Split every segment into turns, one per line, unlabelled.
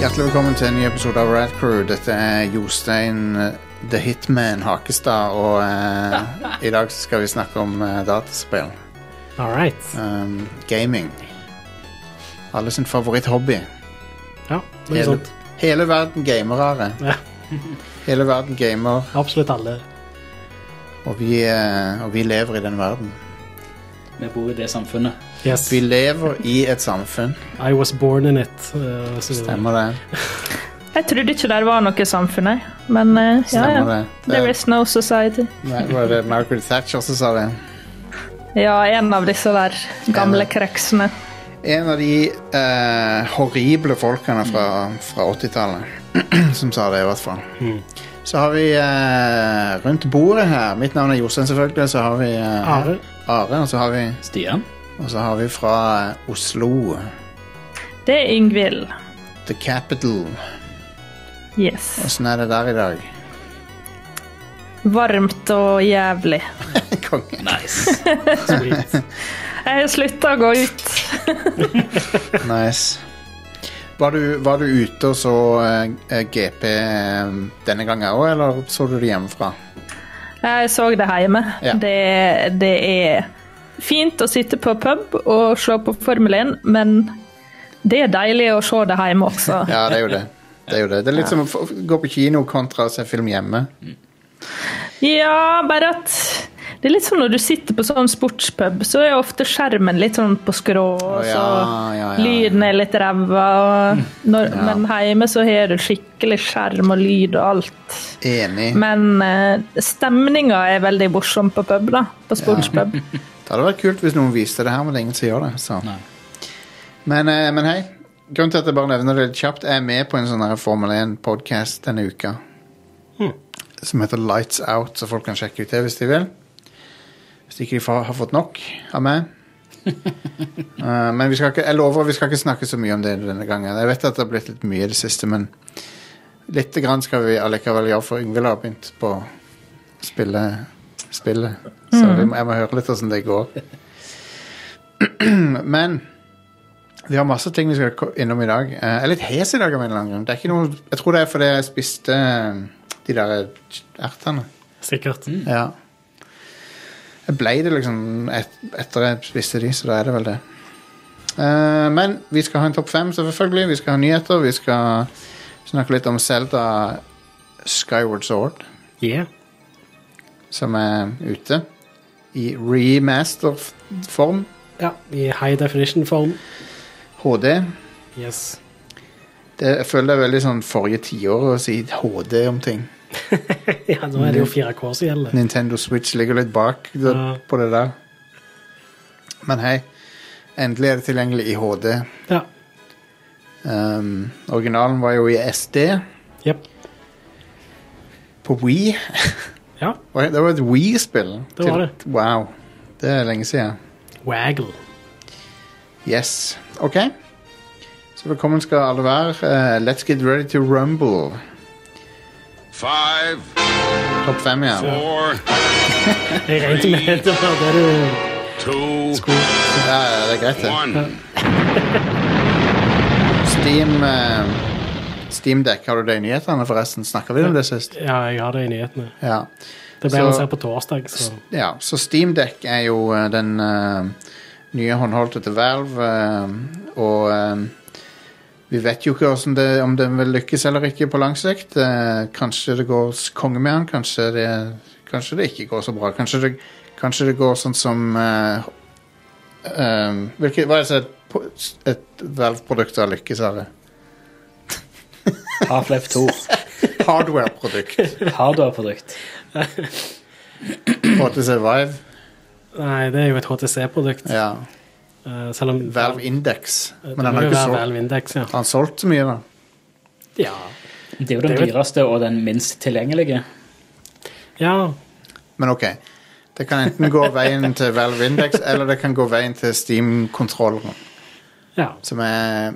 Hjertelig velkommen til en ny episode av Rad Crew. Dette er Jostein eh, The Hitman Hakestad, og eh, i dag så skal vi snakke om eh, dataspill.
All right.
Um, gaming. Alle sin favoritthobby.
Ja, sånn. noe
Hele,
sånt.
hele verden gamerare.
Ja.
Hele verden gamer,
Absolutt alle.
og vi, eh, og vi lever i den verden.
Vi bor i det samfunnet.
Yes.
Vi lever i et samfunn,
I was born in it. eh, så-
stemmer det?
Jeg trodde ikke det var noe samfunn, jeg. Men eh, ja,
Stemmer
ja.
det?
There is no society.
Nei, var det Margaret Thatcher som sa det?
Ja, en av disse der gamle kreksene.
En av de eh, horrible folkene fra, fra 80-tallet som sa det, i hvert fall. Så har vi eh, rundt bordet her Mitt navn er Jostein, selvfølgelig. Så har vi eh,
Are.
Are, og så har vi,
Stian?
og så har vi fra eh, Oslo.
Det er Yngvild.
The Capital.
Yes.
Åssen er det der i dag?
Varmt og jævlig.
Konge.
Nice.
Sweet.
Jeg har slutta å gå ut.
Nice. Var du, var du ute og så eh, GP denne gangen òg, eller så du det hjemmefra?
Jeg så det hjemme.
Ja.
Det, det er fint å sitte på pub og se på Formel 1, men det er deilig å se det hjemme også.
Ja, det er jo det. Det er, jo det. Det er litt som å få- gå på kino kontra å se film hjemme.
Ja, bare at det er litt sånn når du sitter på sånn sportspub, så er ofte skjermen litt sånn på skrå, og
Å,
så
ja, ja, ja.
lyden er litt ræva. og når-
Ja.
Men hjemme så har du skikkelig skjerm og lyd og alt.
Enig.
Men eh, stemninga er veldig morsom på pub, da. På sportspub.
Det hadde vært kult hvis noen viste det her, men det er ingen som gjør det. Så.
Nei.
Men, eh, men hei, grunnen til at jeg bare nevner det litt kjapt, jeg er med på en sånn her Formel 1-podkast denne uka. Som heter Lights Out, så folk kan sjekke ut det hvis de vil. Hvis ikke de får, har fått nok av meg. Eh, men vi skal ikke, jeg lover vi skal ikke snakke så mye om det denne gangen. Jeg vet at det har blitt litt mye i det siste, men litt grann skal vi allikevel gjøre, for Yngvild har begynt på spille spillet. Så vi må, jeg må høre litt hvordan det går. Men vi har masse ting vi skal ko- innom i dag. Eh, Jeg er litt hes i dag av en eller annen grunn. Det er ikke noe, jeg tror det er fordi jeg spiste eh, de der eh, ertene.
Sikkert.
Ja. Jeg ble det liksom et, etter jeg spiste de, så da er det vel det. Eh, men vi skal ha en topp fem, selvfølgelig. Vi skal ha nyheter. Vi skal snakke litt om Zelda Skyward Sword.
Yeah.
som er ute i remaster-form,
Ja, i high definition form.
HD.
Yes.
Det, jeg føler det er veldig sånn forrige tiår å si HD om ting.
Ja, nå er det jo 4K som gjelder.
Nintendo Switch ligger litt bak det,
Ja.
på det der. Men hei, endelig er det tilgjengelig i HD.
Ja.
Um, originalen var jo i SD
Jep.
på Wii.
Ja.
Oi, Det var et Wii-spill.
Det var
Til- Wow. Det er lenge siden.
Waggle.
Yes. Ok. Så velkommen skal alle være. Eh, let's get ready to rumble.
Five,
Topp fem, ja.
four,
Jeg regnet med det var det du
two,
Ja, ja, det er greit, det.
one.
Steam, eh, Steam Deck, har du det i nyhetene, forresten? Snakker vi om det sist?
Ja, jeg har det i nyhetene.
Ja.
Det ble
Så-
lansert på torsdag, så
ja så Steam Deck er jo eh, den eh, nye håndholdte til Valve, eh, og eh, vi vet jo ikke hvordan det, om den vil lykkes eller ikke på lang sikt. Eh, kanskje det går s- konge med den, kanskje det, kanskje det ikke går så bra. Kanskje det, kanskje det går sånn som eh, eh, hvilke, Hva er det som et, po- et Valve-produkt har lykkes av? det?
Half-Life 2.
Hardware-produkt.
Hardware-produkt.
HTC Vive.
Nei, det er jo et HTC-produkt.
Ja.
eh, Selv om
Valve Index.
Det
Men han har
må jo
ikke
være
solgt,
Valve Index, ja.
han har solgt så mye, da.
Ja.
Det er jo den
Det er jo-
dyreste og den minst tilgjengelige.
ja.
Men ok. Det kan enten gå veien til Valve Index, eller det kan gå veien til Steam-kontrolleren,
Ja.
som er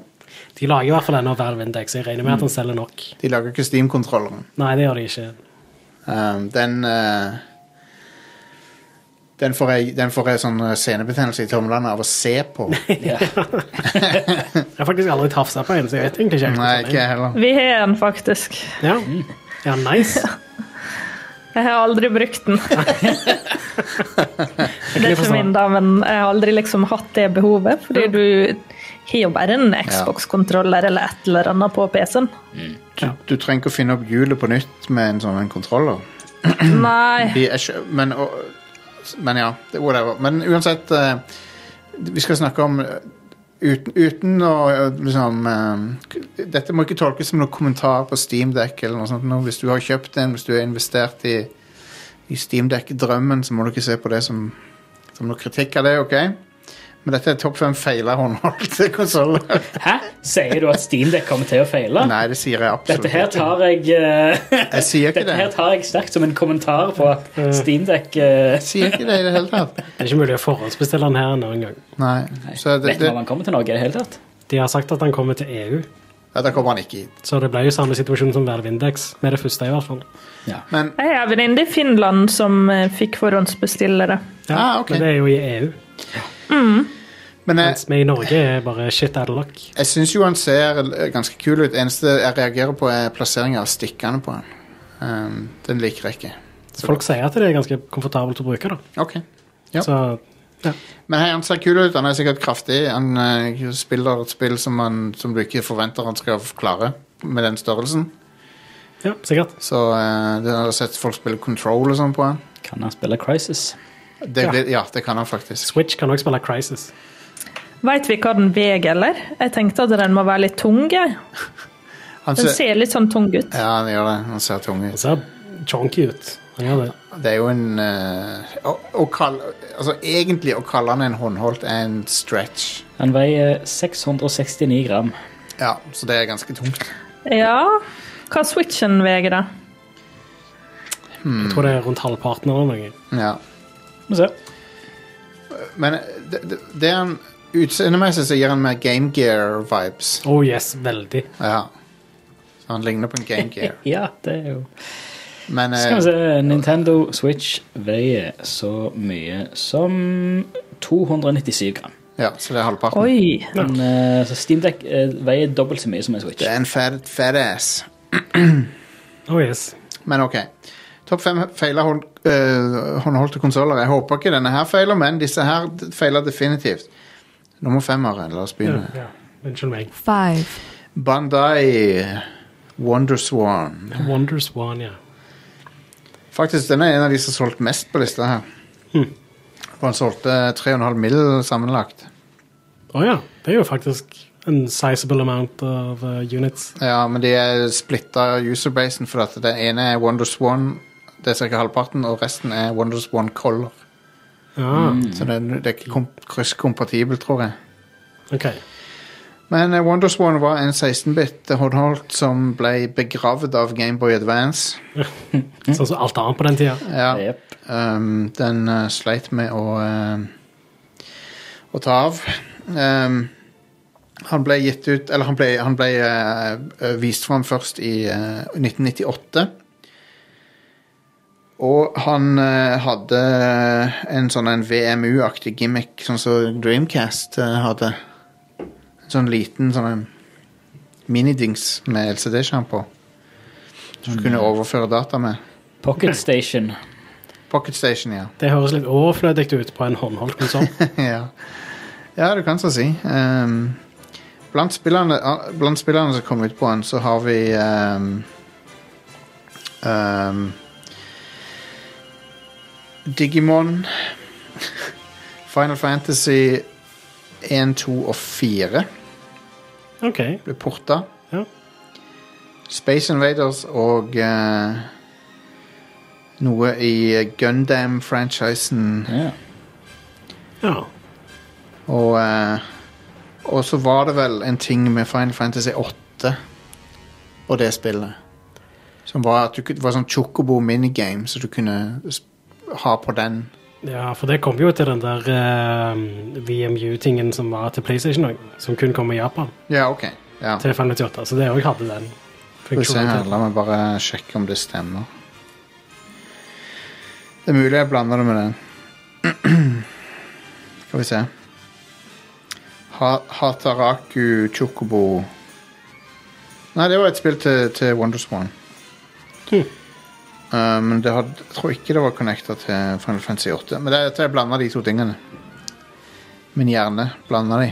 De lager i hvert fall denne Valve Index. Jeg regner
Mm.
med at den selger nok.
De lager ikke Um, Steam-kontrolleren.
Nei, det gjør de ikke.
Um, den eh, Den får jeg, den får jeg sånn eh, senebetennelse i tommelen av å se på.
Ja.
Jeg har faktisk aldri tafsa på en, så jeg vet egentlig ikke. helt
Nei,
hvordan
ikke
det
jeg heller.
Vi har den faktisk.
er. Ja. ja, nice.
Jeg har aldri brukt den. det er
forstå.
ikke min, da, men jeg har aldri liksom hatt det behovet. Fordi du har jo bare en Xbox-kontroller eller et eller annet på PC-en.
Du trenger ikke å finne opp hjulet på nytt med en sånn en kontroller.
Nei.
De er ikke, men, og, men ja, det- whatever. Men uansett, eh, vi skal snakke om eh, uten, uten å eh, liksom eh, Dette må ikke tolkes som noen kommentar på Steamdeck eller noe sånt. nå. Hvis du har kjøpt en, hvis du har investert i, i Steamdeck-drømmen, så må du ikke se på det som, som noe kritikk av det, OK? Men dette er topp fem feila håndholdte konsoller.
Hæ? Sier du at Steamdeck kommer til å feile?
Nei, det sier jeg absolutt
Dette her
ikke.
tar jeg eh,
Jeg sier ikke
Dette her
det.
tar jeg sterkt som en kommentar på at Steamdeck eh,
Jeg sier ikke det i det hele tatt.
Det er ikke mulig å forhåndsbestille den her en annen gang.
Nei. Så det,
Vet vi
det,
om han kommer til Norge i det hele tatt?
De har sagt at den kommer til EU,
dette kommer han ikke hit.
så det ble jo samme situasjon som Valve Index, med det første i hvert fall.
Men
Jeg har en venninne i Finland som eh, fikk forhåndsbestillere.
Ah, ok.
Men det er jo i EU,
Men eh, jeg,
mens vi i Norge er bare shit out of luck.
jeg syns jo han ser eh, ganske kul ut. Eneste jeg reagerer på, er plasseringen av stikkene på han. Um, den liker jeg ikke. Så-
Folk sier at det er ganske komfortabelt å bruke, da.
Ok. Ja.
Så
Men hei, han ser kul ut. Han er sikkert kraftig. Han eh, spiller et spill som, han, som du ikke forventer han skal klare med den størrelsen.
ja, sikkert.
Så eh, du har sett folk spille control og sånn på han.
Kan han spille Crisis?
Det,
Ja.
blir- ja, det kan han faktisk.
Switch kan også spille Crisis.
Veit vi hva den veier, eller? Jeg tenkte at den må være litt tung. jeg.
Han
Den
ser,
ser litt sånn tung ut.
Altså- ja, han gjør det. Han ser tung ut.
Det ser chonky ut. Han gjør det.
Det er jo en eh, å, å kalle, altså, Egentlig å kalle han en håndholdt er en stretch.
Han veier 669 gram.
Ja, så det er ganske tungt.
Ja. Hva switchen veier, da?
Mm.
Jeg tror det er rundt halvparten eller noe.
Ja.
Må se.
Men det, det, det er en Utseendemessig så gir han meg Game Gear-vibes.
Oh yes, veldig.
Ja. Så han ligner på en Game Gear.
Ja, det er jo
Men eh,
Skal vi se. Nintendo Switch veier så mye som 297 gram.
ja, så det er halvparten.
Oi.
Men, eh, så Steamdeck veier dobbelt så mye som en Switch.
Det er en fat, fat ass.
Oh yes.
Men OK. Topp fem feiler hånd, eh, håndholdte konsoller. Jeg håper ikke denne her feiler, men disse her d- feiler definitivt. Nummer fem, Arild. La oss begynne.
Ja. Unnskyld meg.
five,
Bandai Wonderswan.
Wonderswan, ja.
Faktisk, den er en av de som har solgt mest på lista her.
Hm.
For han solgte 3,5 mill. sammenlagt.
Å ja. Det er jo faktisk en sizable amount of uh, units.
Ja, men de er splitta userbasen, for at den ene er Wonderswan, det er ca. halvparten, og resten er Wonderswan Color.
Ja,
Så det, er- det er ikke kom krysskompatibel, tror jeg.
ok.
Men eh, Wonderswan var en 16-bit håndholdt som ble begravd av Gameboy Advance.
Sånn som alt annet på den tida.
Ja,
Jep.
Um, den eh, sleit med å, eh, å ta av. Um, han ble gitt ut Eller han ble, han ble eh, vist fram først i eh, 1998. Og han eh, hadde en sånn en VMU-aktig gimmick, sånn som Dreamcast eh, hadde. En sånn liten sånn en minidings med LCD-skjerm på. Som du kunne overføre data med.
Pocket Station.
Pocket Station, ja.
Det høres litt overflødig ut på en håndholdt konsoll.
ja. ja, du kan så si. Ehm, blant, spillerne, ah, blant spillerne som kom ut på den, så har vi ehm, ehm, Digimon, Final Fantasy 1, 2 og 4
Ok.
ble porta.
Ja.
Space Invaders og eh, noe i Gundam-franchisen.
Ja.
Ja.
Og, eh, og så var det vel en ting med Final Fantasy 8 og det spillet. Som var at du kunne, det var sånn chocobo minigame, så du kunne sp- ha på den.
ja, for det kom jo til den der eh, VMU-tingen som var til PlayStation òg, som kun kom i Japan.
Ja, OK. Ja.
Til 598, så det òg hadde
Skal vi
den
se her,
funksjonaliteten.
La meg bare sjekke om det stemmer. Det er mulig jeg blander det med den. Skal vi se. Ha Hataraku Chocobo. Nei, det var et spill til, til Wonderswan.
Hm.
Eh, men det hadde, jeg tror ikke det var connecta til Final Fantasy 8. Men det, er at jeg blanda de to tingene. Min hjerne blanda de.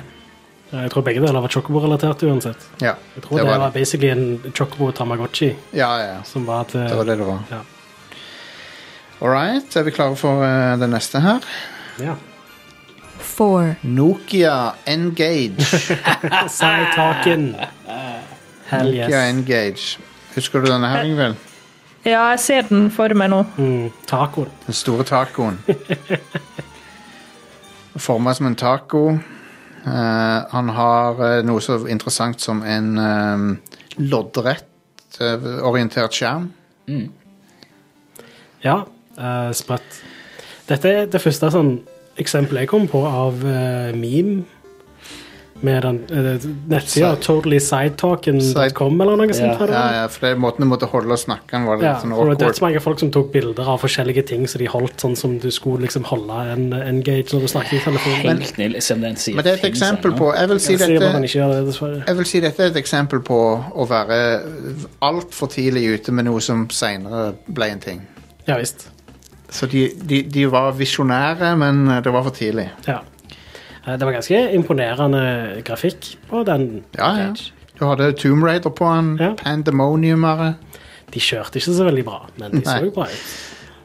Jeg tror begge deler var Chocobo-relatert uansett.
Ja,
Jeg tror det var,
det.
basically en Chocobo Tamagotchi
Ja, ja, ja.
som var til
Det var det det var.
Ja.
All right, er vi klare for eh, det neste her?
ja.
four,
Nokia Engage.
Saitaken. Ah, Hell
Nokia
yes.
Engage. Husker du denne her, Ingvild?
Ja, jeg ser den for meg nå.
Mm, tacoen.
Den store tacoen. Forma som en taco. Eh, han har eh, noe så interessant som en eh, loddrett eh, orientert skjerm.
Ja, eh, sprøtt. Dette er det første sånn, eksempelet jeg kom på av eh, meme. Med den uh, nettsida
Side-
totallysidetalken.com eller noe sånt.
Ja.
tror jeg det
Ja,
var.
ja, for det er måten du måtte holde og snakke den var litt
Ja,
sånn
for det var
awkward.
dødsmange folk som tok bilder av forskjellige ting som de holdt, sånn som du skulle liksom holde en eh, engage når du snakket i telefonen.
Helt nydelig. Se om den sier
Men det er et
finnes
eksempel
ennå.
på Jeg vil si
Jeg sier
dette
bare man ikke gjør det, dessverre.
jeg vil si dette er et eksempel på å være altfor tidlig ute med noe som seinere ble en ting.
Ja visst.
Så de, de, de var visjonære, men eh, det var for tidlig.
Ja. Eh, Det var ganske imponerende grafikk på den.
Ja, ja.
Engage.
Du hadde Tomb Raider på den,
Ja.
Pandemoniumere.
De kjørte ikke så veldig bra, men de så
Nei.
jo bra ut.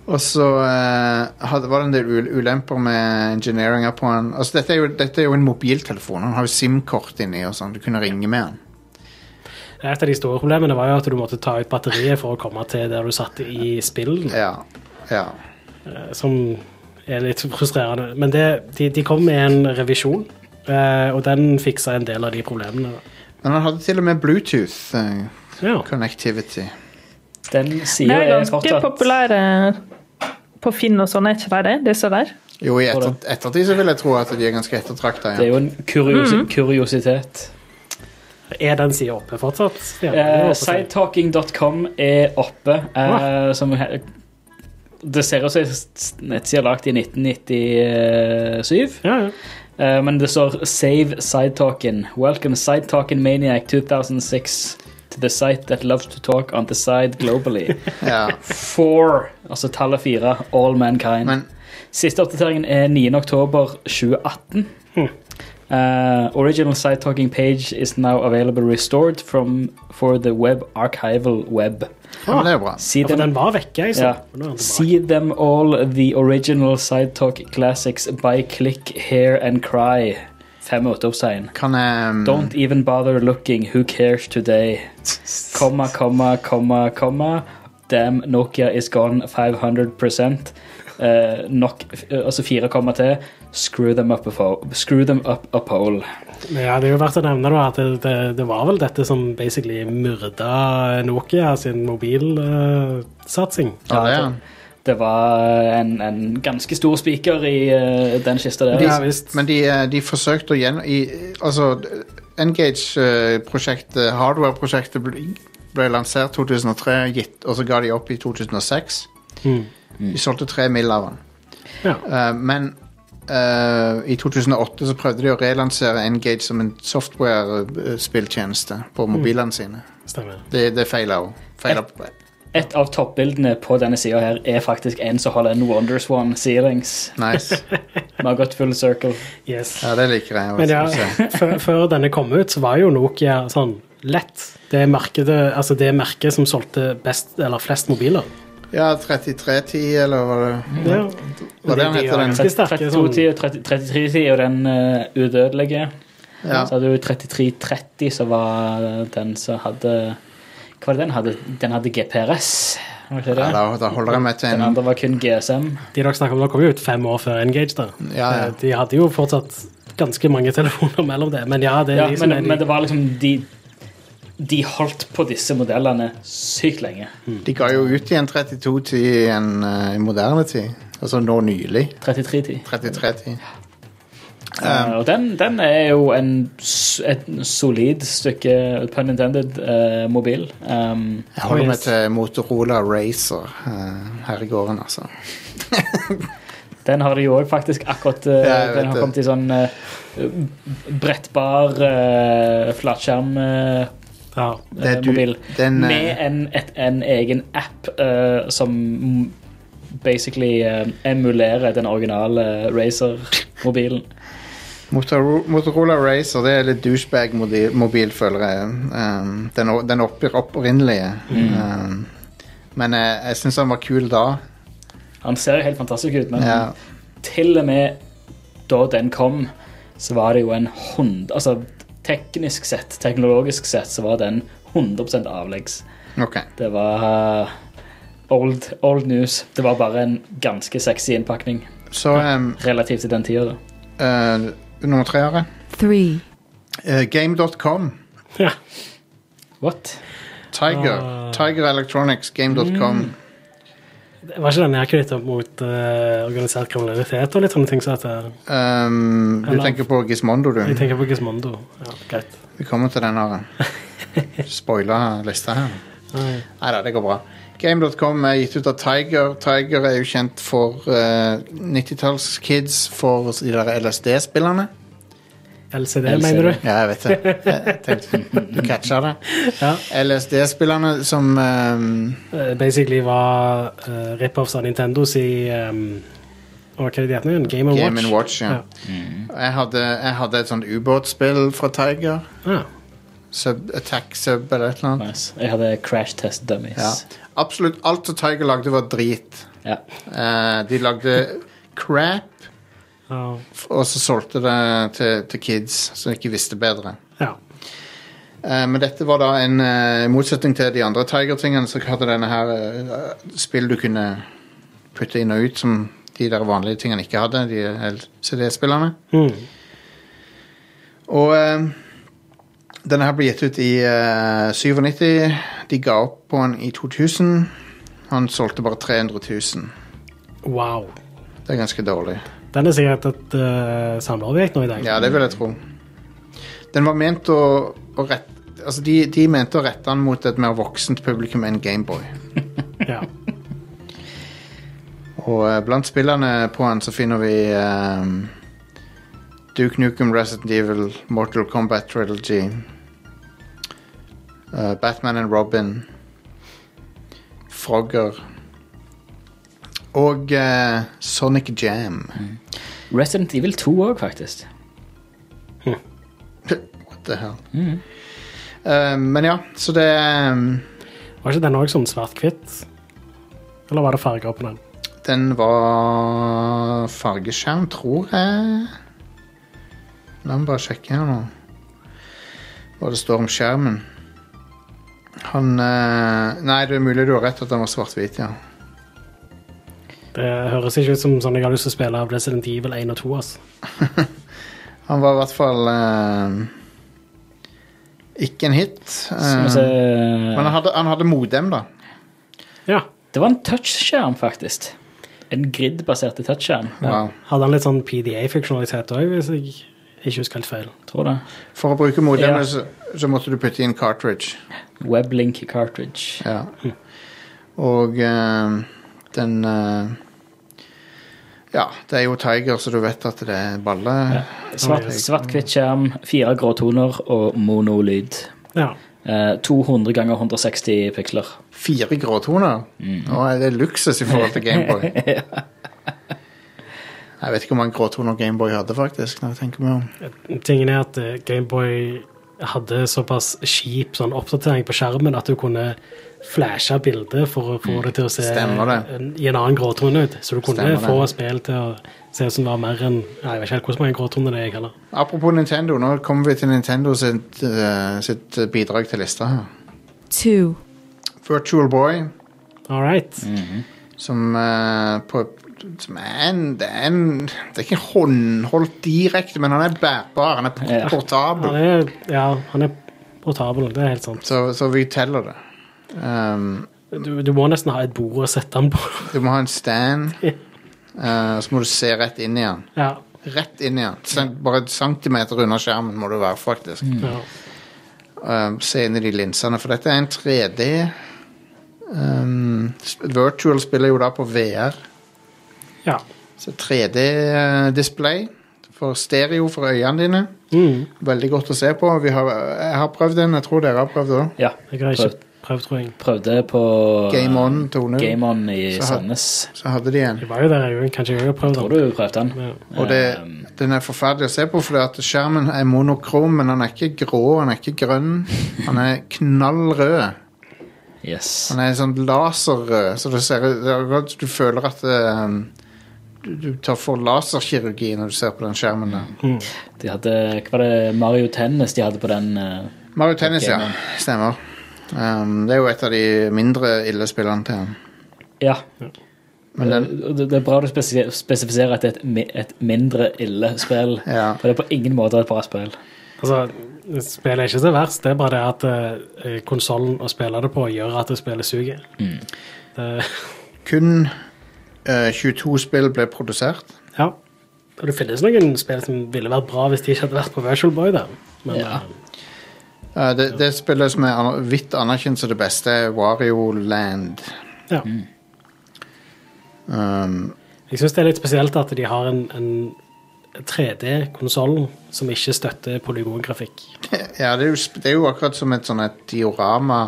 Og så eh, hadde, var det en del ul- ulemper med engineeringa på den. Altså, dette, er jo, dette er jo en mobiltelefon. Han har jo SIM-kort inni og sånn. Du kunne ringe med den.
Et av de store problemene var jo at du måtte ta ut batteriet for å komme til der du satt i spillen,
Ja. ja.
eh, som er litt frustrerende. Men det, de, de kom med en revisjon, eh, og den fiksa en del av de problemene.
Men han hadde til og med Bluetooth eh,
Ja.
connectivity.
Den
De
sida
er
er
ganske
fortsatt
populære på Finn og sånn, er ikke de det? Disse der?
Jo, i etter, ettertid så vil jeg tro at de er ganske ettertrakta.
Det er
Ja.
jo en kuriosi
Mm.
kuriositet.
Er den sida oppe fortsatt? Ja, det
Eh,
håper jeg.
Sidetalking.com er oppe. Eh, som he- det ser ut som en nettside lagd i 1997.
ja, ja.
Eh, men det står 'Save Sidetalking'. Welcome Sidetalking Maniac 2006 to the site that loves to talk on the side globally.
Ja.
Four, altså tallet fire, all mankind.
Men
Siste oppdateringen er 9. oktober 2018.
Hm.
Uh, original site talking page is now available restored from, for the web archival web.
ja, men det er jo bra.
See
ja, for
them,
den var vekke, jeg så.
ja.
Men nå er den tilbake.
See them all the original side talk classics by click, hear and cry. Fem utropstegn.
Kan jeg mm,
Don't even bother looking, who cares today? Komma, komma, komma, komma. Damn, Nokia is gone 500 Eh, Nok, altså fire komma til. Screw them up a, fo- screw them up a pole.
Men Ja, det er jo verdt å nevne da, at det, det, det var vel dette som basically myrda Nokia sin mobilsatsing.
Ja, det er han.
Det var en, en ganske stor spiker i eh, den kista der.
ja visst.
Men de, eh, de forsøkte å gjennom... i- Altså, Engage-prosjektet, hardware-prosjektet, ble, ble lansert 2003, gitt, og så ga de opp i 2006.
Mm.
De solgte tre mill. av den.
Ja.
Eh, men eh, i 2008 så prøvde de å relansere Engage som en software-spilltjeneste på mobilene sine.
Stemmer.
Det, det feila jo. Feila på-
Et av toppbildene på denne sida her er faktisk en som holder en Wonderswan ceilings.
Nice.
Vi har gått full circle.
Yes.
Ja, det liker jeg.
Men
også,
ja,
så.
før, før denne kom ut, så var jo Nokia sånn lett. Det merket, altså det merket som solgte best, eller flest mobiler.
ja 3310, eller hva det
Ja.
Hva det han
De
heter,
var
den?
ganske sterke, sånn-
32-10 og 33-10 og den eh, udødelige.
Ja.
Så hadde du 33-30 som var den som hadde Hva var det den hadde? Den hadde GPRS. Var ikke det?
Ja, da, da holder jeg meg til
Den
en
andre var kun GSM.
De dere snakker om, da kom jo ut fem år før Engage. da.
Ja, ja.
Eh, De hadde jo fortsatt ganske mange telefoner mellom det, men ja, det er
Ja,
de som
men,
er de-
men det var liksom de, de holdt på disse modellene sykt lenge.
De ga jo ut igjen 3210 igjen eh, i moderne tid. Altså nå nylig.
33-10.
3310.
Eh, og den, den er jo en, s- et solid stykke pun intended eh, mobil. Um,
Jeg holder
Oh,
meg
yes.
til Motorola Racer eh, her i gården, altså.
Den har de jo òg faktisk akkurat eh,
Ja, jeg vet
Den har
det.
kommet i sånn eh, brettbar eh, flatskjerm eh,
Ja.
Det er
eh,
du,
mobil.
den, eh,
Med en, et, en egen app eh, som basically eh, emulerer den originale Razer-mobilen.
Motoro- Motorola Racer det er litt douchebag-mobil, føler jeg. Um, den o- den opp, opprinnelige.
Mm.
Um, men eh, jeg, jeg syns den var kul da.
Han ser jo helt fantastisk ut,
Mm.
men
Ja.
til og med da den kom, så var det jo en hund... Altså, teknisk sett, teknologisk sett, så var den 100 avleggs.
Ok.
Det var eh, old, old news. Det var bare en ganske sexy innpakning
Så um,
relativt til den tida, da.
uh, nummer tre her.
three,
Uh, Game.com.
ja.
What?
Tiger.
Ah. Mm.
Tiger Electronics, game.com.
Det var ikke den her knyttet opp mot eh, organisert kriminalitet og litt sånne ting? Så at eh,
Um, du
Eller-
tenker på Gismondo, du.
jeg tenker på Gismondo. Ja, greit.
Vi kommer til den her. Spoila lista her.
Nei.
Nei da, det går bra. Game.com er gitt ut av Tiger. Tiger er jo kjent for eh, 90-tallskids, for de der LSD-spillerne.
LCD,
LCD.
mener du?
Ja, jeg vet det. Jeg tenkte, du catcha det.
Ja.
LSD-spillerne som eh,
Eh, basically var uh, rip-offs av Nintendos i um, og hva er det de heter nå? Game Watch?
Game Watch. Ja.
Ja.
Jeg, hadde, jeg hadde et sånt ubåtspill fra Tiger.
Ah,
Sub, attack Sub eller et eller annet.
Nice. Jeg hadde crash test dummies.
Ja. Absolutt alt som Tiger lagde, var drit.
Ja.
Eh, de lagde crap,
Ah, ja.
og så solgte det til, til kids som ikke visste bedre.
ja.
Eh, men dette var da en eh, i motsetning til de andre Tiger-tingene, så hadde denne her eh, spill du kunne putte inn og ut, som de der vanlige tingene ikke hadde, de LCD-spillerne.
Mm.
Og eh, denne her ble gitt ut i eh, 97. De ga opp på den i 2000. Han solgte bare 300 000.
Wow.
Det er ganske dårlig.
Den er sikkert et uh, samleobjekt nå i dag.
Ja, det vil jeg tro. Den var ment å, å rette Altså, de, de mente å rette den mot et mer voksent publikum enn Gameboy.
Ja.
Og eh, blant spillerne på den så finner vi eh, Duke Nukem, Resident Evil, Mortal Kombat Trilogy, eh, Batman and Robin, Frogger og eh, Sonic Jam.
Resident Evil 2 òg, faktisk.
What the hell? Eh, men ja, så det eh,
Var ikke den òg sånn svart-hvitt? Eller var det farger på den?
Den var fargeskjerm, tror jeg. La meg bare sjekke her nå. Hva det står om skjermen. Han eh, Nei, det er mulig du har rett at den var svart-hvit, ja.
Det høres ikke ut som sånn jeg har lyst til å spille av Resident Evil 1 og 2. Altså.
Han var i hvert fall eh, ikke en hit.
Skal vi
Eh,
se
men han hadde, han hadde modem, da.
Ja.
Det var en touchskjerm, faktisk. En grid-basert touchskjerm.
Wow.
Hadde han litt sånn PDA-funksjonalitet òg, hvis jeg ikke husker helt feil.
Tror det.
For å bruke modemet
Ja.
så, så måtte du putte inn cartridge.
Weblink cartridge.
Ja. Og eh, den eh, Ja, det er jo Tiger, så du vet at det er balle.
Svart- Svart-hvitt skjerm, fire gråtoner og monolyd.
Ja.
Eh, 200 ganger 160 piksler.
Fire gråtoner? Nå er det luksus i forhold til Gameboy. Jeg vet ikke hvor mange gråtoner Gameboy hadde, faktisk. når jeg tenker meg om.
Tingen er at eh, Gameboy hadde såpass kjip sånn oppdatering på skjermen at du kunne flashe bildet for å få det til å se
Mm. Stemmer det.
en- i en annen gråtone ut. Så du kunne
Stemmer det.
få spill til å se ut som det var mer enn Nei, Jeg vet ikke helt hvor mange gråtoner det er, jeg heller.
Apropos Nintendo, nå kommer vi til Nintendo sitt, eh, sitt bidrag til lista her.
two,
Virtual Boy,
All right.
Mm. som, eh, på, som er en Det er en Det er ikke håndholdt direkte, men han er bærbar. Han er port-
Ja.
portabel.
Han er, ja, han er portabel, det er helt sant.
Så, så vi teller det. Um,
Du, du må nesten ha et bord å sette han på.
du må ha en stand, eh, så må du se rett inn i den.
ja.
Rett inn i den. Sen- Bare et centimeter unna skjermen må du være, faktisk.
Mm.
ja.
Um, se inn i de linsene, for dette er en 3D. Um, sp- Virtual spiller jo da på VR.
Ja.
Så 3D-display for stereo for øynene dine.
Mm.
Veldig godt å se på. Vi har, jeg har prøvd den, jeg tror dere har prøvd òg.
Ja,
Jeg har
prøv,
ikke prøvd, tror jeg.
prøvde på
Game On 2.0.
Game On i
Så har-
Sandnes.
Så hadde de en.
Jeg var jo der, jeg òg. Kanskje jeg òg har prøvd
Tror
den.
du prøvde den?
Ja.
Og det,
Um,
den er forferdelig å se på, fordi at skjermen er monokrom, men han er ikke grå, han er ikke grønn. Han er knallrød.
yes.
Han er sånn laserrød, så det ser, ut- det er akkurat som du føler at eh, du, du tar for laserkirurgi når du ser på den skjermen. der.
Mm.
Mm.
De hadde, hva var det Mario Tennis de hadde på den? eh,
Mario Tennis,
Ok,
ja. Stemmer. Um, det er jo et av de mindre ille spillene til han.
ja.
Men den,
Eh, det, det er bra du spesi- spesifiserer at det er et, mi- et mindre ille spill.
ja.
For det er på ingen måte et bra spill.
Altså, spillet er ikke så verst. Det er bare det at uh, konsollen å spille det på gjør at det spillet suger.
Mm.
Det-
Kun eh, 22 spill ble produsert.
Ja. Og det finnes noen spill som ville vært bra hvis de ikke hadde vært på Virtual Boy. Da. Men
Ja.
eh,
Eh, det, det spillet som er aner- vidt anerkjent som det beste, er Wario Land.
ja.
Mm.
Um,
jeg syns det er litt spesielt at de har en, en 3D-konsoll som ikke støtter polygongrafikk.
ja, det er, jo, sp- det er jo akkurat som et sånn et diorama.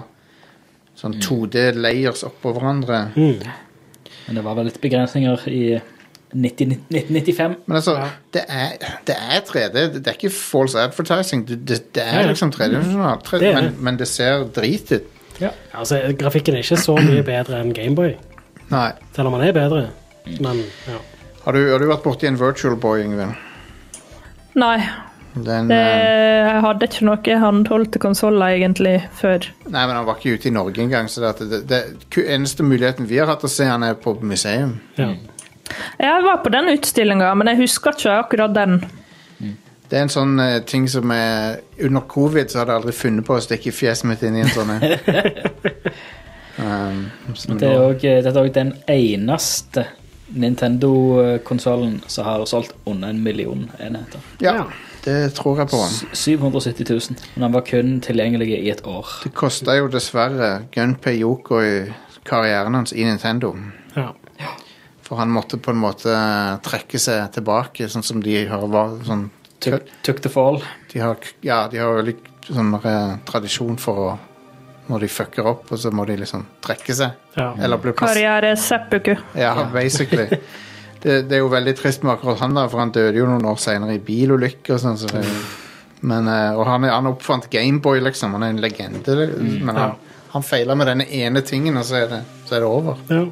Sånn
Mm.
2D-layers oppå hverandre.
Men det var vel litt begrensninger i 90, 1995.
Men altså, det, er, det er 3D. Det er ikke false advertising. Det, det, det
Ja,
er
ja.
liksom 3D-funksjonal,
Det er
men,
det.
men det ser drit ut.
Altså, Grafikken er ikke så mye bedre enn Gameboy,
Nei.
selv om den er bedre.
Mm.
Men ja.
Har du, har du vært borti en virtual boy, Yngvild?
Nei,
Den,
det,
eh,
jeg hadde ikke noe håndholdt til konsoller egentlig før.
nei, men han var ikke ute i Norge engang, så det, at det, det ku- eneste muligheten vi har hatt å se han er på museum.
ja.
Mm.
Jeg var på den utstillinga, men jeg husker ikke akkurat den.
Det er en sånn eh, ting som er Under covid så hadde jeg aldri funnet på å stikke fjeset mitt inn i en sånn en. um, så
Det er
nå-
også- eh, Dette er òg den eneste Nintendo-konsollen som har solgt under en million enheter.
ja, det tror jeg på.
S- 770 000. Men den var kun tilgjengelig i et år.
Det kosta jo dessverre Gunpei Yoko i karrieren hans i Nintendo.
ja.
For han måtte på en måte eh, trekke seg tilbake, sånn som de har var- sånn,
Took, took the fall.
De har ja, de har jo litt sånn eh, tradisjon for å Når de fucker opp, og så må de liksom trekke seg.
Ja.
Eller bli plass-
Karriere seppuku.
Ja, basically. Det, det er jo veldig trist med akkurat han, da, for han døde jo noen år senere i bilulykker. og Sånn, så det, men, eh, og han, er- han oppfant Gameboy, liksom. Han er en legende. det-
Mm.
Men han, han feiler med denne ene tingen, og så er det, så er det over.
Ja.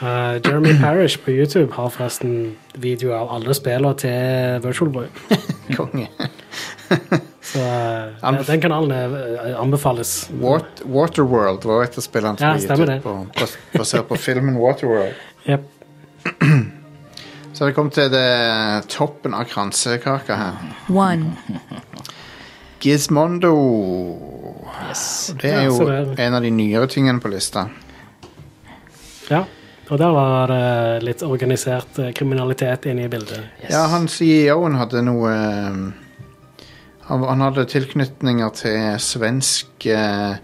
Eh, Jeremy Parish på YouTube har forresten video av alle spillene til Virtual Boy.
Konge.
Så eh,
Anbef-
den kanalen er, eh, anbefales.
Wat- Waterworld var et av spillene som
Ja,
ble gitt
stemmer
ut
det.
på- bas- basert på filmen Waterworld.
Jep.
Så har vi kommet til det, eh, toppen av kransekaka her.
one,
Gizmondo.
Yes.
Det er
Ja,
jo
så det
en av de nyere tingene på lista.
Ja. Og der var det litt organisert eh, kriminalitet inne i bildet.
yes.
Ja, han CEO-en hadde noe ehm, han, han hadde tilknytninger til svensk eh,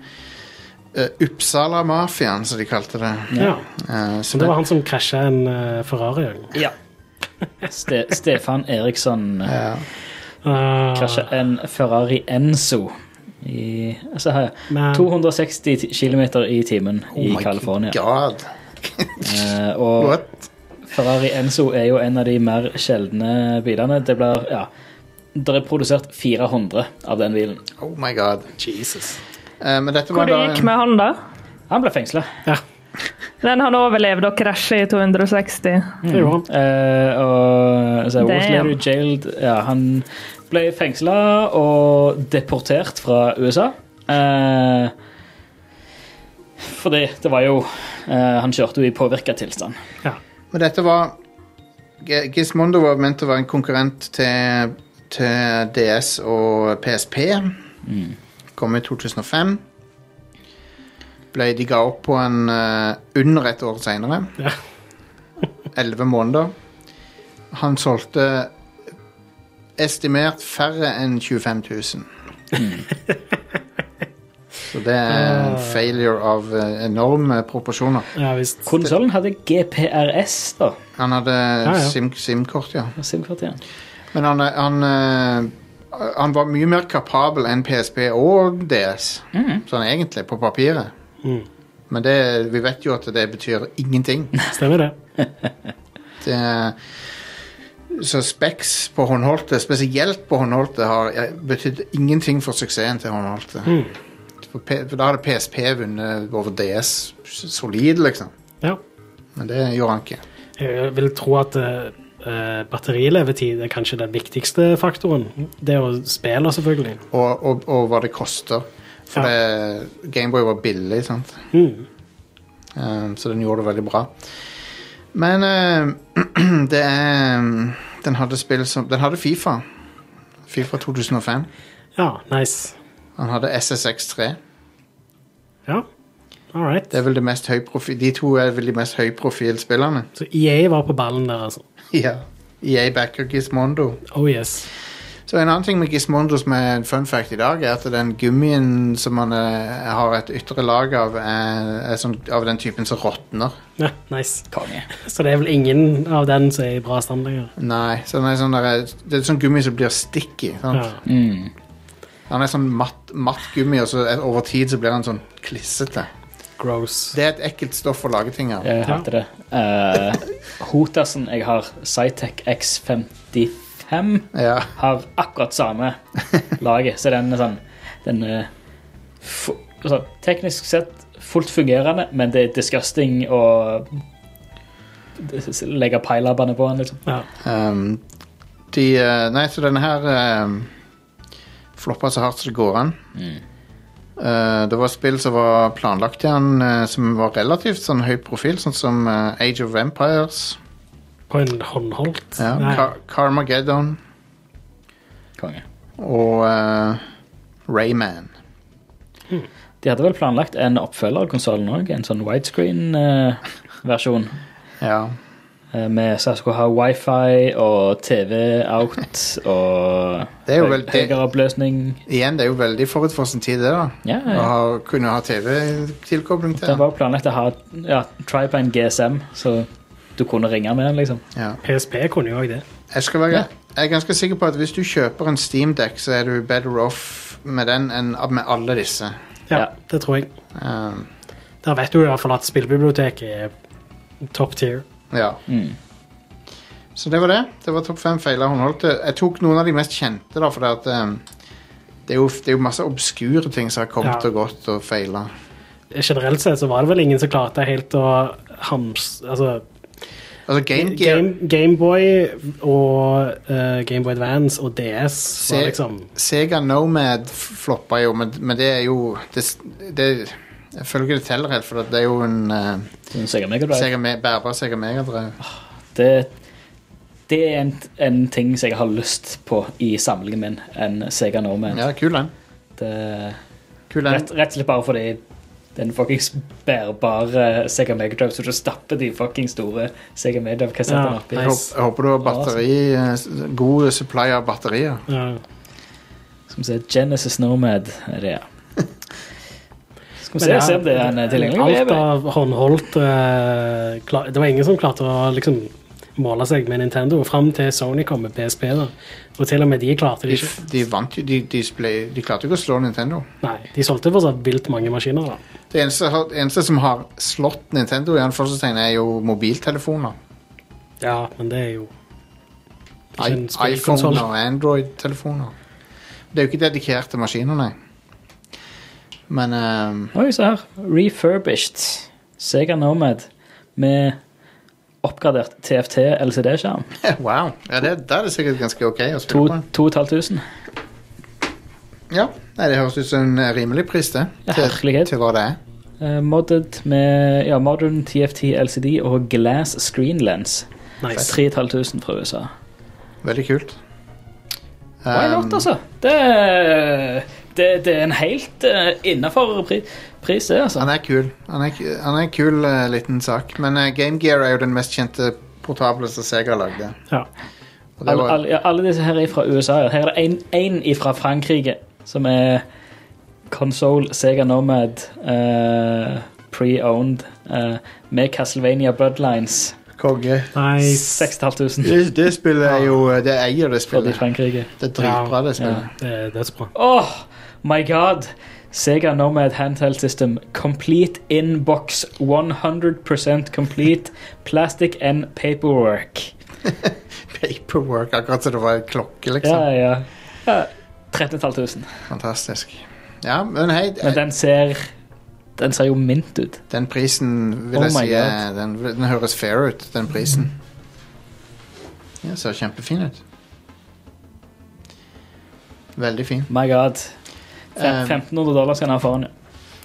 eh, Uppsala-mafiaen, som de kalte det.
Ja.
Eh,
Så det var han som krasja en eh, Ferrari.
Ja. Ste Stefan Eriksson eh,
ja.
Uh,
krasja en Ferrari Enzo i altså her,
Men-
260 km i timen i
Oh my
California.
God.
Eh, og
What?
Ferrari Enzo er jo en av de mer sjeldne bilene. Det blir, ja Det er produsert 400 av den bilen.
Oh my God.
Jesus.
Eh, men dette
Hvor
var
det
da
gikk
en,
med han, da?
Han ble fengsla.
Ja,
Den han overlevde og krasjet i 260.
det gjorde han.
Eh, og så, was
Damn.
later jailed ja, Han ble fengsla og deportert fra USA. Eh, fordi det var jo eh, Han kjørte jo i påvirka tilstand.
Men dette var G- Gizmondo var ment å være en konkurrent til, til DS og PSP. Kom i 2005. Ble de ga opp på en eh, under et år seinere.
Ja.
Elleve måneder. Han solgte estimert færre enn 25 000. Så det er
Ah.
en failure av eh, enorme proporsjoner.
Ja visst.
Konsollen hadde GPRS, da.
Han hadde
ja.
sim- SIM-kort, ja.
SIM-kort igjen.
Men han, eh, han, eh, han var mye mer kapabel enn PSP og DS, sånn egentlig, på papiret.
Mm.
Men det, vi vet jo at det betyr ingenting.
Stemmer det.
Det, så Specs på håndholdte, spesielt på håndholdte, har eh, betydd ingenting for suksessen til håndholdte.
Mm.
For, P- for da hadde PSP vunnet over DS solid, liksom.
Ja.
Men det gjorde han ikke.
Jeg vil tro at eh, batterilevetid er kanskje den viktigste faktoren. Det og spiller, selvfølgelig.
Og, og, og hva det koster. For
Ja.
det, Gameboy var billig, sant.
Mm.
Eh, så den gjorde det veldig bra. Men eh, det er Den hadde spill som Den hadde Fifa. Fifa 2005.
Ja, nice.
Han hadde SSX3.
Ja, all right.
Det er vel det mest høyprofi- De to er vel de mest høyprofilspillerne.
Så EA var på ballen der, altså.
Ja. EA backer Gizmondo.
Oh yes.
Så En annen ting med Gizmondo som er en fun fact i dag, er at den gummien som man eh, har et ytre lag av, er, er sånn, av den typen som råtner.
Ja, nice.
Konge.
Så det er vel ingen av den som er i bra stand lenger.
Nei, så den er sånn der, det er sånn gummi som blir sticky. Sant?
Ja.
Mm.
Han er sånn matt, matt gummi, og så et- over tid så blir han sånn klissete.
Gross.
Det er et ekkelt stoff å lage ting av.
Jeg hater det. Eh, Hotasen jeg har, Cytec X55,
Ja.
har akkurat samme laget. Så den er sånn den er fu- altså, Teknisk sett fullt fungerende, men det er disgusting å legge peilabbene på den. liksom.
Ja.
Um, de, eh, nei, så denne her um, floppa så hardt som det går an. Eh, det var spill som var planlagt til han, eh, som var relativt sånn høy profil, sånn som eh, Age of Empires,
På en håndholdt.
ja,
Nei.
Car Carmageddon
Konge.
og eh, Rayman.
De hadde vel planlagt en oppfølger av konsollen òg, en sånn eh, widescreen-versjon.
Ja.
Med så jeg skulle ha wifi og TV out og Det
er jo vel- det-
høyere oppløsning.
Igjen, det er jo veldig forut for sin tid, det, da.
Ja,
Å
ja.
ha- kunne ha TV-tilkobling til.
Den var jo planlagt å ha ja, Tripine GSM, så du kunne ringe med den, liksom.
Ja.
PSP kunne jo òg det.
Jeg, skal være,
Ja.
jeg er ganske sikker på at hvis du kjøper en Steamdeck, så er du better off med den enn med alle disse.
Ja,
Ja.
Det tror jeg.
Um,
Der vet du i hvert fall at spillbiblioteket er top tier.
ja.
Mm.
Så det var det. Det var topp fem feiler hun holdt. Jeg tok noen av de mest kjente, da, for det, at, um, det, er jo, det er jo masse obskure ting som har kommet
Ja.
og gått og feila.
Generelt sett så var det vel ingen som klarte helt å hams... Altså,
Altså Game Gear
Game- Gameboy og eh, Gameboy Advance og DS var
Se-
liksom
Sega Nomad f- floppa jo, men, men det er jo det, det, Jeg føler ikke det teller helt, for at det er jo en uh,
Den Sega Mega Drive.
Sega Me- bærbar Sega Megadrive.
Det, det er en, en ting som jeg har lyst på i samlingen min, en Sega Norman.
Ja, kul den.
Det-
Kul den.
Rett, rett og slett bare fordi den fuckings bærbare Sega Mega Drive, så du stapper de fucking store Sega Mega Drive-kassettene
Ja,
oppi.
Jeg håper, jeg håper du har batteri, eh, s- god supply av batterier.
ja.
Som sier Genesis Nomad. Er det, ja. Skal vi
Men
se,
ja,
se om det er en eh, tilgjengelig
Alt
baby.
av håndholdt eh, klar, Det var ingen som klarte å liksom måle seg med Nintendo fram til Sony kom med PSP. da. Og til og med de klarte
De,
det
f-
ikke.
de vant jo, de, de, sple- de klarte jo ikke å slå Nintendo.
Nei, De solgte fortsatt vilt mange maskiner. da.
Det eneste, det eneste som har slått Nintendo, i anførselstegn, er jo mobiltelefoner.
Ja, men det er jo ikke en
I-
spillkonsoll.
iPhone og Android-telefoner. Det er jo ikke dedikerte maskiner, nei. Men ehm,
Oi, se her. Refurbished Sega Nomad med oppgradert TFT LCD-skjerm.
Wow. Ja, det, da er det sikkert ganske OK å
To-
spille på.
2500.
Ja, nei, Det høres ut som en eh, rimelig pris, det.
Ja,
Til,
herlighet.
til hva det er.
Eh, Modded med ja, modern TFT LCD og glass screen lens.
Nice.
3500 fra USA.
Veldig kult.
Why not,
Ehm,
altså? Det, er- det, det er en helt uh, innafor pri, pris, det, altså.
Han er kul. Han er, ku- han er en kul eh, liten sak. Men eh, Game Gear er jo den mest kjente portable som Sega lagde.
Ja.
Og det
Alle,
var,
alle, ja, alle disse her er fra USA. ja. Her er det én ifra Frankrike som er Console, Sega Nomad, eh, pre-owned, eh, med Castlevania Bloodlines.
Konge.
Nice.
6500
Det, det spillet er jo eh, Det eier det
fra de
spillet.
Frankrike.
Det er dritbra, det spillet.
Det er dødsbra.
Oh my god! Sega Nomad Handheld System. Complete inbox. 100 complete. Plastic and paperwork.
Paperwork, akkurat som det var en klokke, liksom.
Ja, ja. ja 13500.
Fantastisk. Ja, men hei,
Men den ser Den ser jo mint ut.
den prisen vil
Oh
jeg
my
si er- den, den høres fair ut, den prisen. Ja, ser kjempefin ut. Veldig fin.
My god. Fem-
Um,
1500 dollar skal han ha foran. ja.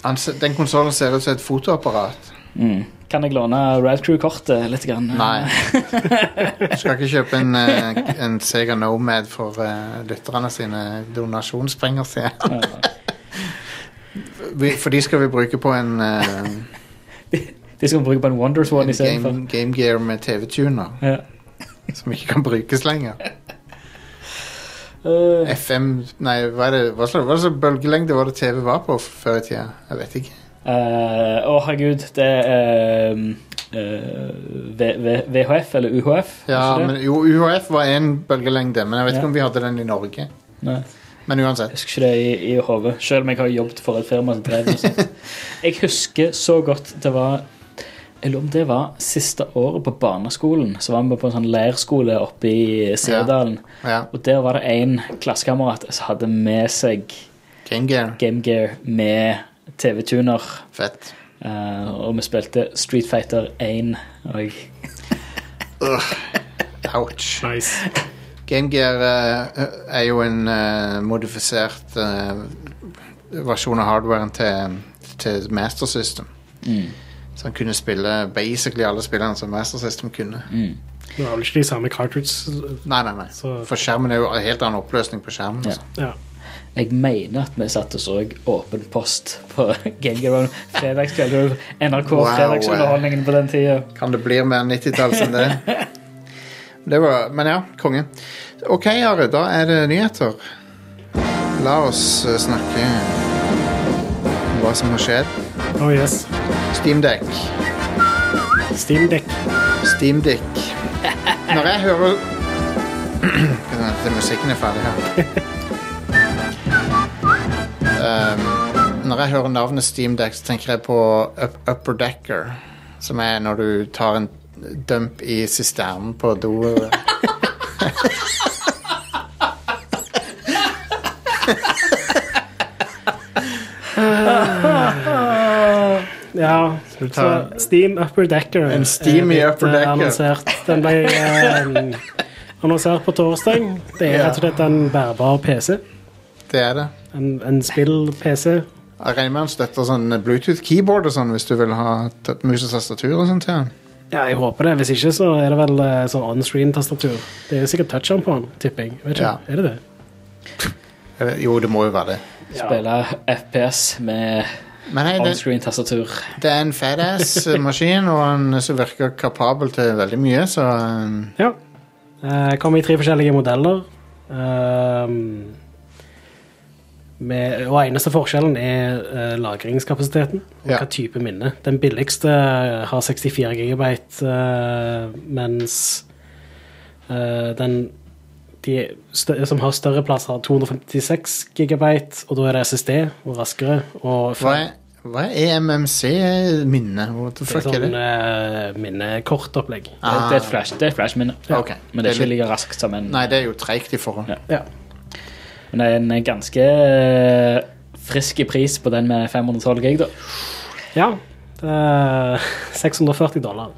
Han se- Den konsollen ser ut som et fotoapparat.
Mm. Kan jeg låne Rad Crew-kortet litt? Grann?
Nei. Du skal ikke kjøpe en, eh, en Sega Nomad for eh, lytterne sine donasjonspenger, sier jeg.
Ja.
Vi- For de skal vi bruke på en, eh,
De skal bruke på en Wonders One
en
istedenfor.
game, game Gear med TV-tuner.
Ja.
Som ikke kan brukes lenger.
Uh,
FM Nei, hva er det Hva slags, hva slags bølgelengde var det TV var på f- før i tida? Jeg vet ikke.
Eh, Å, herregud, det er ehm, eh, v v VHF eller UHF? er
Ja,
ikke det?
men, jo, UHF var én bølgelengde, men jeg vet
Ja.
ikke om vi hadde den i Norge.
Nei,
Men
jeg
uansett.
husker ikke det i, i hodet, selv om jeg har jobbet for et firma som drev med sånt. Jeg husker så godt det var Jeg lurer om det var siste året på barneskolen. Så var vi på en sånn leirskole oppe i Sørdalen.
Ja,
Og der var det en klassekamerat som hadde med seg
Game Gear.
Game Gear med TV-tuner.
Fett.
eh, og vi spilte Street Fighter 1. Og jeg
Ouch.
Nice.
Game Gear eh, er jo en eh, modifisert eh, versjon av hardwaren til, til Master System.
Mm.
Så han kunne spille basically alle spillene som Master System kunne.
Det var vel ikke de samme cartridges.
Nei, nei, nei.
Så-
For skjermen er jo en helt annen oppløsning på skjermen.
Ja.
altså.
Ja.
Jeg mener at vi satt og så Åpen post på Gengeron fredagskveld. Det var NRK
Wow. eh.
Fredagsunderholdningen på den tida.
Kan det bli mer 90-talls enn det? det var, men ja, konge. Ok, Are, da er det nyheter. La oss eh, snakke om hva som har skjedd.
Oh yes.
Steamdeck.
Steam Deck.
Steamdick. Når jeg hører Skal vi vente til musikken er ferdig her. Um, når jeg hører navnet Steamdeck, så tenker jeg på up upper decker. Som er når du tar en dump i sisternen på do.
Ja, så
ta-
Steam Upper Decker
En Steam i
er blitt,
Upper
eh,
Decker.
Annonsert. Den ble eh, annonsert på torsdag. Det er
Ja.
rett og slett en bærbar PC.
Det er det.
En, en spill-PC.
Jeg regner med han støtter sånn Bluetooth-keyboard og sånn hvis du vil ha t- mus og tastatur og sånt til han.
Ja, jeg håper det. Hvis ikke så er det vel eh, sånn on-screen-tastatur. Det er jo sikkert touch-on på den, tipper jeg. Vet ikke,
Ja.
Er det det?
Eller, Jo, det må jo være det.
Spille FPS med
Men hei, det,
onscreen-tastatur.
det er en fadass maskin, og han som virker kapabel til veldig mye, så um,
Ja. Eh, kommer i tre forskjellige modeller. Ehm, med, og eneste forskjellen er eh, lagringskapasiteten og
Ja.
hva type minne. Den billigste eh, har 64 GB, eh, mens eh, den de stø- som har større plass, har 256 GB, og da er det SSD og raskere. Og
hva er, hva er E EMMC-minne? What the
det er
fuck er
sånn
det?
eh, minnekortopplegg.
Det, det er et flash, det er et flashminne.
Ah. Ok.
Men det
Det
er
er
ikke like raskt som en
Nei, det er jo treigt i forhold.
Ja.
Ja.
Men det er en ganske eh, frisk pris på den med 512 gig, da.
Ja. Eh, Det er 640 dollar.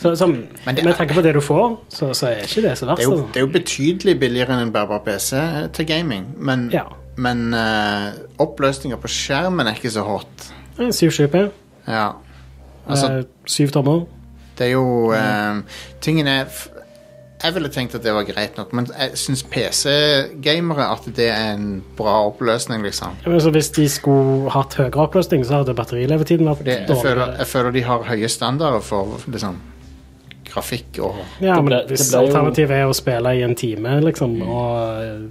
Så, som,
Men det-
med tanke på det du får, så, så er ikke det så verst.
Det er, jo,
altså.
det er jo betydelig billigere enn en bærbar PC til gaming, men,
Ja.
men eh, oppløsninga på skjermen er ikke så hot.
Det er 720p.
Ja. Altså,
eh, Syv tommer.
Det er jo ehm, Tingen er f- Jeg ville tenkt at det var greit nok, men jeg syns PC-gamere at det er en bra oppløsning, liksom.
Ja, men så hvis de skulle hatt høyere oppløsning, så hadde batterilevetiden vært
Det, jeg,
dårligere.
føler, jeg føler de har høye standarder for liksom, grafikk og
Ja,
Det
men
ble- det
hvis
ble jo-
alternativet er å spille i en time, liksom, og eh,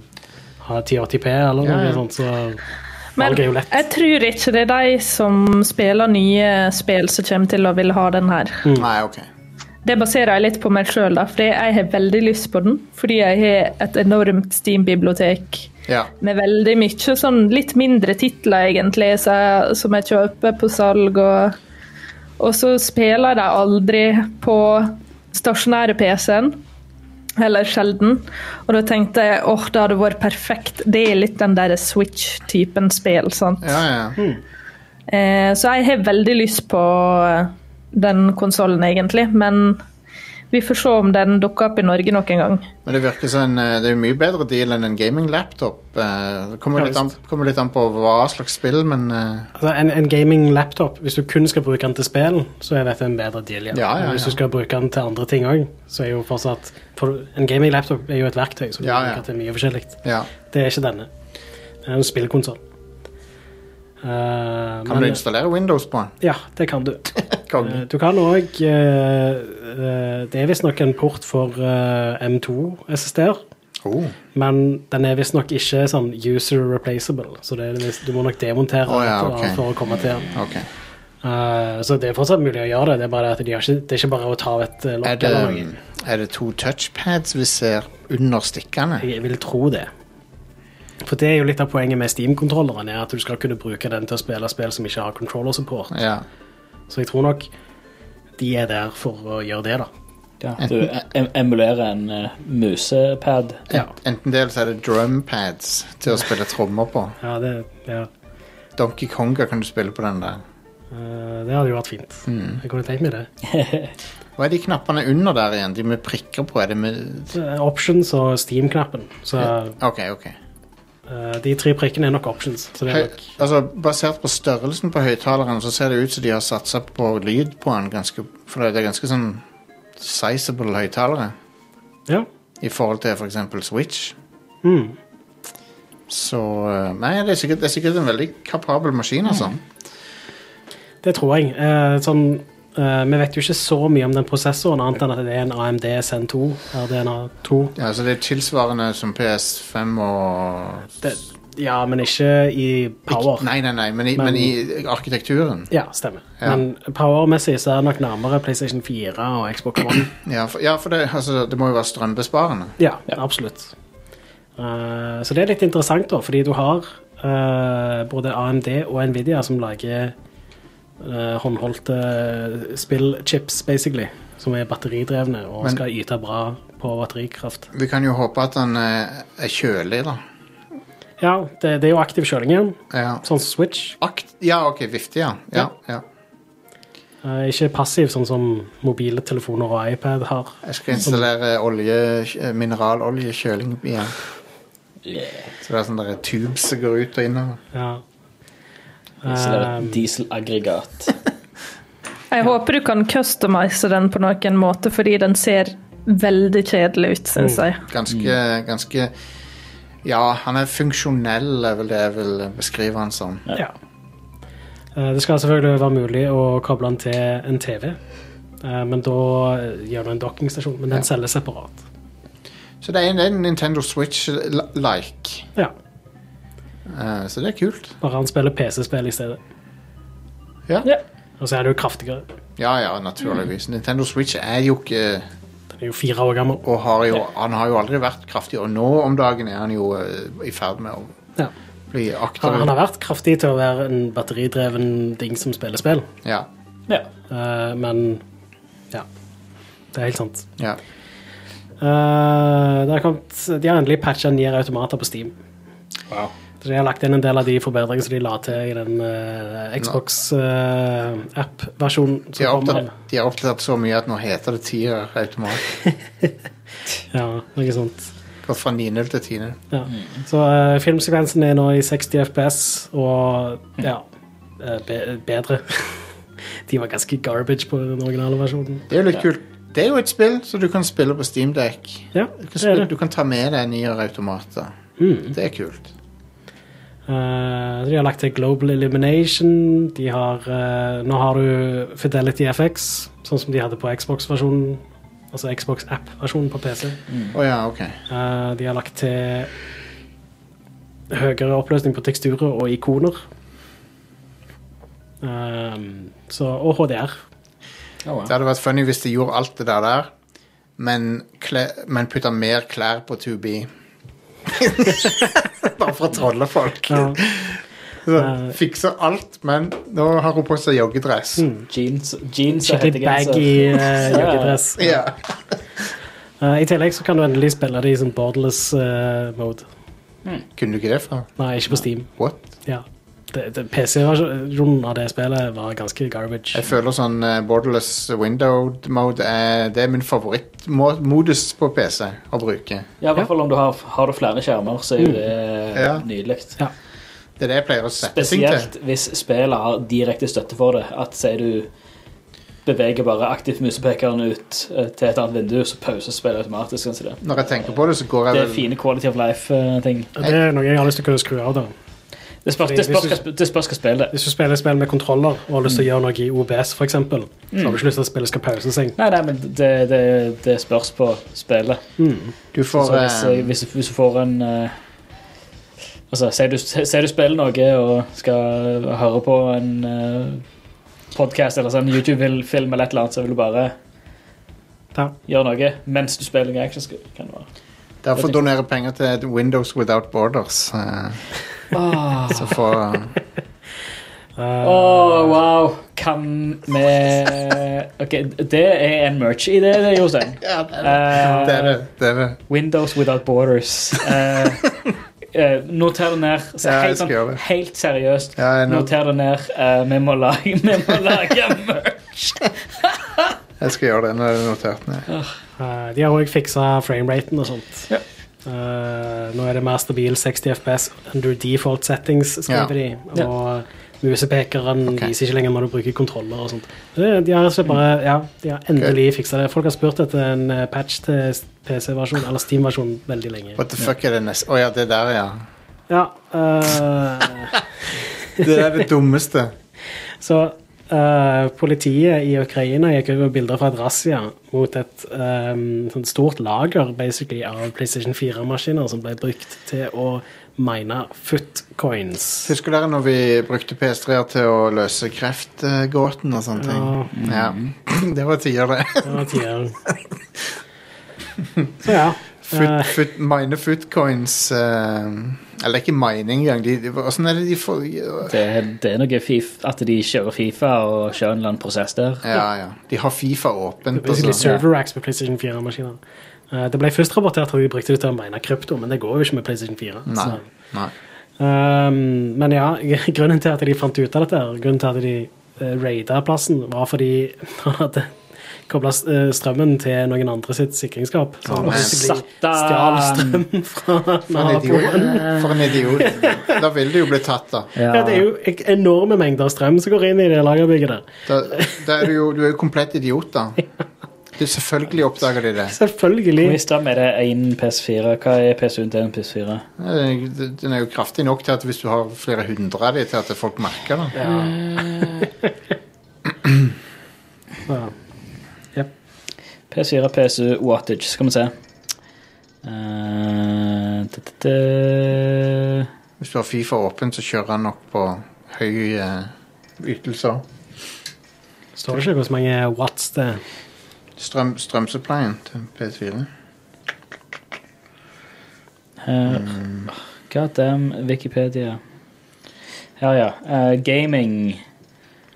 ha 1080p eller
Mm. Ja,
noe
ja.
sånt, så
Men
Valget er jo lett.
jeg tror ikke det er de som spiller nye spill som kommer til å ville ha den her.
Mm.
Nei, OK.
Det baserer jeg litt på meg sjøl, fordi jeg har veldig lyst på den. Fordi jeg har et enormt Steam-bibliotek
Ja.
med veldig mye sånn litt mindre titler, egentlig, så jeg, som jeg kjøper på salg. Og, og så spiller jeg dem aldri på stasjonære PC-en. Eller sjelden. Og da tenkte jeg åh, det hadde vært perfekt. Det er litt den der Switch-typen spill. sant?
Ja, ja.
Mm.
ja.
Eh, så jeg har veldig lyst på eh, den konsollen, egentlig. Men vi får se om den dukker opp i Norge nok en gang.
Men det virker som en, eh, det er jo mye bedre deal enn en gaming-laptop. Eh, Det kommer,
Ja,
litt an, kommer litt an på hva slags spill, men eh,
Altså, en, en gaming-laptop, hvis du kun skal bruke den til spill, så er dette en bedre deal.
Ja, ja,
Men
ja.
Hvis du skal bruke den til andre ting òg, så er jo fortsatt for En gaming-laptop er jo et verktøy som
Ja,
du
ja.
bruker til mye forskjellig.
ja.
Det er ikke denne. Det er en spillkonsoll. Eh,
Kan du
men-
installere Windows på den?
Ja, det kan du.
Konge.
Eh, Du kan òg Det er visstnok en port for eh, M2-SSD-er.
Oh.
Men den er visstnok ikke sånn user replaceable, så det er, visst- du må nok demontere
Å ja,
alt, da,
ok.
for å komme til den.
Ok.
Eh, så det er fortsatt mulig å gjøre det, det er bare at de har ikke, det er ikke bare å ta av et eh,
Er
lokk
det, um,
eller noe.
er det to touchpads vi ser under stikkene?
Jeg vil tro det. For det er jo litt av poenget med Steam-kontrolleren, er at du skal kunne bruke den til å spille spill som ikke har controller-support.
Ja.
Så jeg tror nok de er der for å gjøre det, da.
Ja, du e-, em emulerer en eh, musepad.
Ja.
Enten det, eller så er det drumpads til å spille trommer på.
Ja, det, ja.
Donkey Konga kan du spille på den der. Hmm.
Eh, det hadde jo vært fint. Jeg kunne tenkt meg det.
Hva er de knappene under der igjen? De med prikker på? Er det med
Så, eh, Options og Steam-knappen. Så
OK, OK.
eh, de tre prikkene er nok options. Så det
Høy,
er nok
altså, basert på størrelsen på høyttaleren så ser det ut som de har satsa på lyd på den, ganske, for det er ganske sånn sizable høyttalere
Ja.
i forhold til f.eks. eksempel Switch.
Mm.
Så eh, Nei, det er sikkert, det er sikkert en veldig kapabel maskin, altså.
Mm. Det tror jeg. Eh, sånn, eh, vi vet jo ikke så mye om den prosessoren, annet enn at det er en AMD SN2. RDNA 2.
Ja, så det er tilsvarende som PS5 og
Det, ja, men ikke i power.
Nei, nei, nei, men i, men,
Men-
i arkitekturen.
Ja, stemmer.
Ja.
Men powermessig så er det nok nærmere PlayStation 4 og Xbox One.
Ja, for, ja, for det, altså, det må jo være strømbesparende.
Ja, absolutt. Eh, så det er litt interessant, da, fordi du har eh, både AMD og Nvidia som lager eh, håndholdte spillchips, basically, som er batteridrevne og
Men-
skal yte bra på batterikraft.
Vi kan jo håpe at den eh, er kjølig, da.
Ja, det, det er jo aktiv kjøling igjen,
Ja,
sånn som Switch.
Akt, ja OK, vifte, ja. ja, ja.
Eh, ikke passiv, sånn som mobile telefoner og iPad har.
Jeg skal installere olje, eh, mineraloljekjøling igjen. Så det er sånne der tubes som går ut og innover.
Ja.
Installerer
Eh,
et dieselaggregat.
Jeg håper du kan customize den på noen måte, fordi den ser veldig kjedelig ut, syns jeg.
Ganske,
Mm.
ganske Ja, han er funksjonell, er vel det jeg vil beskrive han som.
Ja. Eh, Det skal selvfølgelig være mulig å koble den til en TV, eh, men da eh, gjør du en dockingstasjon. Men den selges separat.
Så det er en, det er en Nintendo Switch-like.
Ja,
Eh, så det er kult.
Bare han spiller PC-spill i stedet.
Ja.
Ja.
Og så er det jo kraftigere.
Ja, ja, naturligvis.
Mm.
Nintendo Switch er jo ikke
Den er jo fire år gammel.
Og har jo, han har jo aldri vært kraftig, og nå om dagen er han jo eh, i ferd med å
Ja.
bli
Han, han
akterut.
har vært kraftig til å være en batteridreven ding som spiller spill,
Ja,
Ja.
eh, men ja. Det er helt sant.
ja.
Eh, det har kommet, de har endelig patcha nye automater på Steam. Så de har lagt inn en del av de forbedringene som de la til i den eh, Xbox-app-versjonen.
De har
som kom.
opptatt, de har opptatt så mye at nå heter det tier automat.
Ja, noe sånt.
Gått fra 9-0 til 10-0.
Ja. Så eh, filmsekvensen er nå i 60 FPS, og ja eh, be Bedre. de var ganske garbage på den originale versjonen.
Det er jo litt kult. Det er jo et spill som du kan spille på Steamdeck.
Ja,
Du, kan
det er
spille-
det.
du kan ta med deg nyere automater.
Mm.
Det er kult.
Eh, de har lagt til Global Elimination. De har, eh, nå har du Fidelity FX, sånn som de hadde på Xbox-versjonen. Altså Mm. Xbox-app-versjonen på PC.
Å ja, ok.
Eh, de har lagt til høyere oppløsning på teksturer og ikoner. Ehm, så, og HDR.
Oh,
Det hadde vært funny hvis de gjorde alt det der der, men, kle, men putta mer klær på 2B. Bare for å trolle folk.
Ja.
Så, fikser alt, men nå har hun på seg joggedress.
Mm.
Jeans, jeans og
Skikkelig
hettegenser.
baggy eh, joggedress.
Ja.
Eh, I tillegg så kan du endelig spille det i sånn borderless eh, mode.
Kunne du ikke det før?
Nei, ikke på Steam.
What?
Ja. Det- det- PC-versjonen av det spillet var ganske garbage.
Jeg føler sånn eh, borderless windowed mode er, det er min favorittmodus på PC å bruke.
Ja, i hvert fall om du har, har du flere skjermer, så
Mm.
er jo det eh,
Ja.
nydelig.
Ja.
Det er det jeg pleier å sette ting til.
Spesielt hvis spillet har direkte støtte for det. At sier du beveger bare aktivt musepekeren ut eh, til et annet vindu, så pauses spillet automatisk. Kan si det.
Når jeg tenker på det, så går jeg
det
vel
er fine quality of life-ting.
Det er noe jeg har lyst til å kunne skru av. da
Det spørs
Fordi
det spørs
hvis
hva det spørs hva spillet er.
Hvis du spiller spill med kontroller og har lyst
Mm.
til å gjøre noe i OBS, for eksempel, så har du ikke lyst til at spillet skal pause seg.
Nei, nei, men det, det, det spørs på spillet.
Du får
så hvis,
eh,
jeg- hvis, hvis du får en eh, Altså, sier du, sier du spiller noe og skal høre på en uh, podkast eller sånn YouTube-film eller et eller annet, så vil du bare
Ja.
gjøre noe mens du spiller noe action. Kan det være.
Derfor donerer jeg penger til Windows Without Borders. eh, Så får
Eh,
Åh, wow. Kan vi OK, det er en merch-idé, det, Jostein.
ja,
Eh,
Det er det. det, er det.
Windows without borders. Eh, eh, noter det ned. Så
Ja, jeg
helt,
skal gjøre det.
sånn, helt seriøst.
Ja, jeg, nå,
Noter det ned. Eh, vi må lage, vi må lage merch.
jeg skal gjøre det. Nå er det notert ned.
eh, de har òg fiksa frameraten og sånt.
Ja.
Eh, nå er det mer stabil 60 FPS under default settings, skriver de.
Ja.
Og musepekeren
Ok.
viser ikke lenger når du bruker kontroller og sånt. Eh, De har rett og slett bare ja, de har endelig fiksa det. Folk har spurt etter en eh, patch til PC-versjonen eller Steam-versjonen veldig lenge.
What the fuck er det neste? Å ja, det der, ja.
Ja, eh,
Det er det dummeste.
Så eh, politiet i Ukraina gikk over bilder fra et razzia mot et eh, sånt stort lager basically, av PlayStation 4-maskiner som ble brukt til å mine footcoins.
Husker dere når vi brukte PS3-er til å løse kreftgåten og sånne ting? Ja. Det var tider, det.
Det var tider. Så ja. eh,
Foot, foot, mine footcoins eh, Eller ikke mining engang. De, de, hvordan er det de får
Det, det er noe fif, at de kjører Fifa og kjører en eller annen prosess der.
Ja, ja. De har Fifa åpent.
Basically
Og sånn.
server racks på PlayStation 4-maskiner. Eh, det ble først rapportert at de brukte det til å mine krypto, men det går jo ikke med PlayStation 4.
Nei.
så-
Nei.
Um, men ja, grunnen til at de fant ut av dette, her, grunnen til at de uh, raida plassen, var fordi han hadde kobla strømmen til noen andre sitt sikringsskap. Så han
men
plutselig stjal
Satan!
strømmen fra
For en
naboen.
idiot. For en idiot. Da vil du jo bli tatt, da.
Ja, det er jo ek- enorme mengder strøm som går inn i det lagerbygget der.
Da, da er du jo du er jo komplett idiot, da. Du, selvfølgelig oppdager de det.
Selvfølgelig.
Hvor mye strøm er det én PS4? Hva er PSU-en til en PS4?
Den den er jo kraftig nok til at hvis du har flere hundre av dem, til at folk merker det.
Ja.
PS4, PSU, wattage. Skal vi se. Eh, t- t- t-
Hvis du har Fifa åpen, så kjører han nok på høy eh, ytelser.
Står det ikke hvor mange watts det er?
Strøm, strømsupplyen til PS4.
Her. God damn Eh, Wikipedia. Her, ja. Eh, gaming.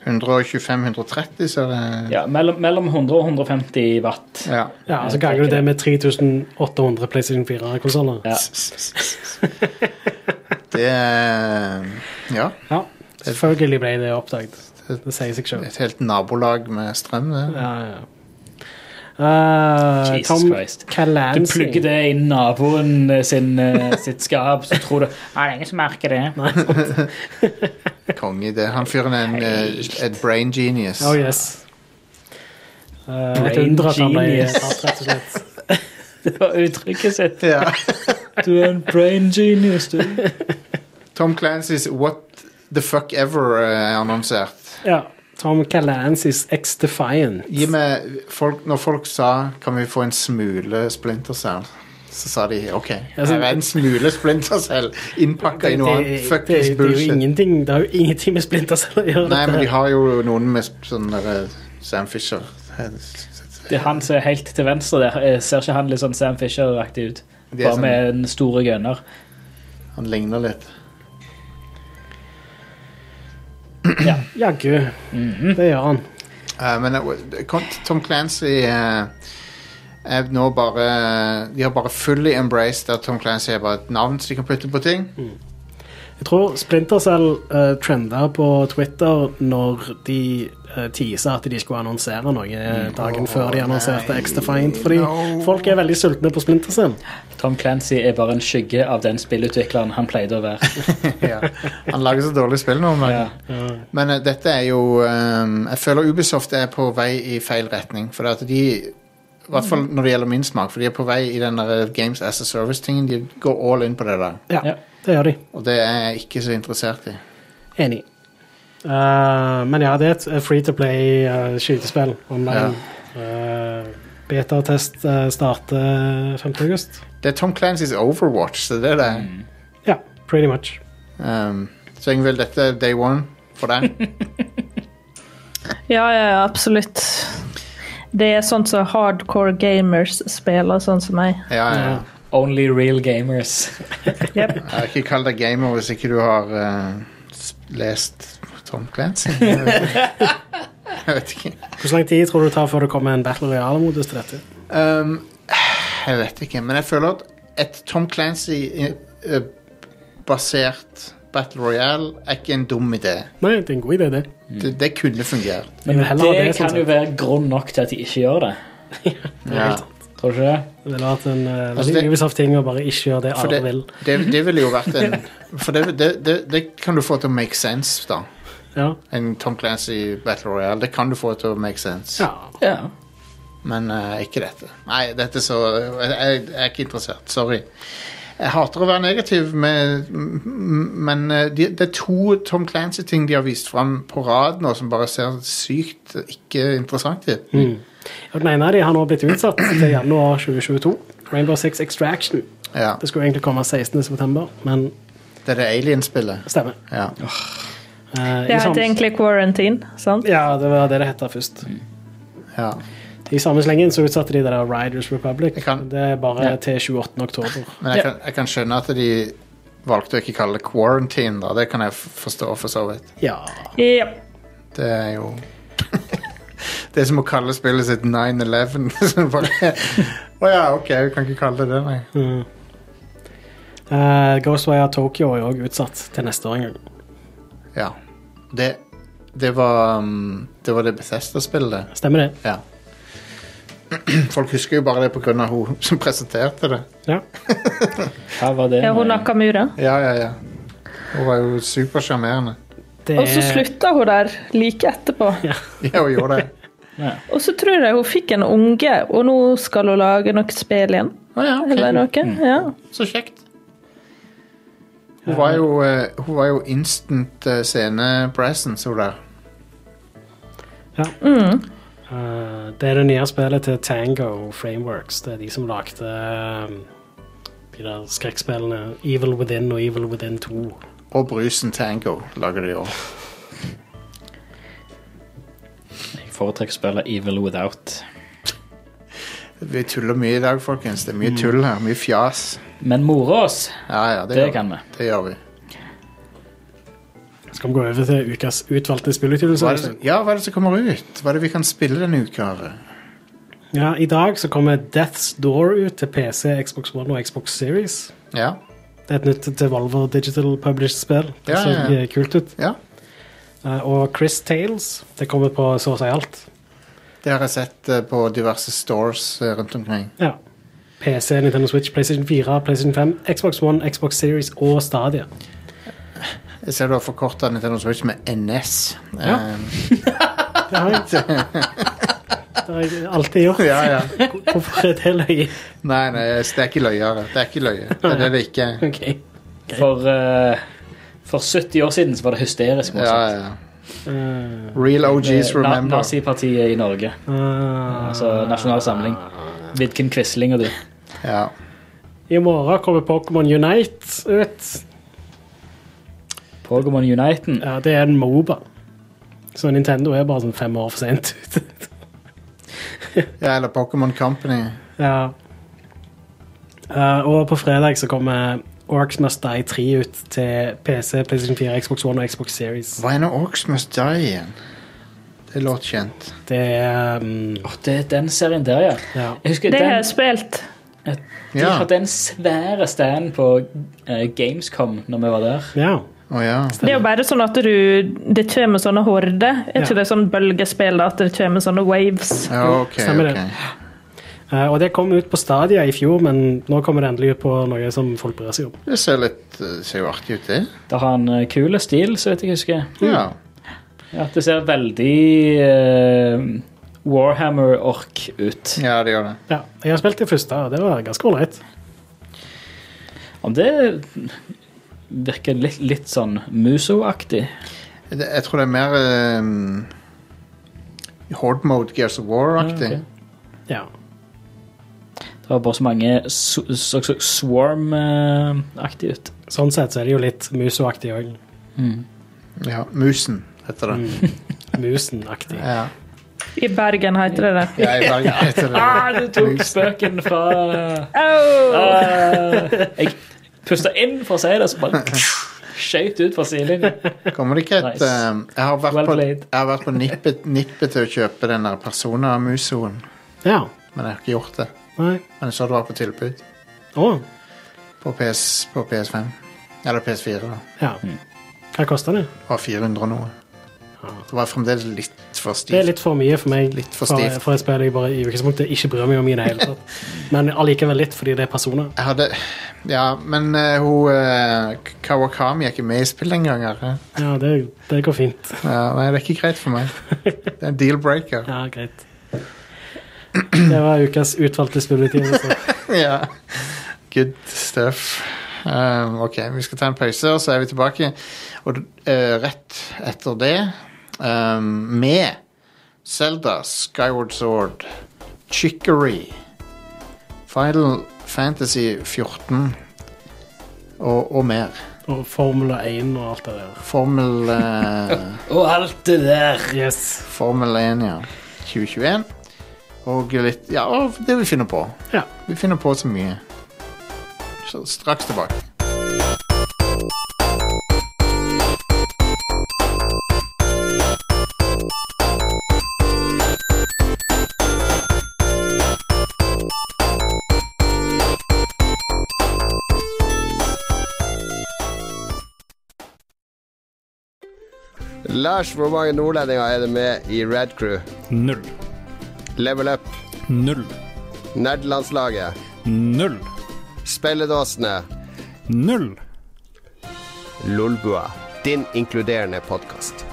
125-130, så det
Ja, mellom, mellom 100 og 150 watt.
ja.
Ja, så ganger du det med 3800 PlayStation 4-konsoller.
Ja.
Det er Ja.
Ja, selvfølgelig ble det oppdaget. Det sier seg sjøl.
Et helt nabolag med strøm, det.
Ja, ja. Eh,
Jesus
Tom
Christ. Du
Callancy.
plugger det i naboen sin, eh, sitt skap, så tror du Ja, det er ingen som merker det. Eh,
Konge i det. Han fyren er en, eh, et brain genius.
Oh, yes. Eh, et
Brain
under at han ble
genius.
tatt, rett og slett.
Det var uttrykket sitt.
Ja.
Du er en brain genius, du.
Tom Clancys What the Fuck Ever eh, er annonsert.
Ja. Tom Callancy's Ex Defiant.
Gi meg folk, Når folk sa Kan vi få en smule Splinter Cell Så sa de OK,
Altså,
her er en smule Splinter Cell innpakka i noe annet.
det, det,
Fuckings
det er jo
bullshit.
ingenting, det har jo ingenting med Splinter Cell å gjøre.
Nei,
dette
men de
her.
har jo noen med sp- sånn derre Sam Fisher.
Det er han som er helt til venstre der. Eh, Ser ikke han litt sånn Sam Fisher-aktig ut?
Det er
Bare
sånn-
med den store gunner.
Han ligner litt.
Jaggu.
Mhm.
Det gjør han.
Eh, men eh, Con- Tom Clancy eh, er nå bare De har bare fully embraced at Tom Clancy er bare et navn som de kan putte på ting.
Mm.
Jeg tror Splinter Cell uh, trenda på Twitter når de uh, teasa at de skulle annonsere noe
Mm.
eh, dagen
Åh,
før de annonserte
nei,
X Defiant, fordi
no.
folk er veldig sultne på Splinter Cell.
Tom Clancy er bare en skygge av den spillutvikleren han pleide å være.
ja. Han lager så dårlig spill nå om dagen.
Ja.
Men eh, dette er jo eh, Jeg føler Ubisoft er på vei i feil retning. For at de I hvert
Mm.
fall når det gjelder min smak, for de er på vei i den der Games as a Service-tingen. De går all in på det der.
Ja,
Ja.
det gjør de.
Og det er jeg ikke så interessert i.
Enig. Eh, men ja, det er et free to play eh, skytespill online. Eh, Beta-test eh, starter 5. august.
Det er Tom Clancy's Overwatch, så det er det.
Mm.
Ja, pretty much.
Um, så Ingvild, dette er day one for deg.
Ja, ja, ja, absolutt. Det er sånn som hardcore gamers spiller, sånn som meg.
Ja, ja, ja.
Only real gamers.
Yep.
Jeg har ikke kall deg gamer hvis ikke du har eh, s- lest Tom Clancy. jeg vet ikke.
Hvor lang tid tror du det tar før det kommer en Battle Royale-modus til dette?
Um, jeg vet ikke, men jeg føler at et Tom Clancy-basert Battle Royale er ikke en dum idé.
Nei, det er en god idé, det.
Det, det kunne fungert.
Jeg vil heller ha
Det
sånn
kan jo
sett.
være grunn nok til at de ikke gjør det.
Ja.
Tror du ikke det?
Det ville vært en eh,
Altså,
veldig
det-
Ubisoft-ting å bare ikke gjøre det
For
alle
det,
vil.
det, det ville jo vært en For det, det, det, det kan du få til å make sense, da.
Ja.
En Tom Clancy Battle Royale. Det kan du få til å make sense.
ja.
Ja.
Men eh, ikke dette. Nei, dette så jeg, jeg jeg er ikke interessert. Sorry. Jeg hater å være negativ, med, m- m- men eh, de, det er to Tom Clancy-ting de har vist fram på rad nå, som bare ser sykt ikke interessant ut.
Og den ene av de har nå blitt utsatt til januar 2022. Rainbow Six Extraction.
Ja,
Det skulle egentlig komme 16. september, men
Det er det Alien-spillet.
stemmer.
Ja.
Eh, i
Det
sam-
heter egentlig quarantine, sant?
Ja, det var det det het først.
ja.
I samme slengen så utsatte de det der Riders Republic.
Jeg kan-
Det er bare
Ja.
til 28. oktober.
Men jeg kan, jeg kan skjønne at de valgte å ikke kalle det quarantine, da. Det kan jeg f- forstå, for så vidt.
Ja.
Yep.
Det er jo Det er som å kalle spillet sitt 9-11. Så bare, Å ja, OK, vi kan ikke kalle det det, nei.
Mm. Eh, Ghostwire Tokyo er òg utsatt til neste år en gang.
Ja. Det, det var um, Det var det Bethesda-spillet.
Stemmer det?
Ja. Folk husker jo bare det pga. hun som presenterte det.
Ja.
Hva var det?
Ja, hun
med-
Nakamura.
Ja, ja, ja. Hun var jo supersjarmerende.
Det
Og så slutta hun der like etterpå.
Ja, hun gjorde det.
Og så tror jeg hun fikk en unge, og nå skal hun lage noe spill igjen.
Å ja, ok.
Eller noe. Ja.
Så kjekt. Hun var jo, eh, hun var jo instant eh, scene-presence, hun der.
Ja. Eh, det er det nye spillet til Tango Frameworks. Det er de som lagde eh, de der skrekkspillene Evil Within og Evil Within 2.
Og Brusen Tango lager de òg.
Jeg foretrekker å spille Evil Without.
Vi tuller mye i dag, folkens. Det er mye tull her. Mye fjas.
Men more oss,
Ja, ja, det,
det
gjør,
kan vi.
det gjør vi.
Skal vi gå over til ukas utvalgte spillutgivelser?
Hva er det, som- ja, hva er det som kommer ut? Hva er det vi kan spille denne uka? Are?
Ja, I dag så kommer Death's Door ut til PC, Xbox One og Xbox Series.
Ja.
Det er et nytt Devolver Digital Published-spill. Det
Ja,
ser
ja, ja.
eh, kult ut.
ja.
Eh, Og Chris Tales. Det kommer på så å si alt.
Det har jeg sett eh, på diverse stores eh, rundt omkring.
Ja. PC, Nintendo Switch, PlayStation 4, PlayStation 5, Xbox One, Xbox Series og Stadia.
Jeg ser du har forkorta Nintendo Switch med NS.
Ja.
Eh,
Det har jeg, det har jeg alltid gjort.
ja, ja.
Hvorfor er det løye?
Nei, nei, det er ikke løye. Are. Det er ikke løye. Det er det det ikke er.
Ok.
For, eh, for 70 år siden så var det hysterisk
Ja,
morsomt.
ja.
Eh,
Real OGs
Eh, na-
remember. Ah.
Nazipartiet i Norge.
eh,
Altså Nasjonal Samling. Vidkun Quisling og du.
Ja.
I morgen kommer Pokémon Unite ut.
Pokémon Uniten.
Ja, det er en Moba. Så Nintendo er bare sånn fem år for sent ute.
Ja, eller Pokémon Company.
ja. Eh, og på fredag så kommer Orcs Must Die 3 ut til PC, PlayStation 4, Xbox One og Xbox Series.
Why no orcs must die igjen? Det låter kjent.
Det er mm,
Åh, det er den serien der, ja.
Ja.
Jeg husker
Det
den,
har jeg spilt.
De
Ja.
hadde en svære stand på eh, Gamescom når vi var der.
ja.
Å ja.
Det er jo bare sånn at du Det kommer sånne horder. Er
Ja.
ikke det sånn bølgespill da, at det kommer sånne waves?
ja. OK.
Stemmer det.
ok.
Eh, og det kom ut på Stadia i fjor, men nå kommer det endelig ut på noe som folk bryr seg om.
Det ser litt eh, ser jo artig ut, det.
Det har en eh, kul stil, så vidt jeg husker.
Mm.
Ja.
Ja, det ser veldig eh, Warhammer-ork ut.
ja, det gjør det.
Ja, jeg har spilt det første, og det var ganske ålreit.
Om det virker litt, litt sånn Muso-aktig.
Det- Jeg tror det er mer um, Horde mode, Gears of War-aktig.
Ja, Mm, ok.
Ja.
Det var bare så mange så, så, så swarm-aktig ut.
Sånn sett så er det jo litt musoaktig òg.
Mm.
Ja, Musen heter det.
Musenaktig.
Ja.
I Bergen heter det det.
ja, i Bergen heter det
Ah, du tok spøken fra
Au!
Ah, Jeg pusta inn for å si det, så bare skjøt ut fra sidelinjen.
Kommer det ikke et
Nice.
um, jeg, har vært
Well
på,
played.
jeg har vært på nippet, nippet til å kjøpe den der Persona-musoen,
Ja.
men jeg har ikke gjort det.
Nei.
Men jeg så det var på tilbud
Å.
på, PS, på PS5. Eller PS4. da.
Ja. Hva koster det?
Det var 400 og noe. Det var fremdeles litt for
Det er
stivt.
litt for mye for meg.
Litt for
for,
stivt.
for et spill jeg bare i utgangspunktet ikke bryr meg om i det hele tatt. Men allikevel litt, fordi det er personer.
Jeg hadde Ja, men eh, hun eh, Kawakami er ikke med i spillet engang. er det?
Ja, det, det går fint.
Ja, nei, det er ikke greit for meg. Det er en deal-breaker.
Ja, greit. Det var ukas utvalgte spilletimer. så-
Ja. Good stuff. Um, ok, vi skal ta en pause, og så er vi tilbake. Og eh, rett etter det, um, med Zelda, Skyward Sword, Chicory, Final Fantasy 14 og, og mer.
Og Formula 1 og alt det der.
Formel eh,
Og alt det der.
Yes.
Formel 1, ja. 2021. Og litt Ja, og det vi finner på.
Ja.
Vi finner på så mye. Så straks tilbake.
Lars, hvor mange nordlendinger er det med i Red Crew?
Null.
Level Up,
Null.
Nerdelandslaget,
Null.
Spelledåsene,
Null.
Lolbua. Din inkluderende podkast.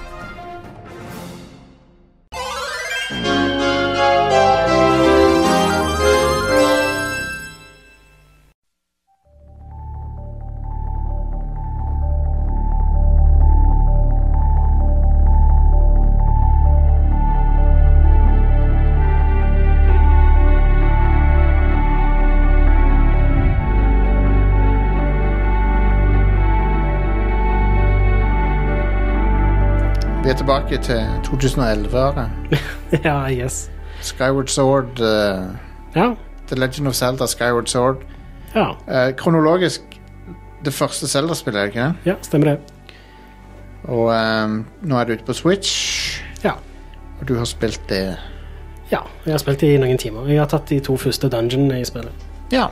Vi er tilbake til 2011-året.
Ja, yes.
Skyward Sword eh,
Ja.
The Legend of Zelda Skyward Sword.
Ja.
Eh, kronologisk det første Zelda-spillet, er det ikke det?
ja, stemmer det.
Og ehm, nå er det ute på Switch,
Ja.
og du har spilt det.
ja. Jeg har spilt i noen timer. Jeg har tatt de to første dungeonene i spillet.
Ja,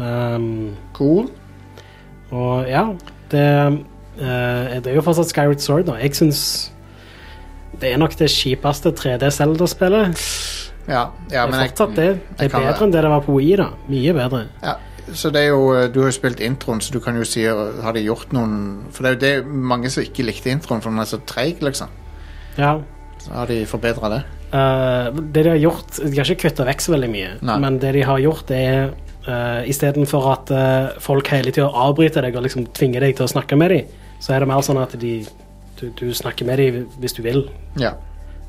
Um,
cool.
Og ja, det, eh, det er jo fortsatt Skyward Sword, da. Jeg syns det er nok det kjipeste 3D-Zelda-spillet.
Ja, ja
det
men
er
jeg,
fortsatt det.
jeg
Det er
kan
bedre
være-
enn det det var på Wii, da. Mye bedre.
ja, så det er jo, eh, du har jo spilt introen, så du kan jo si eh, har de gjort noen For det er jo det mange som ikke likte introen, for den er så treig, liksom.
Ja.
Så har de forbedra det.
Eh, det de har gjort De har ikke kutta vekk så veldig mye,
Nei.
men det de har gjort, det er uh, Istedenfor at eh, folk hele tida avbryter deg og liksom tvinger deg til å snakke med dem, så er det mer sånn at de, du, du snakker med dem hvis du vil.
Ja.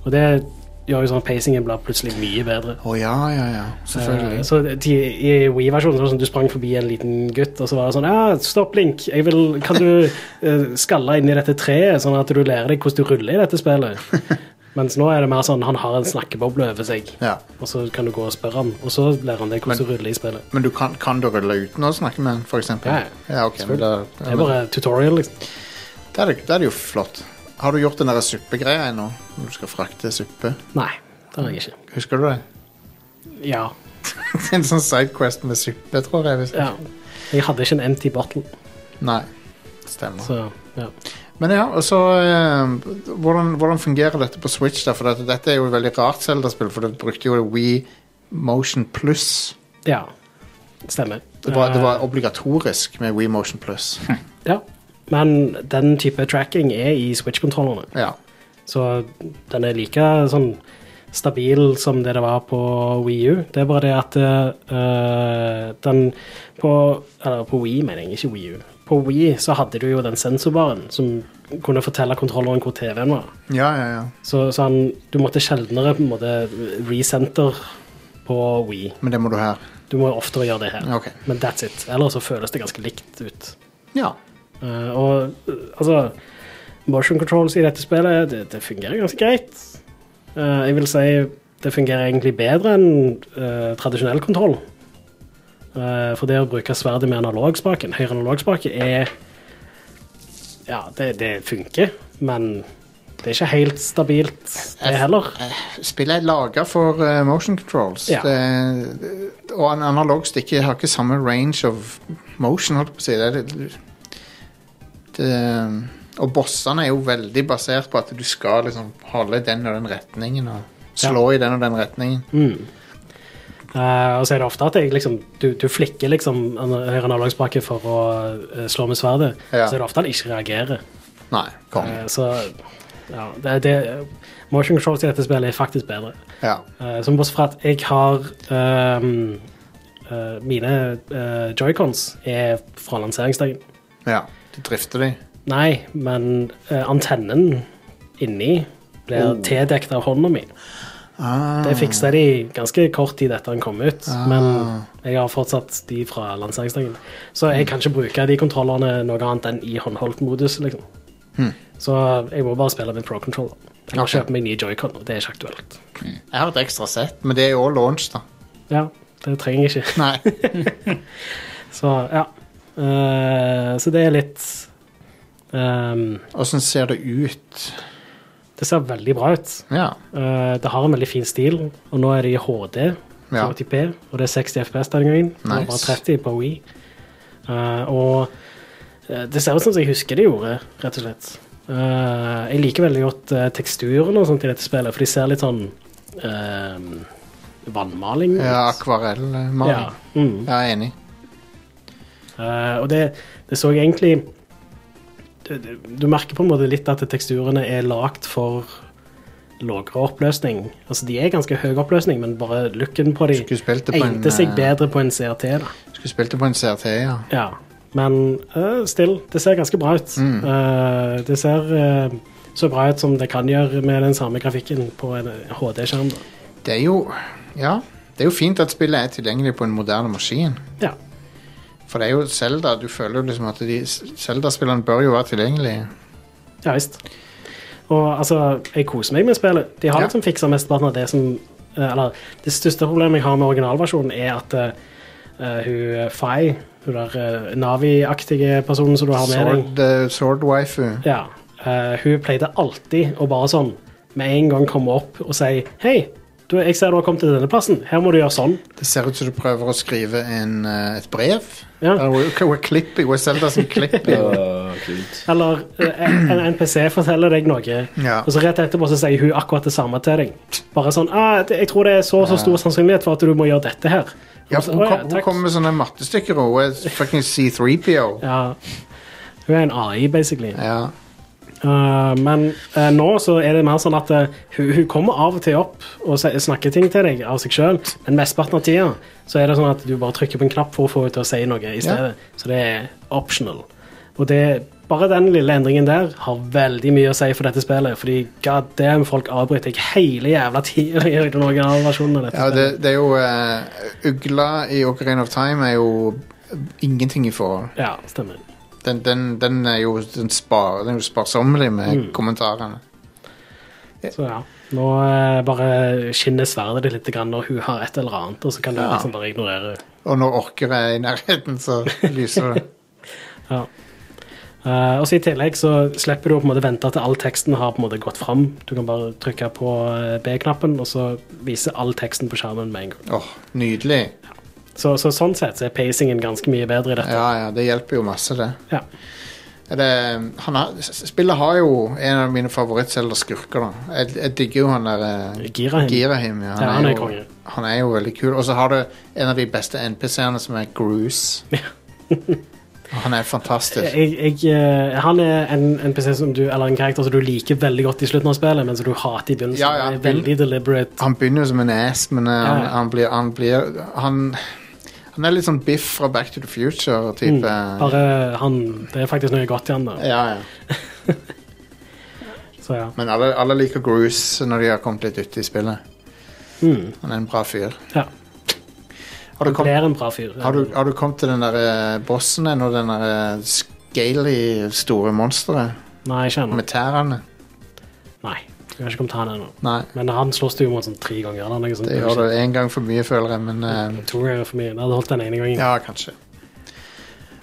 Og det gjør jo sånn at pacingen blir plutselig mye bedre.
Å ja, ja, ja.
Eh,
Selvfølgelig.
Så de, I Wii-versjonen så var det sånn, du sprang forbi en liten gutt, og så var det sånn ja, 'Stopp, Link. Jeg vil, kan du eh, skalle inn i dette treet, sånn at du lærer deg hvordan du ruller i dette spillet?' Mens nå er det mer sånn han har en snakkeboble over seg,
Ja.
og så kan du gå og spørre han, og så lærer han deg hvordan du ruller i spillet.
Men du kan, kan du rulle uten å snakke med den, for eksempel?
Ja,
ja. ok, men da, ja,
Det er
men-
bare tutorial, liksom.
da, er det, da er det jo flott. Har du gjort den der suppegreia ennå? Når du skal frakte suppe?
Nei, det har jeg ikke.
Husker du det?
Ja.
en sånn sidequest med suppe, tror jeg. Hvis.
ja. Jeg hadde ikke en empty bottle,
Nei. Stemmer.
så ja.
Men ja, og så eh, hvordan, hvordan fungerer dette på Switch? da? For dette, dette er jo et veldig rart Zelda-spill, for det brukte jo Wii Motion Plus.
ja. Stemmer.
Det var, det var
Eh,
obligatorisk med Wii Motion Plus.
ja. Men den type tracking er i Switch-kontrollene.
Ja.
Så den er like sånn stabil som det det var på Wii U. Det er bare det at eh, den på Eller på Wii, mener jeg, ikke Wii U. På Wii så hadde du jo den sensorbaren som kunne fortelle kontrolleren hvor TV-en var.
ja, ja, ja.
Så, så han, du måtte sjeldnere på en måte resenter på Wii.
Men det må du her.
Du må oftere gjøre det her.
Ok.
Men that's it. Ellers så føles det ganske likt ut.
Ja.
Eh, og eh, altså Motion controls i dette spillet, det, det fungerer ganske greit. Eh, jeg vil si det fungerer egentlig bedre enn eh, tradisjonell kontroll. Eh, for det å bruke sverdet med analogspaken, høyre analogspake, er Ja, det, det funker, men det er ikke helt stabilt, det heller.
Spillet er laga for eh, motion controls.
Ja.
Det, det- og en analog stikke har ikke samme range of motion, holdt jeg på å si. Det, er litt- det, eh, og bossene er jo veldig basert på at du skal liksom holde i den og den retningen og slå i den og den retningen.
Eh, og så er det ofte at jeg liksom, du, du flikker liksom an- høyre analogspake for å eh, slå med sverdet,
Ja.
så er det ofte han ikke reagerer.
Nei, kom.
Eh, Så ja, det, det, motion controls i dette spillet er faktisk bedre.
Ja.
Eh, Som bortsett fra at jeg har ehm, eh, Mine eh, joycons er fra lanseringsdagen.
ja. Du drifter de.
Nei, men eh, antennen inni blir tildekt av hånda mi.
Oh. Ah,
Det fiksa de ganske kort tid etter han kom ut, men jeg har fortsatt de fra lanseringsdagen. Så jeg kan ikke bruke de kontrollerne noe annet enn i håndholdt modus, liksom. Så jeg må bare spille med pro controller. Jeg må
Hmm. Ok.
kjøpe meg ny joycon, og det er ikke aktuelt.
jeg har et ekstra sett, men det er jo også launch, da.
Ja, det trenger jeg ikke.
Nei.
Så ja. Eh, så det er litt ehm,
Åssen ser det ut?
Det ser veldig bra ut.
Ja.
Eh, det har en veldig fin stil, og nå er det i HD,
Ja.
40p, og det er 60 FPS denne gangen. Det var
Nice.
Bare 30 på Wii. Eh, og eh, det ser ut som jeg husker det gjorde, rett og slett. Eh, jeg liker veldig godt eh, teksturen og sånt i dette spillet, for de ser litt sånn eh, vannmaling ut.
ja Akvarellmaling.
Ja, mm.
Ja. Jeg er enig.
Eh, og det, det så jeg egentlig du, du- du merker på en måte litt at teksturene er lagd for lavere oppløsning. Altså De er ganske høy oppløsning, men bare looken på de
Skulle spilt det på en
egnet seg
eh,
bedre på en CRT. da
Skulle spilt det på en CRT, ja.
ja. Men eh, still, det ser ganske bra ut.
Mm.
Eh, det ser eh, så bra ut som det kan gjøre med den samme grafikken på en HD-skjerm. da.
Det er jo Ja. Det er jo fint at spillet er tilgjengelig på en moderne maskin.
Ja.
For det er jo Zelda. Du føler jo liksom at de Zelda-spillene bør jo være tilgjengelige.
Ja visst. Og altså, jeg koser meg med spillet. De har
Ja.
liksom fiksa mesteparten av det som eh, Eller det største problemet jeg har med originalversjonen, er at eh, eh, hun Fay, hun der eh, Navi-aktige personen som du har med deg
Sword, eh, sword Waifu.
ja, eh, Hun pleide alltid å bare sånn med en gang komme opp og si Hei, du, jeg ser du har kommet til denne plassen. Her må du gjøre sånn.
Det ser ut som du prøver å skrive en, eh, et brev.
Ja.
Eller Hun hun er klippig. Hun er Zelda som klipper.
Åh, kult.
Eller eh, en en NPC forteller deg noe,
Ja.
og så rett etterpå så sier hun akkurat det samme til deg. Bare sånn ah, det- 'Jeg tror det er så og så stor sannsynlighet for at du må gjøre dette her'.
Ja,
Og
for
så,
hun
«Å ja,
kom- hun
takk».
kommer med sånne mattestykker, og hun er fucking C3PO.
Ja. Hun er en AI, basically.
Ja.
Uh, men eh, nå så er det mer sånn at eh, hun, hun kommer av og til opp og se- snakker ting til deg av seg sjøl, men mesteparten av tida så er det sånn at du bare trykker på en knapp for å få henne til å si noe i stedet. Så det er optional. Og det Bare den lille endringen der har veldig mye å si for dette spillet. Fordi god damn, folk avbryter jeg hele jævla tida i den originale versjonen av dette.
Ja,
spillet.
det, det er jo eh, Ugla i Ocarina of Time er jo ingenting i forhold.
ja stemmer.
Den, den, den er jo den spar, den er jo sparsommelig med
Mm.
kommentarene.
Så ja, nå eh, bare skinner sverdet ditt litt grann når hun har et eller annet, og så kan du
Ja.
liksom bare ignorere henne.
Og når orker er i nærheten, så lyser det.
Ja. Eh, og så I tillegg så slipper du å på en måte vente til all teksten har på en måte gått fram. Du kan bare trykke på eh, B-knappen, og så viser all teksten på skjermen med en gang.
Åh, Nydelig.
Så, så Sånn sett så er pacingen ganske mye bedre i dette.
Ja, ja, det hjelper jo masse, det.
Ja.
Er det han har, s- spillet har jo en av mine favorittselgerskurker, da. Jeg, jeg digger jo han der eh,
Girahim.
Girahim.
Ja, han er
jo-
konge.
Han er jo veldig kul. Og så har du en av de beste NPC-ene, som er Groose. han er fantastisk.
Jeg, jeg, eh, han er en NPC som du, eller en karakter som du liker veldig godt i slutten av spillet, men som du hater i begynnelsen.
Ja, ja.
Han er veldig deliberate.
Han begynner jo som en ass, men eh, han,
Ja.
han blir Han, blir, han, han er litt sånn Biff fra Back to the Future-type.
Mm. Bare han, Det er faktisk noe godt i han. da.
Ja, ja.
Så ja.
Men alle, alle liker Groose når de har kommet litt uti spillet.
Mm.
Han er en bra fyr.
ja.
Har du,
Han
kommet-
blir en bra fyr.
har du, har du kommet til den der eh, bossen ennå, den der eh, scaly store monsteret
Nei, ikke ennå.
med tærne?
Nei. Jeg har ikke kommet til han ennå.
Nei,
Men han slåss du jo mot sånn tre ganger. Eller noe sånt.
det gjør det én gang for mye, føler jeg, men eh,
To ganger for mye. Det hadde holdt den ene gangen.
Ja, kanskje.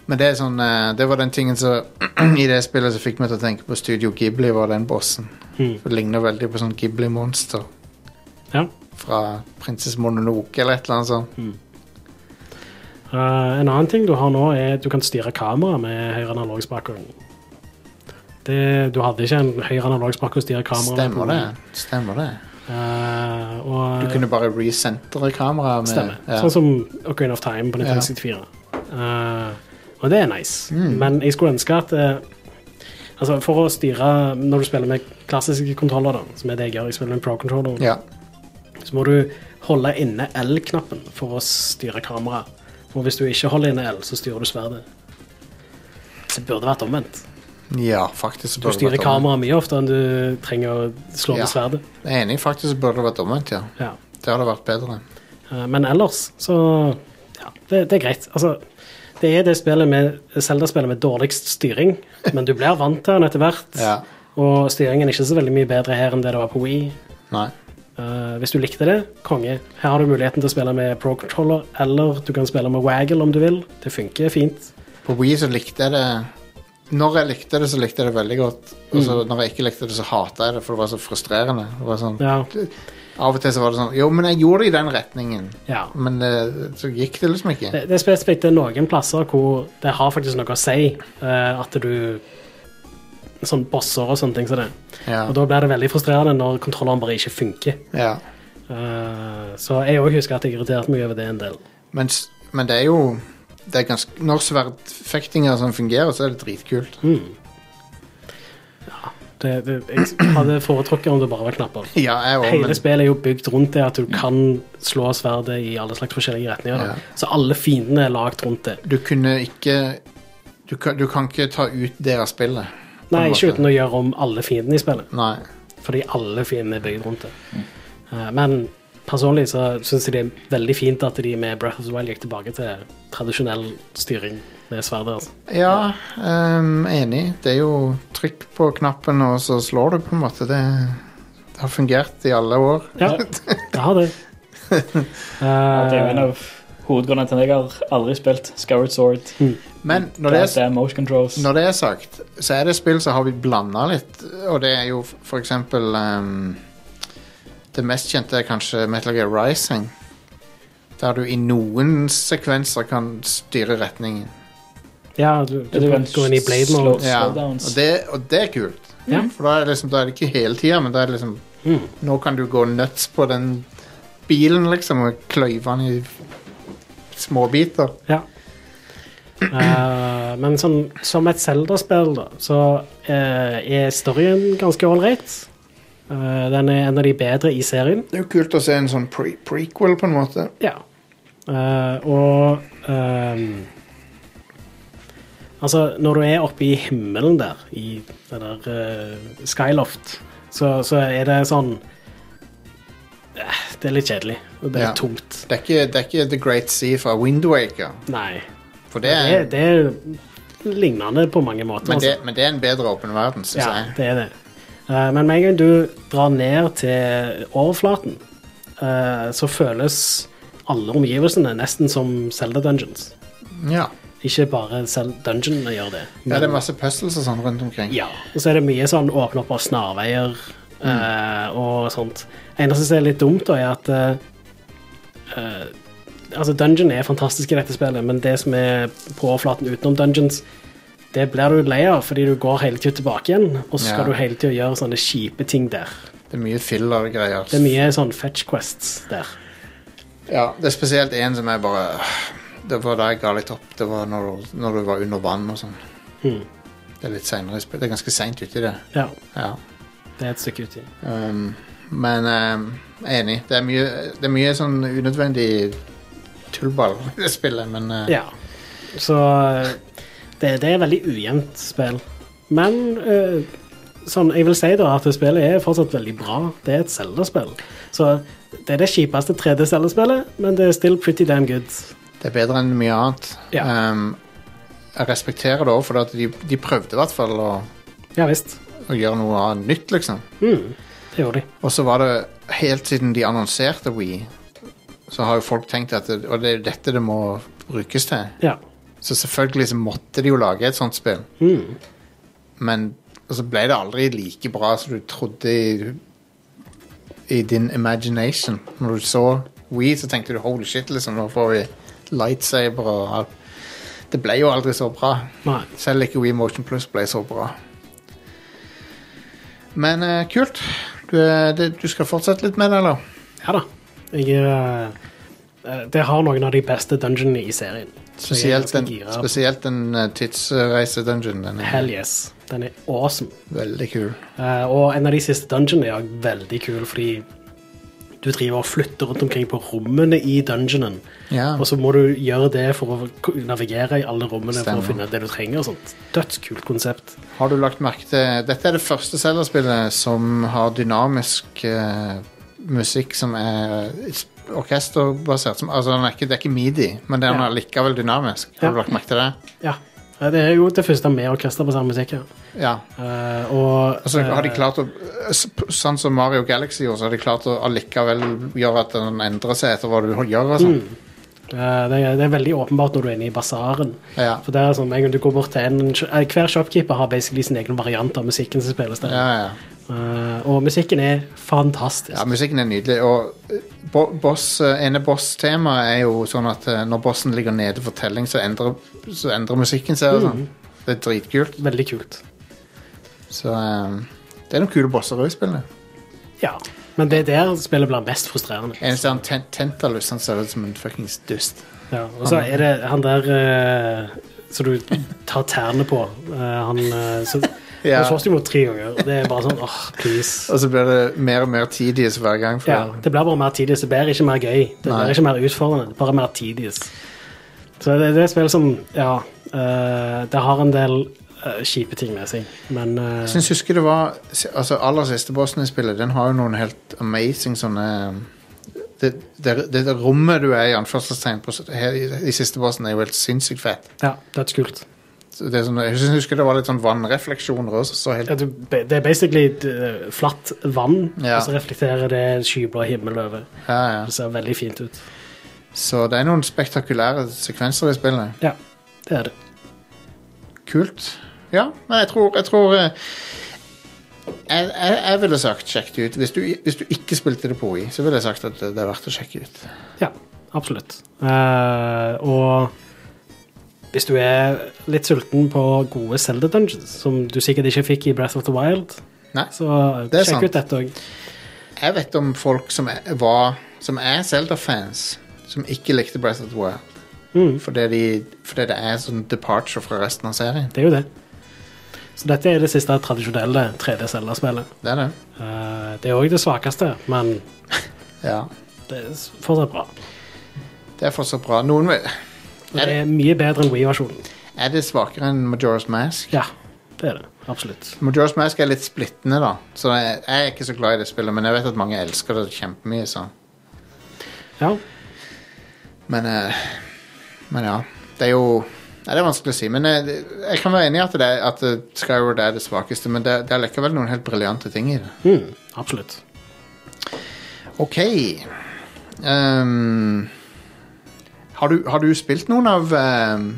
Men det er sånn eh, Det var den tingen som I det spillet som fikk meg til å tenke på Studio Ghibli, var den bossen.
Mm.
Det ligner veldig på sånn Ghibli-monster
Ja.
fra Prinsesse Mononoke eller et eller annet sånt.
Eh, en annen ting du har nå, er at du kan styre kameraet med høyre analogspake. Det- Du hadde ikke en høyre analogspake å styre kameraet med. på.
Stemmer det. Stemmer det.
Eh, og,
Du kunne bare resentre kameraet med
Stemmer.
Ja.
Sånn som Ocarina of Time på 1964. Eh, og det er nice.
Mm.
Men jeg skulle ønske at eh, Altså, for å styre Når du spiller med klassiske kontroller, da, som er det jeg gjør, jeg spiller med pro-controller,
ja.
så må du holde inne L-knappen for å styre kameraet. Og hvis du ikke holder inne L, så styrer du sverdet. Så det burde vært omvendt.
ja, faktisk så
Du
burde det
styrer
vært omvendt.
kameraet mye oftere enn du trenger å slå
Ja.
med sverdet.
Jeg er enig, faktisk så burde det vært omvendt, ja.
Ja.
Det hadde vært bedre.
Eh, Men ellers, så ja, det, det er greit. Altså, det er det spillet med Zelda-spillet med dårligst styring, men du blir vant til den etter hvert.
Ja.
Og styringen er ikke så veldig mye bedre her enn det det var på Wii.
Nei.
Eh, hvis du likte det, konge. Her har du muligheten til å spille med pro controller, eller du kan spille med waggle om du vil. Det funker fint.
På Wii så likte jeg det Når jeg likte det, så likte jeg det veldig godt. Og så
Mm.
når jeg ikke likte det, så hata jeg det, for det var så frustrerende. Det var sånn,
Ja.
Av og til så var det sånn Jo, men jeg gjorde det i den retningen.
ja.
Men eh, så gikk det liksom ikke.
Det, det er spesifikt det er noen plasser hvor det har faktisk noe å si eh, at du Sånn bosser og sånne ting som det.
Ja.
Og da blir det veldig frustrerende når kontrolleren bare ikke funker.
ja.
Eh, så jeg òg husker at jeg irriterte meg over det en del.
Men, s- men det er jo det er ganske, Når sverdfektinger som fungerer, så er det dritkult.
Mm. Det, det, jeg hadde foretrukket om det bare var knapper.
Ja, jeg òg,
Hele
men
spillet er jo bygd rundt det at du kan slå sverdet i alle slags forskjellige retninger. da.
Ja.
Så alle fiendene er lagd rundt det.
du kunne ikke Du kan, du kan ikke ta ut det av spillet. på en
Nei, ikke
måte.
uten å gjøre om alle fiendene i spillet,
Nei.
fordi alle fiendene er bygd rundt det. Eh, men personlig så syns jeg det er veldig fint at de med Breath of the Wild gikk tilbake til tradisjonell styring med sverdet. Altså.
Ja, ehm, enig. Det er jo trykk på knappen, og så slår du, på en måte. Det, det har fungert i alle år.
Ja, det har det.
Ja, det er jo en av hovedgrunnene til at jeg har aldri spilt Scoured Sword.
Men når det, er,
Goddamn motion controls.
når det er sagt, så er det spill som har vi blanda litt, og det er jo f- for eksempel ehm, Det mest kjente er kanskje Metal Gear Rising. Der du i noen sekvenser kan styre retningen.
Eh, Ja, du, du,
Ja, du kan
går inn i blade mode.
slå-
Ja, og,
Slowdowns.
det, og det er kult.
Ja.
For da er, det liksom, da er det ikke hele tida, men da er det liksom
Mm.
Nå kan du gå nuts på den bilen, liksom, og kløyve den i småbiter.
Ja. Eh, men sånn, som et Zelda-spill, da, så eh, er storyen ganske ålreit. Eh, den er en av de bedre i serien.
Det er jo kult å se en sånn pre prequel, på en måte.
Ja. Eh, og ehm, Altså, når du er oppe i himmelen der, i det der eh, Skyloft, så, så er det sånn eh, Det er litt kjedelig. og Det er
Ja.
tomt.
Det er, ikke, det er ikke The Great Sea fra Windwaker.
Nei.
For
Det
det er,
er, det er lignende på mange måter.
men,
altså.
det, men det er en bedre åpen verden, syns
Ja,
jeg.
altså. det er det. Eh, men med en gang du drar ned til overflaten, eh, så føles alle omgivelsene nesten som Zelda Dungeons.
Ja.
Ikke bare Zelda Dungeonene gjør det.
ja, det er masse puzzles og sånn rundt omkring.
Ja, og så er det mye sånn åpne opp av snarveier eh, og sånt. Eneste som er litt dumt, da, er at eh, eh, Altså, dungeon er fantastisk i dette spillet, men det som er på overflaten utenom dungeons, det blir du lei av, fordi du går hele tida tilbake igjen, og så skal
Ja.
du hele tida gjøre sånne kjipe ting der.
Det er mye filler-greier.
Det er mye sånn fetch quests der.
Ja, det er spesielt en som er bare Det var da jeg ga litt opp. Det var når du, når du var under vann og sånn.
Mhm.
Det er litt senere, i spill- det er ganske seint uti det.
Ja,
Ja.
det er et stykke uti.
Um, men um, enig. Det er, mye, det er mye sånn unødvendig tullball i det spillet, men uh,
Ja. Så eh, det, det er veldig ujevnt spill. Men eh, sånn, jeg vil si da at spillet er fortsatt veldig bra. Det er et Zelda-spill. Så det er det kjipeste 3D-Zelda-spillet, men det er still pretty damn good.
det er bedre enn mye annet.
Ja.
Um, jeg respekterer det òg, for at de, de prøvde i hvert fall å,
Ja visst.
å gjøre noe annet nytt, liksom.
Mm, det gjorde de.
Og så var det helt siden de annonserte Wii, så har jo folk tenkt at det, Og det er jo dette det må brukes til.
Ja.
Så selvfølgelig så måtte de jo lage et sånt spill.
Mm.
Men og så ble det aldri like bra som du trodde i, i din imagination. Når du så We, så tenkte du holy shit, liksom, nå får vi lightsaber og alt. Det ble jo aldri så bra.
Nei.
Selv ikke We Motion Plus ble så bra. Men eh, kult. Du, eh, det, du skal fortsette litt med det, eller?
Ja da. Jeg eh, eh, Det har noen av de beste dungeonene i serien. Så jeg er
Spesielt den,
ganske gira.
spesielt den eh, tidsreisedungen. Den
Hell
er
yes. Den er awesome.
veldig kul.
Eh, og en av de siste dungeonene er også veldig kul, fordi du driver og flytter rundt omkring på rommene i dungeonen.
Ja.
Og så må du gjøre det for å k- navigere i alle rommene for
Stemmer.
å finne det du trenger. og sånt. Dødskult konsept.
Har du lagt merke til Dette er det første Zelda-spillet som har dynamisk eh, musikk som er s- orkesterbasert. Som, altså, den er ikke, det er ikke midi, men den
Ja.
er likevel dynamisk. Har du
Ja.
lagt merke til det?
Ja. Eh, Det er jo det første med orkester på samme musikk. Ja.
Ja.
Eh, og
Altså, har de
eh,
klart å s- p- Sånn som Mario Galaxy gjorde, så har de klart å allikevel gjøre at den endrer seg etter hva du gjør. Og sånn.
eh, det, er, det er veldig åpenbart når du er inne i basaren.
ja.
For det er sånn, en gang du går bort til en, eh, Hver shopkeeper har basically sin egen variant av musikken som spilles der.
Ja, ja.
Eh, og musikken er fantastisk.
ja, musikken er nydelig. Og eh, bo boss, eh, ene boss-temaet er jo sånn at eh, når bossen ligger nede for telling, så endrer, så endrer musikken seg. og
Mm.
Sånn. Det er dritkult.
Veldig kult.
Så ehm, det er noen kule bosser også i spillet.
Ja, men det er der spillet blir mest frustrerende.
Eneste han ten Tentalus han ser ut som en fuckings dust.
Ja, og så er det han der eh, som du tar tærne på. eh, han eh, så,
Ja.
Han slåss du mot tre ganger. og Det er bare sånn åh, please.
Og så blir det mer og mer tidies hver gang. For
Ja, det blir bare mer tidligst. Det blir ikke mer gøy. Det
Nei.
blir ikke mer utfordrende. Bare mer tidligst. Så det, det er et spill som Ja, eh, det har en del eh, kjipe ting med seg, men eh,
Jeg syns husker det var Altså Aller siste bossen i spillet, den har jo noen helt amazing sånne ehm, det, det, det, det rommet du er i, anførselstegn, på, s- her, i, i siste bossen, er jo helt sinnssykt fett.
ja, dødskult.
Så Det er sånn, jeg synes- husker det var litt sånn vannrefleksjoner også. Så
Ja,
helt,
du, det er basically eh, flatt vann,
Ja.
og så reflekterer det skyblå himmel over.
ja, ja.
Det ser veldig fint ut.
Så det er noen spektakulære sekvenser i spillet.
Ja, det er det.
Kult. Ja, men jeg tror Jeg, tror, eh, jeg, jeg, jeg ville sagt sjekk det ut. Hvis du, hvis du ikke spilte det på Wii, så ville jeg sagt at det, det er verdt å sjekke ut.
Ja, absolutt. Eh, og hvis du er litt sulten på gode Zelda Dungeons, som du sikkert ikke fikk i Breath of the Wild,
Nei,
så
Det er
sjekk
sant.
ut dette òg.
jeg vet om folk som er, var Som er Zelda-fans, som ikke likte Breath of the Wild.
Mm.
Fordi, de, fordi det er sånn departure fra resten av serien.
Det er jo det. Så dette er det siste tradisjonelle 3D Zelda-spillet.
Det er det.
Eh, det er òg det svakeste, men
Ja.
det er fortsatt bra.
Det er fortsatt bra. Noen vil
Og det er mye bedre enn Wii-versjonen.
Er det svakere enn Majora's Mask?
Ja, det er det. Absolutt.
Majora's Mask er litt splittende, da. Så jeg, jeg er ikke så glad i det spillet, men jeg vet at mange elsker det kjempemye. Så.
Ja.
Men, eh, men ja. Det er jo Nei, det er vanskelig å si. Men jeg, jeg kan være enig i at, det er- at eh, Skyward er det svakeste, men det, det er likevel noen helt briljante ting i det.
Mm, absolutt.
OK. Ehm, har, du, har du spilt noen av ehm,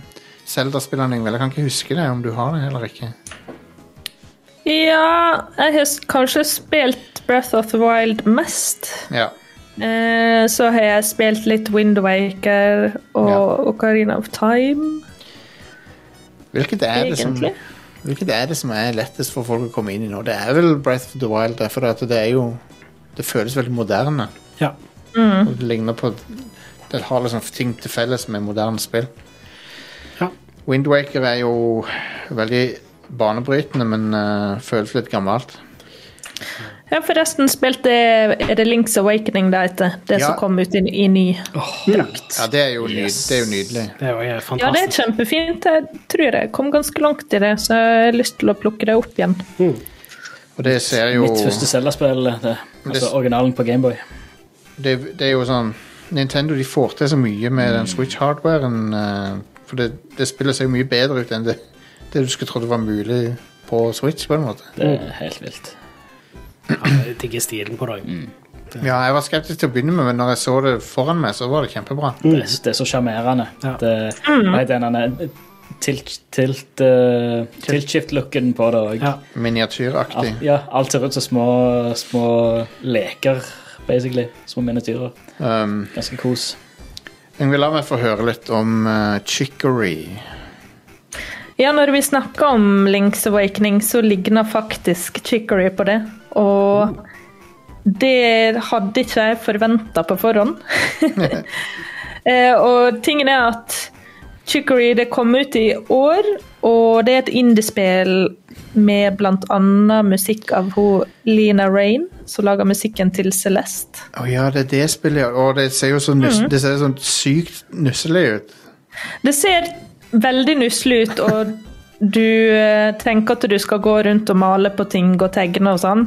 Zelda-spillene, Ingvild? Jeg kan ikke huske det, om du har det eller ikke.
Ja, jeg har s- kanskje spilt Breath of the Wild mest.
Ja.
Eh, så har jeg spilt litt Wind Waker og
Ja.
Ocarina of Time,
Hvilket er det som
egentlig.
Hvilket er det som er lettest for folk å komme inn i nå? Det er vel Breath of the Wild, det, for at det er jo Det føles veldig moderne.
Ja.
Og det ligner på Det har liksom ting til felles med moderne spill.
Ja.
Windwaker er jo veldig banebrytende, men eh, føles litt gammelt.
Jeg har forresten spilt det Er det Links Awakening det heter? Det
Ja.
som kom ut i, i ny drakt.
Ja, det er jo, nyd, det er jo nydelig.
Det er jo helt
Ja, det er
fantastisk.
kjempefint. Jeg tror jeg kom ganske langt i det, så jeg har lyst til å plukke det opp igjen.
Og det ser jo
Mitt første Zelda-spill, det. Altså
Det-
originalen på Gameboy.
det, det er jo sånn Nintendo de får til så mye med den Switch-hardwaren. eh, for det, det spillet ser jo mye bedre ut enn det, det du skulle trodd var mulig på Switch. på en måte
Det
Mm.
er helt vilt.
Ja, jeg digger stilen på det.
Mm. Ja, jeg var skeptisk til å begynne med, men når jeg så det foran meg, så var det kjempebra.
Det, er- det er så sjarmerende.
Ja. Mm.
Det- Nei, den er tilt, tilt, eh, Tiltskift-looken på det òg.
Ja.
Miniatyraktig.
Alt, ja, alt ser ut som små, små leker, basically. Små miniatyrer.
Um,
Ganske kos.
jeg vil la meg få høre litt om eh, Chicory.
Ja, når vi snakker om Link's Awakening, så ligner faktisk Chicory på det. Og det hadde ikke jeg forventa på forhånd. Eh, og tingen er at Chicory det kom ut i år, og det er et indiespill med bl.a. musikk av ho Lina Rain, som lager musikken til Celeste.
Å ja, det er det spillet, ja. Å, det ser jo så, nus det ser så sykt nusselig ut.
Det ser veldig nusselig ut, og du eh, trenger ikke at du skal gå rundt og male på ting og tegne og sånn.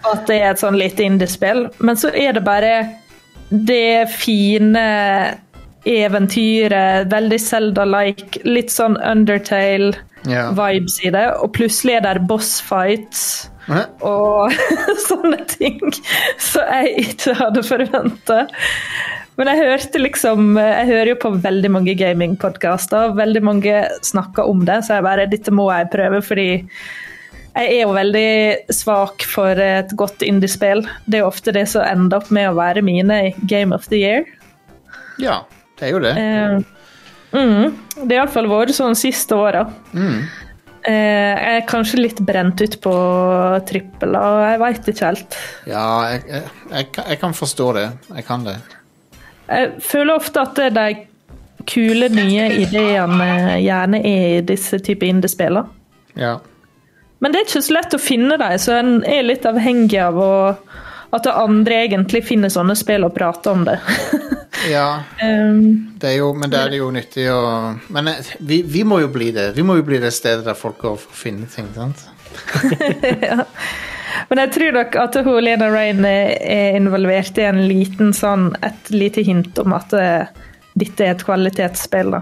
Og At det er et sånn lite indiespill. Men så er det bare det fine eventyret, veldig Zelda-like, litt sånn Undertale-vibes
Ja.
i det, og plutselig er det boss fights
Hæ?
og sånne ting som jeg ikke hadde forventa. Men jeg hørte liksom Jeg hører jo på veldig mange gamingpodkaster, og veldig mange snakker om det, så jeg bare Dette må jeg prøve, fordi jeg er jo veldig svak for et godt indiespill. Det er jo ofte det som ender opp med å være mine i Game of the Year.
ja, det er jo det.
Eh, mm, det har iallfall vært sånn siste åra. Eh, jeg er kanskje litt brent ut på trippel, og jeg veit ikke helt.
Ja, jeg, jeg, jeg, kan- jeg kan forstå det. Jeg kan det.
Jeg føler ofte at de kule nye ideene gjerne er i disse type indiespillene.
Ja.
Men det er ikke så lett å finne dem, så en er litt avhengig av å, at andre egentlig finner sånne spill og prater om det.
ja.
Ehm,
Det er jo, men det er det jo nyttig å Men eh, vi, vi må jo bli det. Vi må jo bli det stedet der folk går for å finne ting. sant?
men jeg tror nok at hun, Lena Rain er er involvert i en liten sånn, et lite hint om at eh, dette er et kvalitetsspill. da.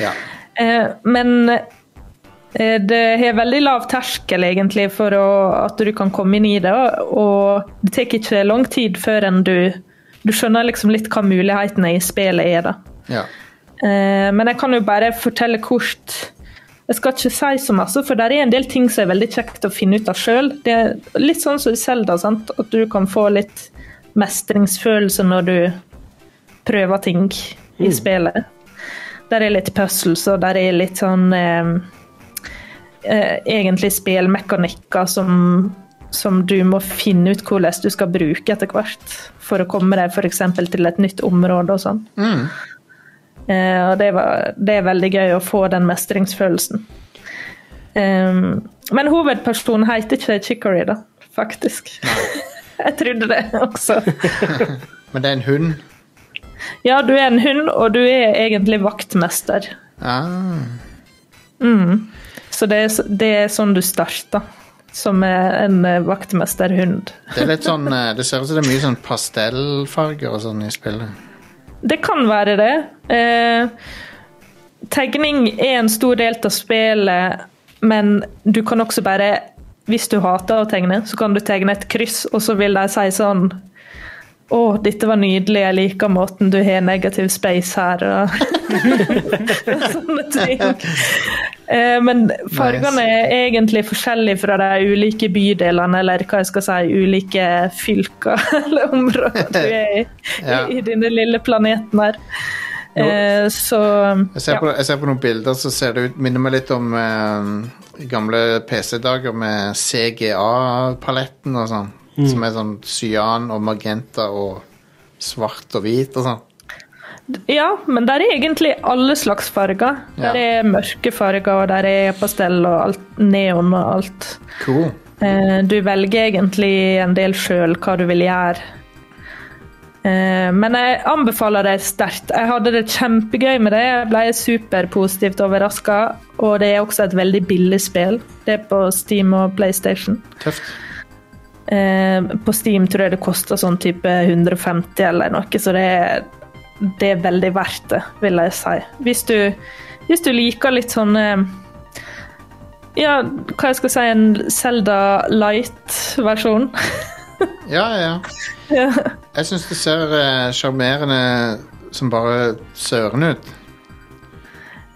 Ja.
Eh, men eh, det har veldig lav terskel egentlig for å, at du kan komme inn i det, og det tar ikke lang tid før enn du, du skjønner liksom litt hva mulighetene i spillet er. da.
ja.
Eh, men jeg kan jo bare fortelle kort. Jeg skal ikke si så masse, for det er en del ting som er veldig kjekt å finne ut av sjøl. Det er litt sånn som i Zelda, sant? at du kan få litt mestringsfølelse når du prøver ting i spillet. Der er litt puzzles, og der er litt sånn eh, eh, Egentlig spillmekanikker som, som du må finne ut hvordan du skal bruke etter hvert. For å komme deg f.eks. til et nytt område og sånn. Eh, og det, var, det er veldig gøy å få den mestringsfølelsen. Ehm, men hovedpersonen heter ikke Chicory, da, faktisk. Jeg trodde det også.
Men det er en hund.
Ja, du er en hund, og du er egentlig vaktmester.
Ah.
Så det er, s- det er sånn du starter som eh, en eh, vaktmesterhund.
Det er litt sånn eh, Det ser ut som det er mye sånn pastellfarger og sånn i spillet.
Det kan være det. Eh, tegning er en stor del av spillet, men du kan også bare Hvis du hater å tegne, så kan du tegne et kryss, og så vil de si sånn å, dette var nydelig, jeg liker måten du har negativ space her og sånne ting. Eh, Men fargene er egentlig forskjellige fra de ulike bydelene, eller hva jeg skal si, ulike fylker eller områder du er i,
Ja.
i denne lille planeten her. Eh, Så
Jeg ser,
ja.
på, jeg ser på noen bilder, så ser det ut Minner meg litt om eh, gamle PC-dager med CGA-paletten og sånn. Som er sånn cyan og magenta og svart og hvit og sånn.
Ja, men der er egentlig alle slags farger.
Ja.
Der er mørke farger, og der er pastell og alt, neon og alt.
Cool.
Eh, Du velger egentlig en del sjøl hva du vil gjøre. Eh, Men jeg anbefaler det sterkt. Jeg hadde det kjempegøy med det. Jeg ble superpositivt overraska. Og det er også et veldig billig spill. Det er på Steam og PlayStation.
Tøft.
Eh, På Steam tror jeg det koster sånn type 150 eller noe, så det er, det er veldig verdt det, vil jeg si. Hvis du, hvis du liker litt sånn eh, Ja, hva jeg skal si, en Selda Light-versjon.
Ja, ja, ja.
Ja.
Jeg syns det ser eh, sjarmerende som bare søren ut.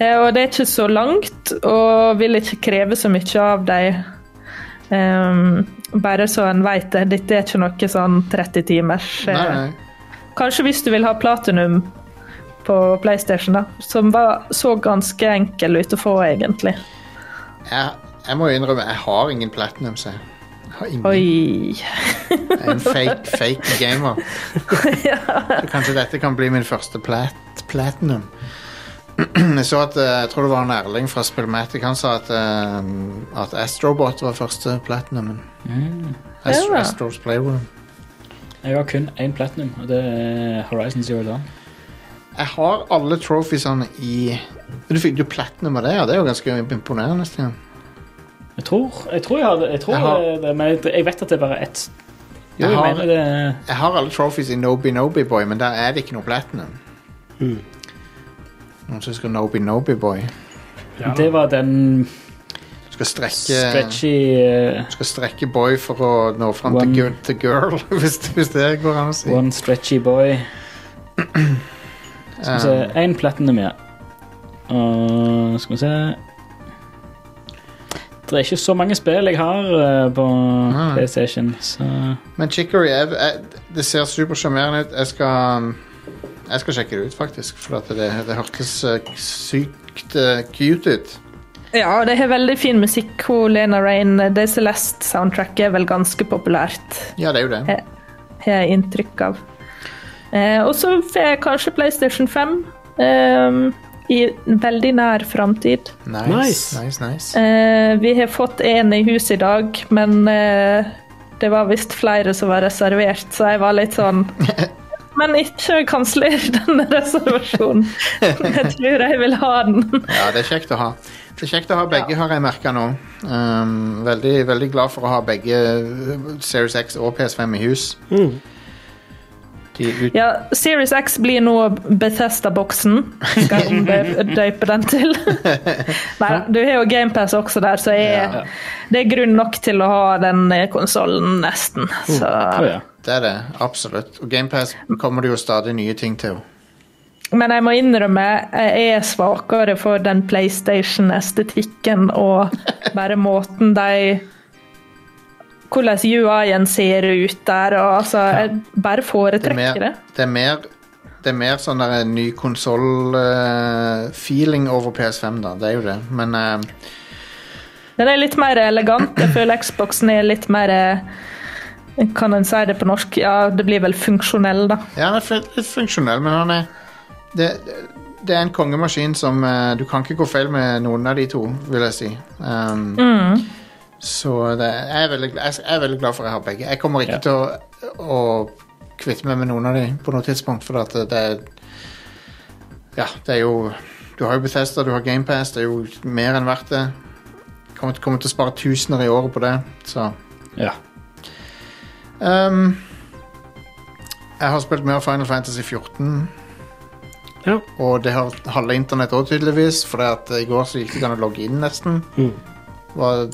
Eh, Og det er ikke så langt, og vil ikke kreve så mye av deg. Ehm, bare så en vet det. Dette er ikke noe sånn 30 timers eh,
Nei, nei.
Kanskje hvis du vil ha platinum på PlayStation, da. Som var, så ganske enkel ut å få, egentlig.
Jeg, jeg må jo innrømme, jeg har ingen platinum, så jeg Jeg har ingen.
Oi.
Jeg er en fake, fake gamer. Så kanskje dette kan bli min første plat, platinum. Jeg så at, eh, jeg tror det var en Erling fra Spillmatic, han sa at, eh, at Astrobot var første platinumen.
Mm.
Ast
Ja.
Astros Playroom.
Jeg har kun én platinum, og det er Horizon Zero Dawn.
Jeg har alle trophiesene i Du fikk jo platinum av det, ja. Det er jo ganske imponerende. Stian.
Jeg tror jeg, tror jeg har det, jeg tror
Jeg har-
det- det, men jeg, jeg vet at det er bare ett. Jo,
Jeg
jeg,
har-
mener det
Jeg har alle trophies i Nobi Nobi Boy, men der er det ikke noe platinum. Noen som skal Nobi Nobi Boy.
Ja.
Det var den
Du skal strekke
stretchy eh,
skal strekke boy for å nå fram
One-
til, gu- til girl, hvis, hvis det går an å si.
One Stretchy Boy. Skal vi
Um.
se Én platinum, ja. Og skal vi se Det er ikke så mange spill jeg har eh, på
Nei.
PlayStation, så
Men Chicory jeg, jeg, det ser supersjarmerende ut. Jeg skal, jeg skal sjekke det ut, faktisk. For at det, det hørtes eh, sykt eh, cute ut.
Ja, det har veldig fin musikk. Hun Lena Rain, det Celeste-soundtracket er vel ganske populært,
Ja, det er jo det.
har jeg inntrykk av. Eh, Og så får jeg kanskje PlayStation 5 ehm, i veldig nær framtid.
Nice, nice, nice.
Eh, vi har fått en i huset i dag, men eh, det var visst flere som var reservert, så jeg var litt sånn Men ikke kansler denne reservasjonen. Jeg tror jeg vil ha den.
Ja, det er kjekt å ha. Det er kjekt å ha begge, har jeg merka nå. Um, veldig, veldig glad for å ha begge eh, Series X og PS5 i hus.
Mm.
De ut,
Ja, Series X blir nå Bethesda-boksen. Skal jeg omdø- døype den til. Nei, du har jo GamePass også der, så
Ja.
jeg, det er grunn nok til å ha den konsollen, nesten.
Oh,
Så
Å ja.
Det er det, absolutt. Og GamePass kommer det jo stadig nye ting til.
Men jeg må innrømme, jeg er svakere for den PlayStation-estetikken og bare måten de Hvordan UI-en ser ut der. Og altså, jeg bare
Det er mer,
foretrekker det.
det er mer, det er mer sånn der en ny konsoll-feeling over PS5, da. Det er jo det. Men eh,
Den er litt mer elegant. Jeg føler Xboxen er litt mer eh, Kan en si det på norsk? Ja, det blir vel funksjonell, da.
ja, han er fun- litt funksjonell, men han er Det, det er en kongemaskin som eh, Du kan ikke gå feil med noen av de to, vil jeg si. Um, Så det, jeg, er veldig, gl- jeg er veldig glad for at jeg har begge. Jeg kommer ikke
Ja.
til å, å kvitte meg med noen av de på noe tidspunkt, for at det, det er Ja, det er jo Du har jo Bethesda, du har GamePass, det er jo mer enn verdt det. Kommer til, kommer til å spare tusener i året på det, så
Ja.
Ehm, Jeg har spilt mer Final Fantasy 14.
Ja.
Og det har halve internett òg, tydeligvis. For det at i går så gikk det ikke an å logge inn, nesten.
Mhm.
Var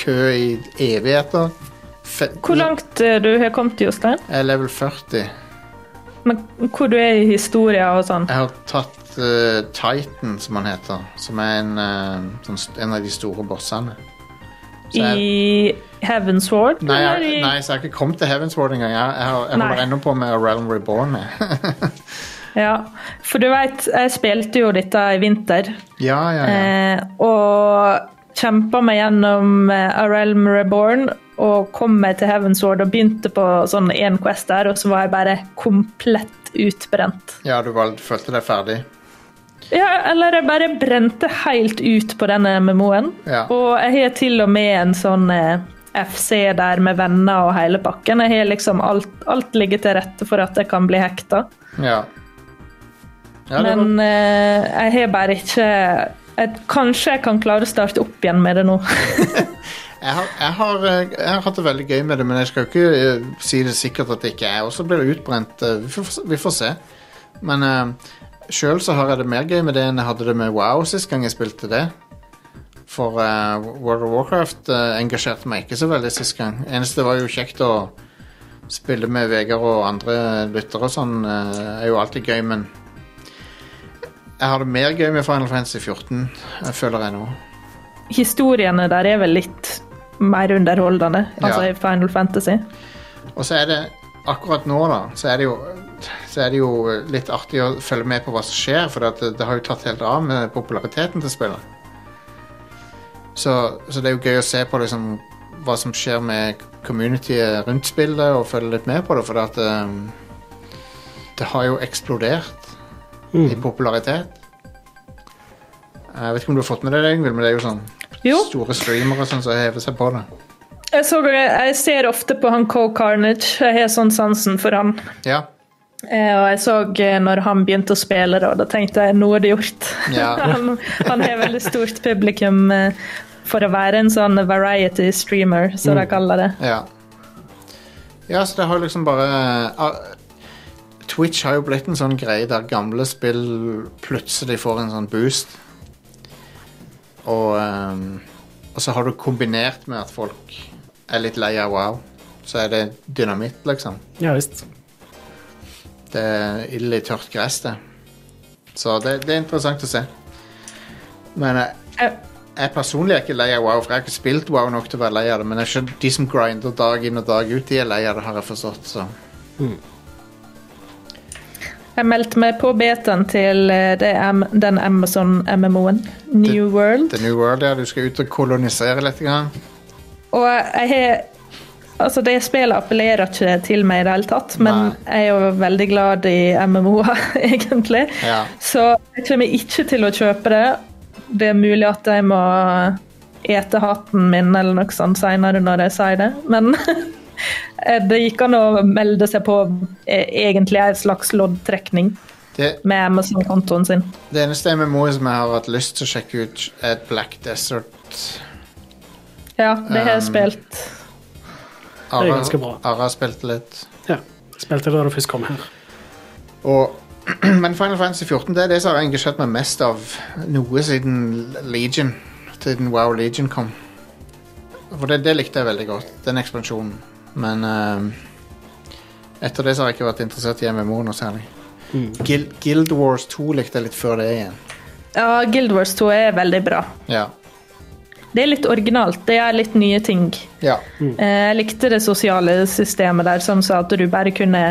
kø i evigheter. Fe
Hvor langt eh, du har kommet, Jostein?
Jeg er level 40.
Men hvor du er i historien og sånn?
Jeg har tatt eh, Titan, som han heter. Som er en, eh, sånn, st- en av de store bossene. Så jeg,
I Heaven's Ward?
nei,
eller
jeg,
i-
nei, så jeg har ikke kommet til Heavensward engang. Jeg, jeg, har- jeg holder
Nei.
ennå på med Realm Reborn. Jeg.
Ja, for du vet, jeg spilte jo dette i vinter,
ja, ja, ja.
eh, og kjempa meg gjennom eh, A Realm Reborn, og kom meg til Heaven's Ward og begynte på sånn én quest der, og så var jeg bare komplett utbrent.
ja, du var, følte deg ferdig.
Ja, eller jeg bare brente helt ut på denne MMO-en.
Ja.
Og jeg har til og med en sånn eh, FC der med venner og hele pakken. Jeg har liksom alt, alt ligger til rette for at jeg kan bli hekta.
Ja. ja det var-
Men eh, jeg har bare ikke jeg, Kanskje jeg kan klare å starte opp igjen med det nå.
jeg, har, jeg, har, eh, jeg har hatt det veldig gøy med det, men jeg skal jo ikke eh, si det sikkert at det ikke er. Og så blir det utbrent. eh, Vi får, vi får se. Men uh, sjøl så har jeg det mer gøy med det enn jeg hadde det med Wow sist gang jeg spilte det. For eh, World of Warcraft eh, engasjerte meg ikke så veldig sist gang. Eneste var jo kjekt å spille med Vegard og andre lyttere og sånn. eh, er jo alltid gøy, men jeg har det mer gøy med Final Fantasy 14, jeg føler jeg nå.
Historiene der er vel litt mer underholdende, altså
Ja.
i Final Fantasy.
Og så er det akkurat nå, da, så er det jo så er det jo litt artig å følge med på hva som skjer, for at det, det har jo tatt helt av med populariteten til spillet. Så, så det er jo gøy å se på liksom, hva som skjer med communityet rundt spillet, og følge litt med på det, for at um, det har jo eksplodert i popularitet. Jeg vet ikke om du har fått med deg det, Ingvild, men det er jo sånn
Jo.
store streamere og sånn som hever seg på det.
Jeg, så, jeg ser ofte på han Co Carnage. Jeg har sånn sansen for han.
Ja.
Eh, Og jeg så eh, når han begynte å spille, da, da tenkte jeg nå er det gjort.
Ja.
han, han har veldig stort publikum eh, for å være en sånn variety streamer, som de kaller det.
Ja. Ja, så det har liksom bare ah, Twitch har jo blitt en sånn greie der gamle spill plutselig får en sånn boost. Og, ehm, og så har du kombinert med at folk er litt lei av wow. Så er det dynamitt, liksom.
Ja visst.
Det er ild i tørt gress, det. Så det, det er interessant å se. Men eh, jeg,
Jeg,
jeg personlig er ikke lei av wow, for jeg har ikke spilt wow nok til å være lei av det. Men jeg skjønner, de som grinder dag inn og dag ut, de er lei av det, har jeg forstått. Så.
jeg meldte meg på betaen til eh, det, am- den Amazon MMO-en, New World.
The New World, ja. Du skal ut og kolonisere litt. Grann.
Og jeg har Altså, det spillet appellerer ikke til meg i det hele tatt, men jeg er jo veldig glad i MMO-er, egentlig.
Ja.
Så jeg kommer ikke til å kjøpe det. Det er mulig at jeg må ete hatten min eller noe sånt senere når jeg sier det, men eh, det gikk an å melde seg på eh, egentlig en slags loddtrekning
Det,
med Amazon-kontoen sin.
det eneste MMO-et som jeg har hatt lyst til å sjekke ut, er et Black Desert.
Ja, det har jeg
Um,
spilt.
Ara,
ganske bra.
Ara spilte litt.
Ja. Spilte det da du først kom her.
Og, men Final Fantasy 14 det er det som har engasjert meg mest av noe siden Legion. Siden Wow Legion kom. For det, det likte jeg veldig godt, den ekspansjonen. Men eh, etter det så har jeg ikke vært interessert i MMO noe særlig. Guild, Guild Wars 2 likte jeg litt før det igjen.
Ja, Guild Wars 2 er veldig bra.
Ja.
Det er litt originalt. Det er litt nye ting.
ja.
Eh, Jeg likte det sosiale systemet der som sa at du bare kunne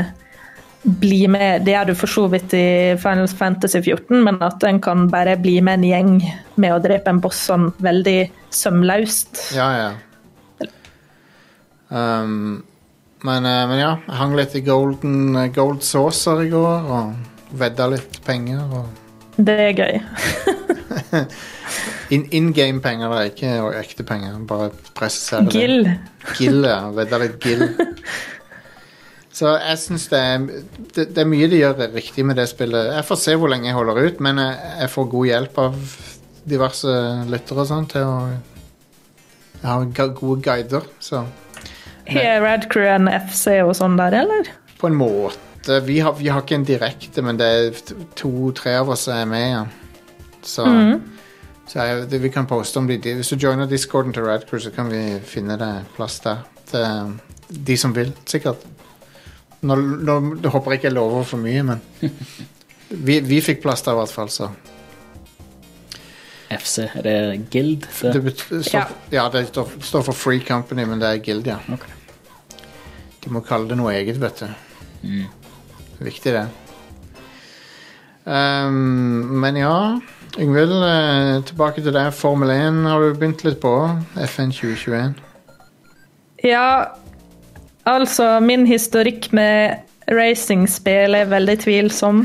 bli med Det er du for så vidt i Final Fantasy 14, men at en kan bare bli med en gjeng med å drepe en boss sånn veldig sømløst.
Ja, ja. Um, men, eh, men ja, jeg hang litt i golden, eh, gold saucer i går og vedda litt penger. Og
Det er gøy.
in, in game-penger, da, ikke ekte penger. Bare presisere det.
Gill.
Gill, ja. Vedda litt gill. Så jeg syns det, er- det, det er mye de gjør riktig med det spillet. Jeg får se hvor lenge jeg holder ut, men jeg, jeg får god hjelp av diverse lyttere og sånn til å Jeg har ga- gode guider, så
Har Radcrew en FC og sånn der, eller?
på en måte Vi har, vi har ikke en direkte, men det er to-tre av oss som er med, ja. Så, så jeg, det, vi kan poste om de de- Hvis du joiner discorden til Radcrew, så kan vi finne deg plass der. Til de som vil, sikkert. Nå, nå nå håper jeg ikke jeg lover for mye, men vi, vi fikk plass der, i hvert fall, så.
FC, er det Guild? Det?
Det bet- står, ja.
Ja.
det står, står for Free Company, men det er Guild, ja.
Ok.
De må kalle det noe eget, vet du. Viktig, det. Ehm, men ja Yngvild, eh, tilbake til deg. Formel 1 har du begynt litt på. FN 2021.
Ja, altså min historikk med racingspill er veldig tvilsom.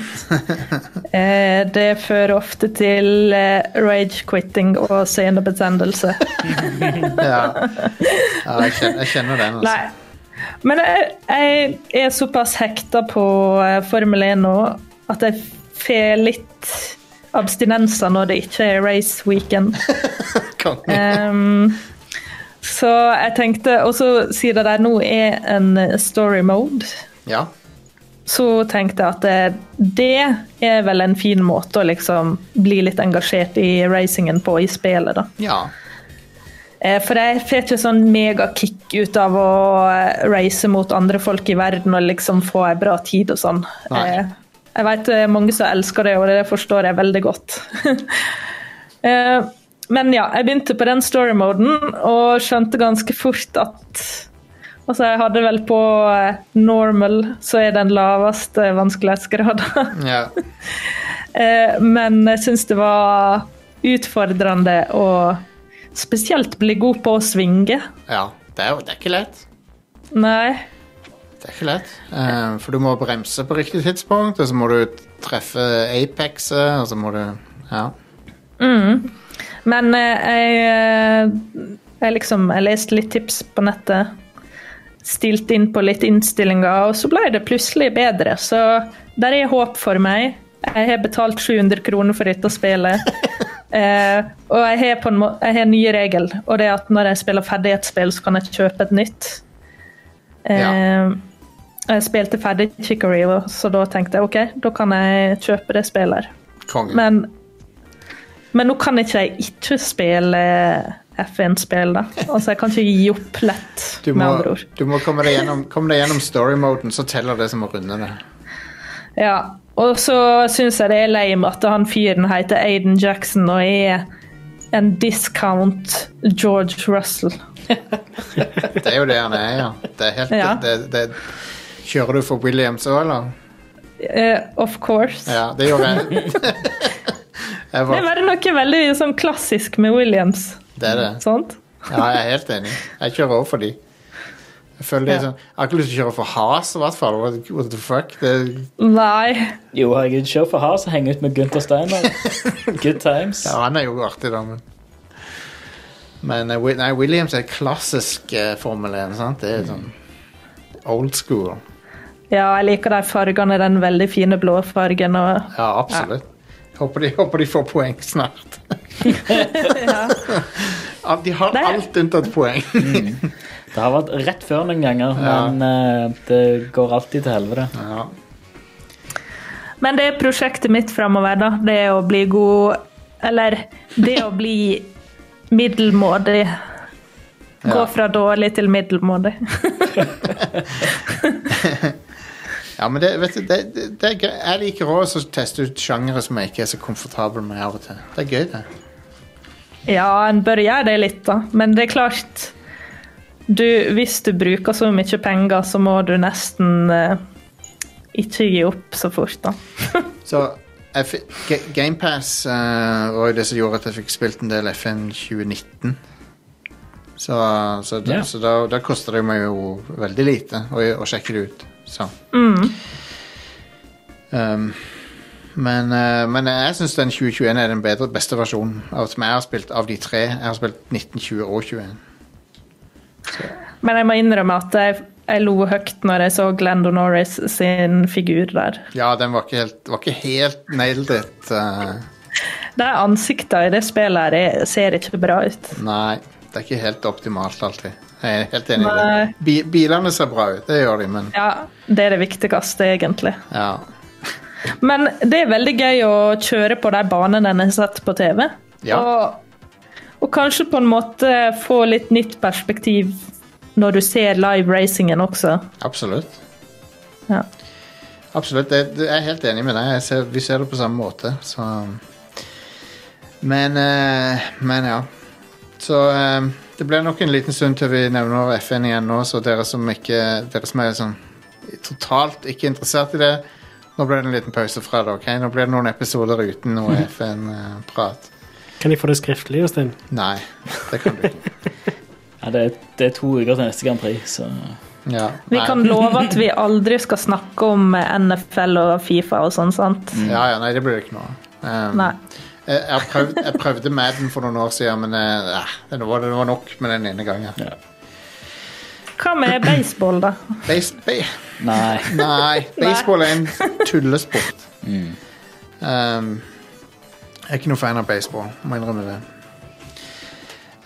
Eh, det fører ofte til eh, rage-quitting og senebetennelse.
Ja, ja jeg, kjenner, jeg kjenner den. Altså.
Nei. Men jeg, jeg er såpass hekta på eh, Formel 1 nå at jeg får litt abstinenser når det ikke er race weekend.
Konge.
Ehm, så jeg tenkte Og så siden det nå er en story mode,
Ja.
så tenkte jeg at det, det er vel en fin måte å liksom bli litt engasjert i racingen på i spillet, da.
ja.
Eh, For jeg får ikke sånn megakick ut av å eh, race mot andre folk i verden og liksom få ei bra tid og sånn.
Nei.
Eh, Jeg vet det er mange som elsker det, og det forstår jeg veldig godt. Eh, Men ja, jeg begynte på den story-moden og skjønte ganske fort at Altså, jeg hadde vel på eh, normal, så er den laveste vanskelighetsgraden.
ja.
Eh, men jeg syns det var utfordrende å spesielt bli god på å svinge.
ja. Det, er, jo- det er ikke lett.
Nei.
Det er ikke lett. Eh, for du må bremse på riktig tidspunkt, og så må du treffe apexet, og så må du Ja.
Mm. Men eh, jeg, eh, jeg liksom Jeg leste litt tips på nettet. Stilte inn på litt innstillinger, og så ble det plutselig bedre. Så der er håp for meg. Jeg har betalt 700 kroner for dette spillet. Eh, og jeg har, på en må jeg har en ny regel, og det er at når jeg spiller ferdig et spill, så kan jeg kjøpe et nytt. Eh,
Ja.
Jeg spilte ferdig Chicory, så da tenkte jeg OK, da kan jeg kjøpe det spillet. her.
Kongen.
Men, men nå kan ikke jeg ikke spille F1-spill, da. Altså, jeg kan ikke gi opp lett,
du,
med
må,
andre ord.
du må komme deg gjennom, komme deg gjennom story-moden, så teller det som å runde det.
Ja. Og så syns jeg det er lame at han fyren heter Aiden Jackson og er en discount George Russell.
Det er jo det han er, ja. Det er helt,
Ja.
Det, det, kjører du for Williams òg, eller?
Eh, of course.
Ja, det gjør jeg. jeg
Det er
var,
bare noe veldig sånn klassisk med Williams.
det er det.
Sant?
Ja, jeg er helt enig. Jeg kjører òg for de. Jeg føler det er
Ja.
sånn, jeg har ikke lyst til å kjøre for Has, i hvert fall. What, what the fuck? Det,
Nei.
Jo, herregud, kjør for hard, så heng ut med Gunther Steiner. Good times.
ja, han er jo artig, da, men Men eh, Wi- nei, Williams er klassisk eh, Formel 1, sant? Det
Mm.
er sånn old school.
Ja, jeg liker de fargene, den veldig fine blå fargen og
Ja, absolutt. Håper, de, håper de får poeng snart.
ja.
Ja, De har
Det er- Mm.
alt unntatt poeng.
Det har vært rett før noen ganger,
Ja.
men eh, det går alltid til helvete.
Ja.
Men det er prosjektet mitt framover, da. Det er å bli god Eller det å bli middelmådig. Gå
Ja.
fra dårlig til middelmådig.
ja, men det, vet du, det, det, det er gøy. Jeg liker også å teste ut sjangere som jeg ikke er så komfortabel med av og til. Det er gøy, det.
Ja, en bør gjøre det litt, da. Men det er klart du, Hvis du bruker så mye penger, så må du nesten eh, ikke gi opp så fort, da.
Så jeg fi- Ga- Game Pass eh, var jo det som gjorde at jeg fikk spilt en del FN 2019. Så, så, da-
Ja.
så da, da koster det meg jo veldig lite å, å sjekke det ut. Så. Um, men, eh, men jeg syns den 2021 er den bedre, beste versjonen av som jeg har spilt av de tre. Jeg har spilt 19, 20 og 21.
Men jeg må innrømme at jeg Jeg lo høyt når jeg så Glando Norris sin figur der.
Ja, den var ikke helt, var ikke helt nailed it. eh,
De ansiktene i det spillet her er- ser ikke bra ut.
nei, det er ikke helt optimalt alltid. Jeg er helt enig i
Nei.
det. Bi bilene ser bra ut, det gjør de, men
Ja, det er det viktigste, egentlig.
ja.
Men det er veldig gøy å kjøre på de banene en har sett på TV.
Ja.
Og, og kanskje på en måte få litt nytt perspektiv når du ser live racingen også.
Absolutt.
Ja.
Absolutt. Jeg, jeg er helt enig med deg. Jeg ser, vi ser det på samme måte, så Men, eh, men ja. Så eh, det blir nok en liten stund til vi nevner FN igjen nå, så dere som, ikke, dere som er sånn totalt ikke interessert i det Nå blir det en liten pause fra det. ok? Nå blir det noen episoder uten noe FN-prat.
Kan jeg få det skriftlig, Justin?
Nei, det kan du ikke.
Ja, det, er, det er to uker til neste Grand Prix, så
Ja,
Vi
nei.
kan love at vi aldri skal snakke om NFL og Fifa og sånn, sant?
Mm.
Ja, ja, nei, det blir det ikke noe av. Um,
Nei.
Jeg, jeg, prøvde, jeg prøvde Madden for noen år siden, men eh, eh, det, var, det var nok med den ene gangen.
ja.
Hva med baseball, da?
Base, ba,
Nei.
nei, baseball er en tullesport. Mm. Um, jeg er ikke noe fan av baseball, må innrømme det.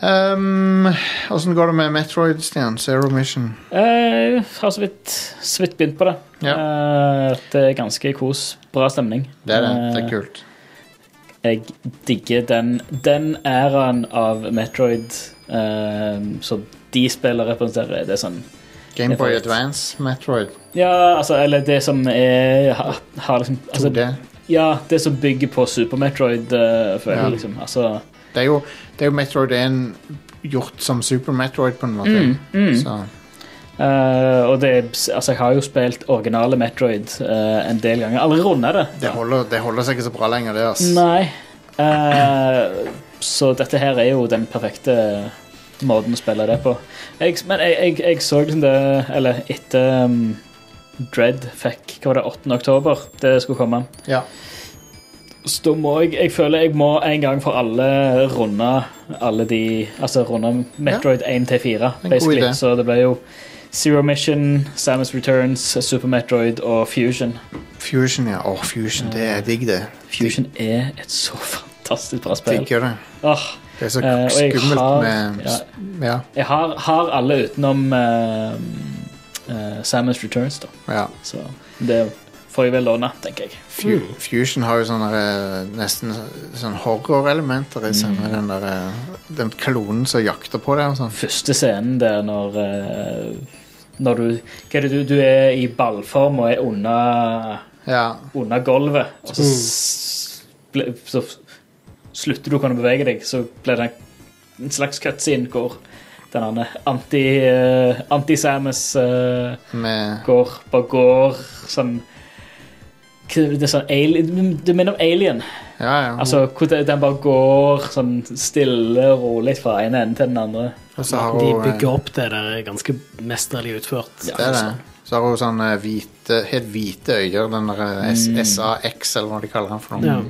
Um, Åssen går det med Metroid, Stian? Zero Mission.
Jeg Eh, har så vidt, så vidt begynt på det.
Ja.
Eh, det er ganske kos. Bra stemning.
Det er det. Det er
Eh,
kult.
Jeg digger den, den æraen av Metroid eh, som de spiller representerer. Det er sånn
Gameboy
favoritt.
Advance, Metroid.
Ja, altså, eller det som er har, har liksom altså,
2D.
Ja, det som bygger på Super Metroid, eh, føler
Ja.
jeg, liksom. Altså,
Det er jo, det er jo Metroid 1 gjort som Super Metroid, på en måte. Så,
mm, eh, og det Altså, jeg har jo spilt originale Metroid eh, en del ganger. Aldri runda det.
det, holder, det holder seg ikke så bra lenger, det. ass.
Nei. Eh, så dette her er jo den perfekte måten å spille det på. Jeg, men jeg, jeg, jeg så liksom det Eller etter um, Dread fikk Hva var det, 8. oktober det skulle komme.
Ja.
Så da må jeg Jeg føler jeg må en gang for alle runde alle de Altså runde Metroid 1 til 4,
god idé.
basically. Så det ble jo Zero Mission, Samus Returns, Super Metroid og Fusion.
Fusion, ja. Åh, Fusion, det er digg, det.
Fusion er et så fantastisk bra spill.
Digger det.
Åh,
Det er så
Eh, og jeg
skummelt
har-
med
ja.
Ja.
Jeg har, har alle utenom eh, eh, Samus Returns, da.
ja.
Så det får jeg vel låne, tenker jeg.
Fu Fusion har jo sånne eh, nesten sånn horrorelementer i seg, med den der eh, Den klonen som jakter på deg og sånn.
Første scenen der når eh, Når du Hva er det du Du er i ballform og er under
Ja.
Under gulvet, og så, s- ble, så f- slutter du å kunne bevege deg, så blir det en- en slags cutscene hvor den andre anti, eh, anti-Samus eh,
Med
går, bare går sånn Hva er Det, sånn alien, det minner om Alien.
Ja, ja.
Altså, hvor det- Den bare går sånn stille og rolig fra ene enden til den andre.
og så har
De
hun eh,
bygger opp det der er ganske mesterlig utført.
Det er det. Så har hun sånne hvite, helt hvite øyne, den der eh, S- SAX, eller hva de kaller den for
Ja.
noe.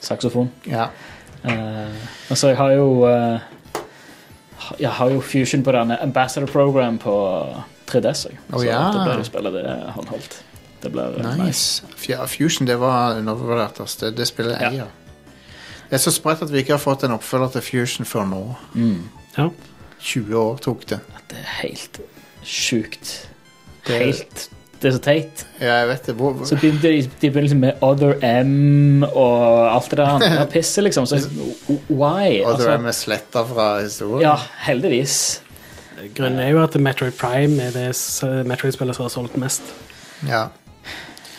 Saksofon.
Ja.
Eh, altså, jeg har jo eh, Jeg har jo Fusion på denne Ambassador Program på 3DS. Jeg.
Å,
så
ja.
det blir jo spille det håndholdt. Det blir eh, nice.
Nice. Fja- Fusion, det var undervurdert. ass. Det, det spillet
Ja.
eier. Det er så spredt at vi ikke har fått en oppfølger til Fusion før nå.
Ja.
20 år tok det.
Det er helt sjukt.
Det-
Helt Det er så teit.
Ja, jeg vet det. Hvor,
Så begynte de, de begynte liksom med Other M og alt det der andre pisset, liksom. Så, why?
og det
Altså,
er med sletta fra historien.
ja, heldigvis.
Grunnen er jo at Metroid Prime er det s- Metroid-spillet som har solgt mest.
Ja.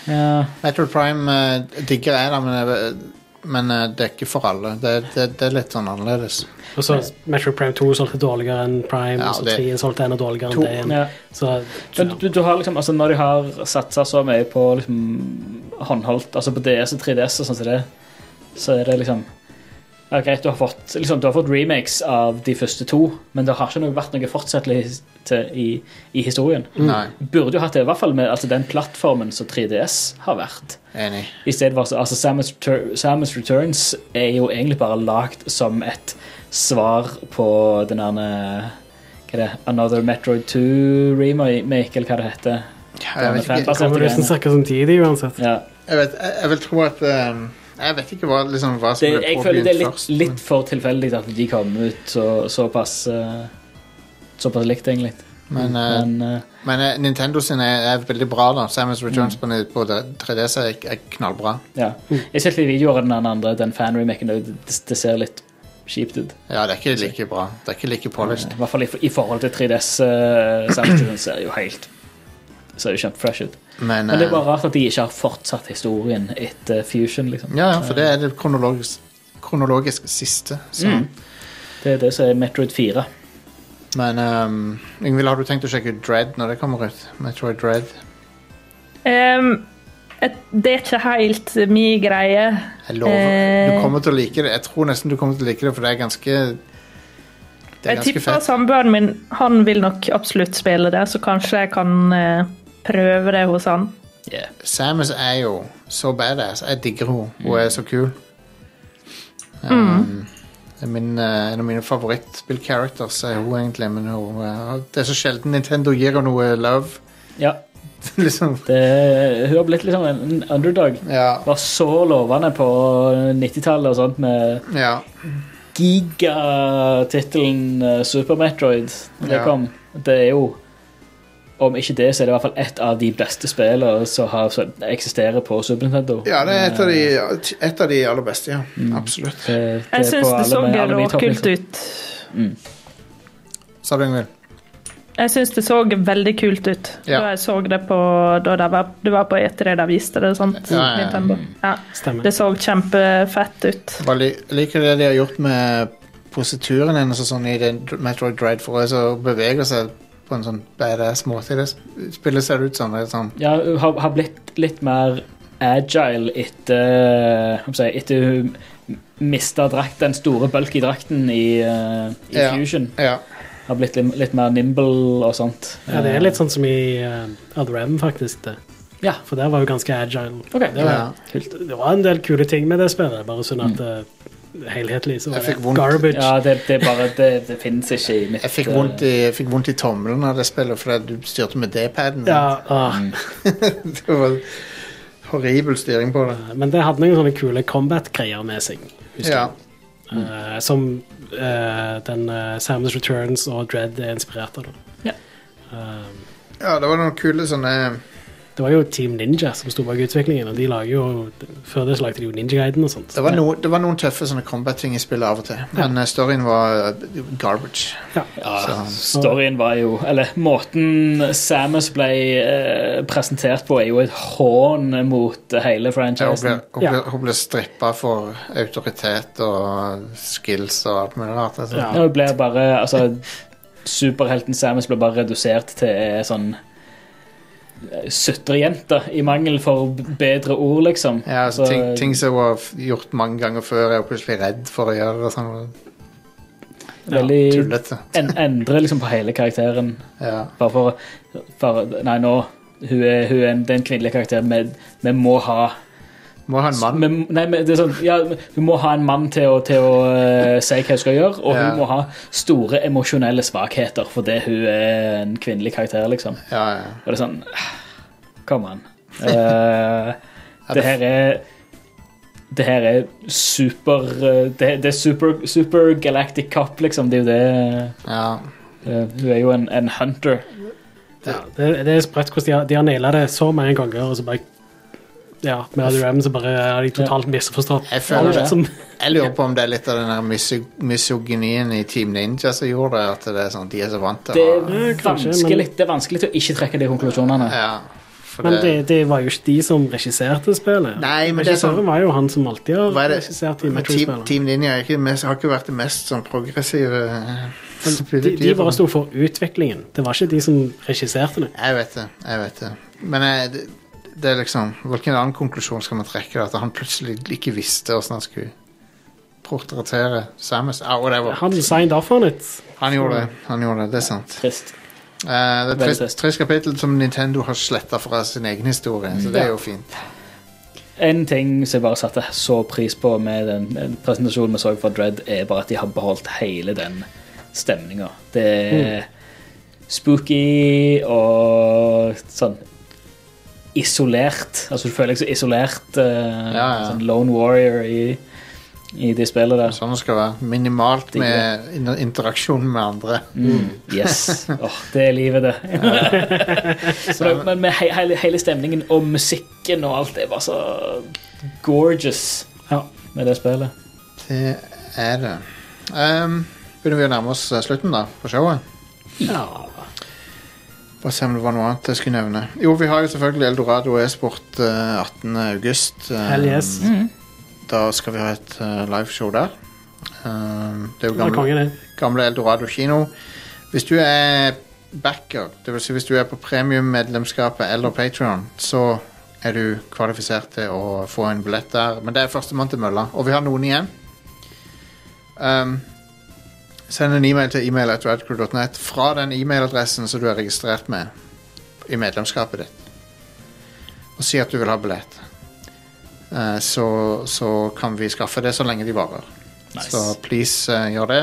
Ja.
Metroid Prime eh, digger jeg, da, men, jeg- men eh, det er ikke for alle. Det, det, det er litt sånn annerledes.
Og så Metroid Prime 2 solgte dårligere enn Prime,
Ja,
og så
det-
3 solgte enda dårligere
To-
enn det igjen.
Ja.
Så
Men du, du har liksom, altså når de har satsa så mye på liksom, håndholdt, altså på DS og 3DS og sånn som det, så er det liksom ja, Greit, du har, fått, liksom, du har fått remakes av de første to, men det har ikke noe, vært noe fortsettelse i, i historien.
Nei,
Burde jo hatt det, i hvert fall med altså, den plattformen som 3DS har vært.
enig.
I stedet var så- altså Samus, Retur Samus Returns er jo egentlig bare lagd som et svar på den der eh, Hva er det? Another Metroid 2 remake, eller hva det heter.
Jeg vet ikke,
Fantasy.
Kommer du sånn cirka samtidig uansett?
Ja.
jeg, vet, jeg, jeg vil tro at ehm, Jeg vet ikke hva, liksom, hva som
Det,
ble
jeg føler
påbegynt
det er litt,
først.
litt for tilfeldig at de kom ut så, såpass eh, Såpass likt, egentlig.
Men, eh,
Men eh,
men eh, Nintendo sin er, er veldig bra, da. Samus Returns på, på 3DS er, er knallbra.
ja. Jeg ser litt videoer av den andre, den fan-remaken. og Det, det ser litt kjipt ut. Eh,
Ja, det er ikke like bra. Det er ikke like polished.
I hvert fall i, i forhold til 3DS. Uh, Samtidig ser jo helt Ser jo kjempefresh ut.
Men,
Men det er
eh,
bare rart at de ikke har fortsatt historien etter Fusion, liksom.
eh, Ja, ja, for det er sånn. det kronologisk, kronologisk siste. Så.
Mm. Det er det som er Metroid 4.
Men ehm, Yngvild, har du tenkt å sjekke ut Dread når det kommer ut? Metroid Dread.
Ehm, et, det er ikke helt min greie.
Jeg lover.
Eh.
Du kommer til å like det. Jeg tror nesten du kommer til å like det, for det er ganske Det er
Jeg
ganske
tipper
fett.
samboeren min han vil nok absolutt spille det, så kanskje jeg kan eh, prøve det hos han.
Yeah.
Samus er jo så badass. Jeg digger henne. Hun er så kul. Um, det er min, eh, en av mine favorittspill-characters er hun egentlig, men hun, eh, det er så sjelden Nintendo gir henne noe love.
Ja,
liksom.
det, hun har blitt liksom en en underdog.
Ja.
Var så lovende på 90-tallet og sånt med
ja.
gigatittelen eh, Super Metroid. når Det
Ja.
kom. Det er jo Om ikke det, så er det i hvert fall ett av de beste spillene som har- som eksisterer på Super Nintendo.
Ja, det er et av de, et av de aller beste, ja. Absolutt.
Eh, Det, det er
Jeg syns
på
det så
alle- alle mine
råkult
topplister.
ut.
Mm.
Sa du, Ingvild?
Jeg syns det så veldig kult ut
Ja.
da jeg så det på da det var, det var på E3 de viste det. sant?
Ja, ja, ja.
Nintendo. Ja.
Stemmer.
Det så kjempefett ut.
Bare li- Jeg liker det de har gjort med posituren hennes og sånn i den Dr- Metroid Dread, for hun er så- beveger seg på en sånn badass måte. i Det s- spillet ser ut som det er sånn
Ja, hun har, har blitt litt mer agile etter eh, hva skal jeg si, Etter hun mista drakt, den store bulky drakten i, eh, i
Ja.
Fusion.
Ja.
Har blitt litt, litt mer nimble og sånt.
Ja, det er litt sånn som i eh, Other M, faktisk. det.
Ja.
For der var jo ganske agile.
Ok,
sånn- Det var,
Ja.
Kult.
det var en del kule ting med det spillet, bare sånn at eh, helhetlig så var
Jeg
det
fikk vondt.
garbage.
Mm. Ja, det, det er bare Det, det fins ikke i mitt
Jeg fikk vondt i, jeg fikk vondt i tommelen av det spillet fordi du styrte med D-paden.
Ja,
eh,
ah,
Mm. Det var horribel styring på det.
Ah. Men det hadde noen sånne kule combat-greier med seg. husker
Ja.
jeg. Eh, som eh, den eh, Samus Returns og Dread er inspirert av. Da.
Ja.
Eh,
ja, det var noen kule sånne
det var jo Team Ninja som sto bak utviklingen, og de lager jo Før det så lagde de jo Ninja Guiden og sånt.
Det var, no, det var noen tøffe sånne combat-ting i spillet av og til, men eh, storyen var eh, garbage.
Ja,
Så-
storyen var jo Eller måten Samus ble eh, presentert på, er jo et hån mot
Ja, Hun
hele
ble,
franchisen.
hun ble,
Ja.
hun ble strippa for autoritet og skills og alt mulig rart. Altså.
Ja.
Ja, hun blir bare Altså, superhelten Samus blir bare redusert til ei sånn eh, Sutrejente, i mangel for b- bedre ord, liksom.
Ja, altså,
Så,
ting, ting som var f- gjort mange ganger før, er hun plutselig redd for å gjøre. Og sånn
Veldig
tullete.
en, Endrer liksom på hele karakteren.
Ja.
Bare for, for Nei, nå hun er, hun er en, det er en kvinnelig karakter vi, vi må ha
Må ha en mann.
vi, nei, men det er sånn, ja, Hun må ha en mann til å, til å eh, si hva hun skal gjøre, og
Ja.
hun må ha store emosjonelle svakheter fordi hun er en kvinnelig karakter, liksom.
Ja, ja.
Og det er sånn Kom an. Eh, det her er Det her er super eh, Det, det er super, super galactic cop, liksom. Det er jo det
ja.
eh, Hun er jo en, en hunter.
Ja, det, det er sprøtt hvordan de har, de har naila det så mange ganger, og så bare Ja, med Other M så bare har de totalt misforstått.
Jeg føler
alt
det.
som-
Jeg lurer på om det er litt av den der misog misogynien i Team Ninja som gjorde det. At det er sånn, de er så vant til
Det
å
er
kanskje, men-
vanskelig, det er vanskelig å ikke trekke de konklusjonene.
ja, for
Men
det,
det, det var jo ikke de som regisserte spillet.
Nei, men det er
Regissøren
sånn-
var jo han som alltid har
Hva er det?
regissert i
men Team,
Metroid-spillene.
team Ninja er ikke det mest, har ikke vært det mest sånn progressive eh,
De, de
spillet-
bare sto for utviklingen. Det var ikke de som regisserte det.
Jeg vet det, jeg vet det. Men jeg, det, det er liksom Hvilken annen konklusjon skal man trekke? da? At han plutselig ikke visste hvordan han skulle portrettere Samus? Ah, whatever.
Han signed off on it.
Han gjorde det. han gjorde Det det er sant.
Trist.
Eh, det er
Veldig
tre,
trist.
tre kapittel som Nintendo har sletta fra sin egen historie, så det er jo fint.
En ting som jeg bare satte så pris på med den presentasjonen vi så for Dread, er bare at de har beholdt hele den stemninga. Det er spooky og sånn isolert. Altså, du føler deg så isolert. eh,
Ja, ja.
Sånn lone warrior i, i det spillet der.
Sånn det skal være. Minimalt med in- interaksjon med andre.
Mm, Yes. Åh, det er livet, det. så, det- men med he hele, hele stemningen og musikken og alt, det er bare så gorgeous
Ja.
med det spillet.
Det er det. Ehm, begynner vi å nærme oss eh, slutten da, på showet?
ja.
Bare se om det var noe annet jeg skulle nevne. Jo, vi har jo selvfølgelig Eldorado e-sport eh, 18. august. Eh,
Hell yes.
Da skal vi ha et eh, liveshow der. Eh, det er jo
Det er konge,
gamle,
det.
gamle Eldorado kino. Hvis du er backer, dvs. Si hvis du er på premiummedlemskapet eller Patreon, så er du kvalifisert til å få en billett der. Men det er førstemann til mølla, og vi har noen igjen. Um, send en e-mail til email.radcrew.net fra den e-mailadressen som du er registrert med i medlemskapet ditt, og si at du vil ha billett. Eh, så, så kan vi skaffe det så lenge de varer. Så please eh, gjør det.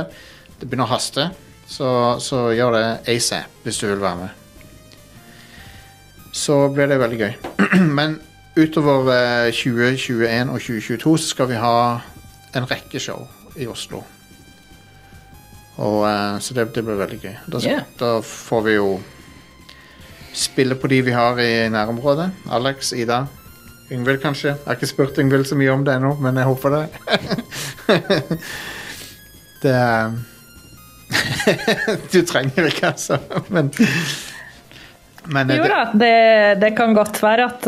Det begynner å haste, så, så gjør det asap hvis du vil være med. Så blir det veldig gøy. Men utover eh, 2021 og 2022 så skal vi ha en rekke show i Oslo. Og, eh, så det, det blir veldig gøy. Da,
Yeah.
da får vi jo spille på de vi har i nærområdet. Alex, Ida, Yngvild kanskje. Jeg har ikke spurt Yngvild så mye om det ennå, men jeg håper det. det er- eh, Du trenger det ikke, altså. Men, men
Jo
det-
da, det, det kan godt være at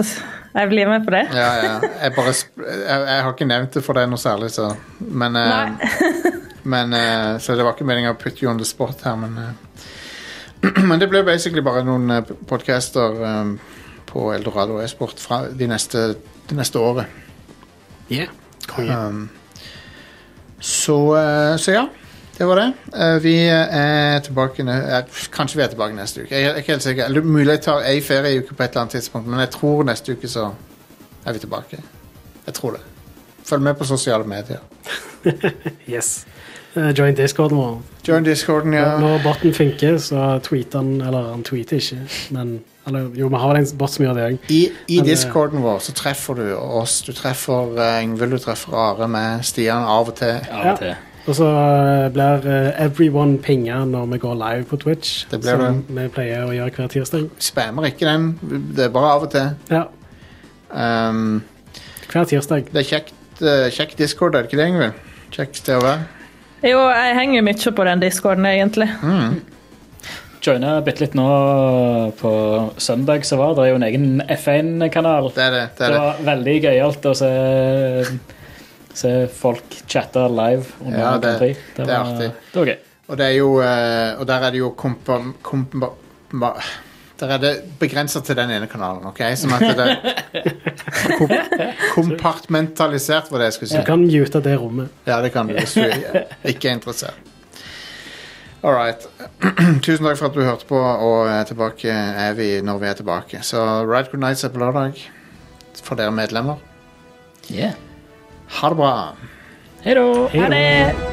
jeg blir med på det.
Ja, ja. Jeg, bare, sp- jeg, jeg har ikke nevnt det for deg noe særlig, så Men, eh, men eh, Så det var ikke meninga å putte you on the spot her, men eh, Men det blir basically bare noen eh, podcaster eh, på Eldorado e-sport fra de neste, de neste året.
Yeah. Konge.
Um, så, eh, så ja. Det var det. Eh, vi er tilbake ne eh, Kanskje vi er tilbake neste uke. Jeg er ikke helt sikker. Eller Mulig jeg tar ei ferieuke på et eller annet tidspunkt, men jeg tror neste uke så er vi tilbake. Jeg tror det. Følg med på sosiale medier.
Yes. Eh, join discorden vår.
Join discorden, ja.
Når botten funker, så tweeter han Eller han tweeter ikke, men eller, Jo, vi har vel en bot som gjør det òg.
I, i
Men, eh,
discorden vår så treffer du oss. Du treffer eh, Yngvild, du treffer Are med Stian av og til.
Av
Ja.
og til.
Og så eh, blir eh, everyone pinga når vi går live på Twitch,
Det blir
som vi pleier å gjøre hver tirsdag.
Spammer ikke den. Det er bare av og til.
Ja,
Um,
hver tirsdag.
det er kjekt, eh, kjekk discord, er det ikke det, Yngvild? Kjekt sted å være.
Jo, jeg henger mye på den discorden, egentlig.
Joina bitte litt nå på søndag som var. Det er jo en egen F1-kanal.
Det er det. det,
Det
er det.
var veldig gøyalt å se, se folk chatte live under
Ja, det-
Grand Prix.
det er
var,
artig.
Det var gøy.
Og, det er jo, eh, og der er det jo kompa... kompa ma- der er det begrensa til den ene kanalen, OK? Som at det er kom, kompartmentalisert, var det jeg skulle si.
Du kan mute det rommet.
Ja, det kan du hvis du ikke er interessert. All right. Tusen takk for at du hørte på, og eh, tilbake er vi når vi er tilbake. Så Ride Good Nights er på lørdag for dere medlemmer.
Yeah.
Ha det bra.
Hei da!
Ha det!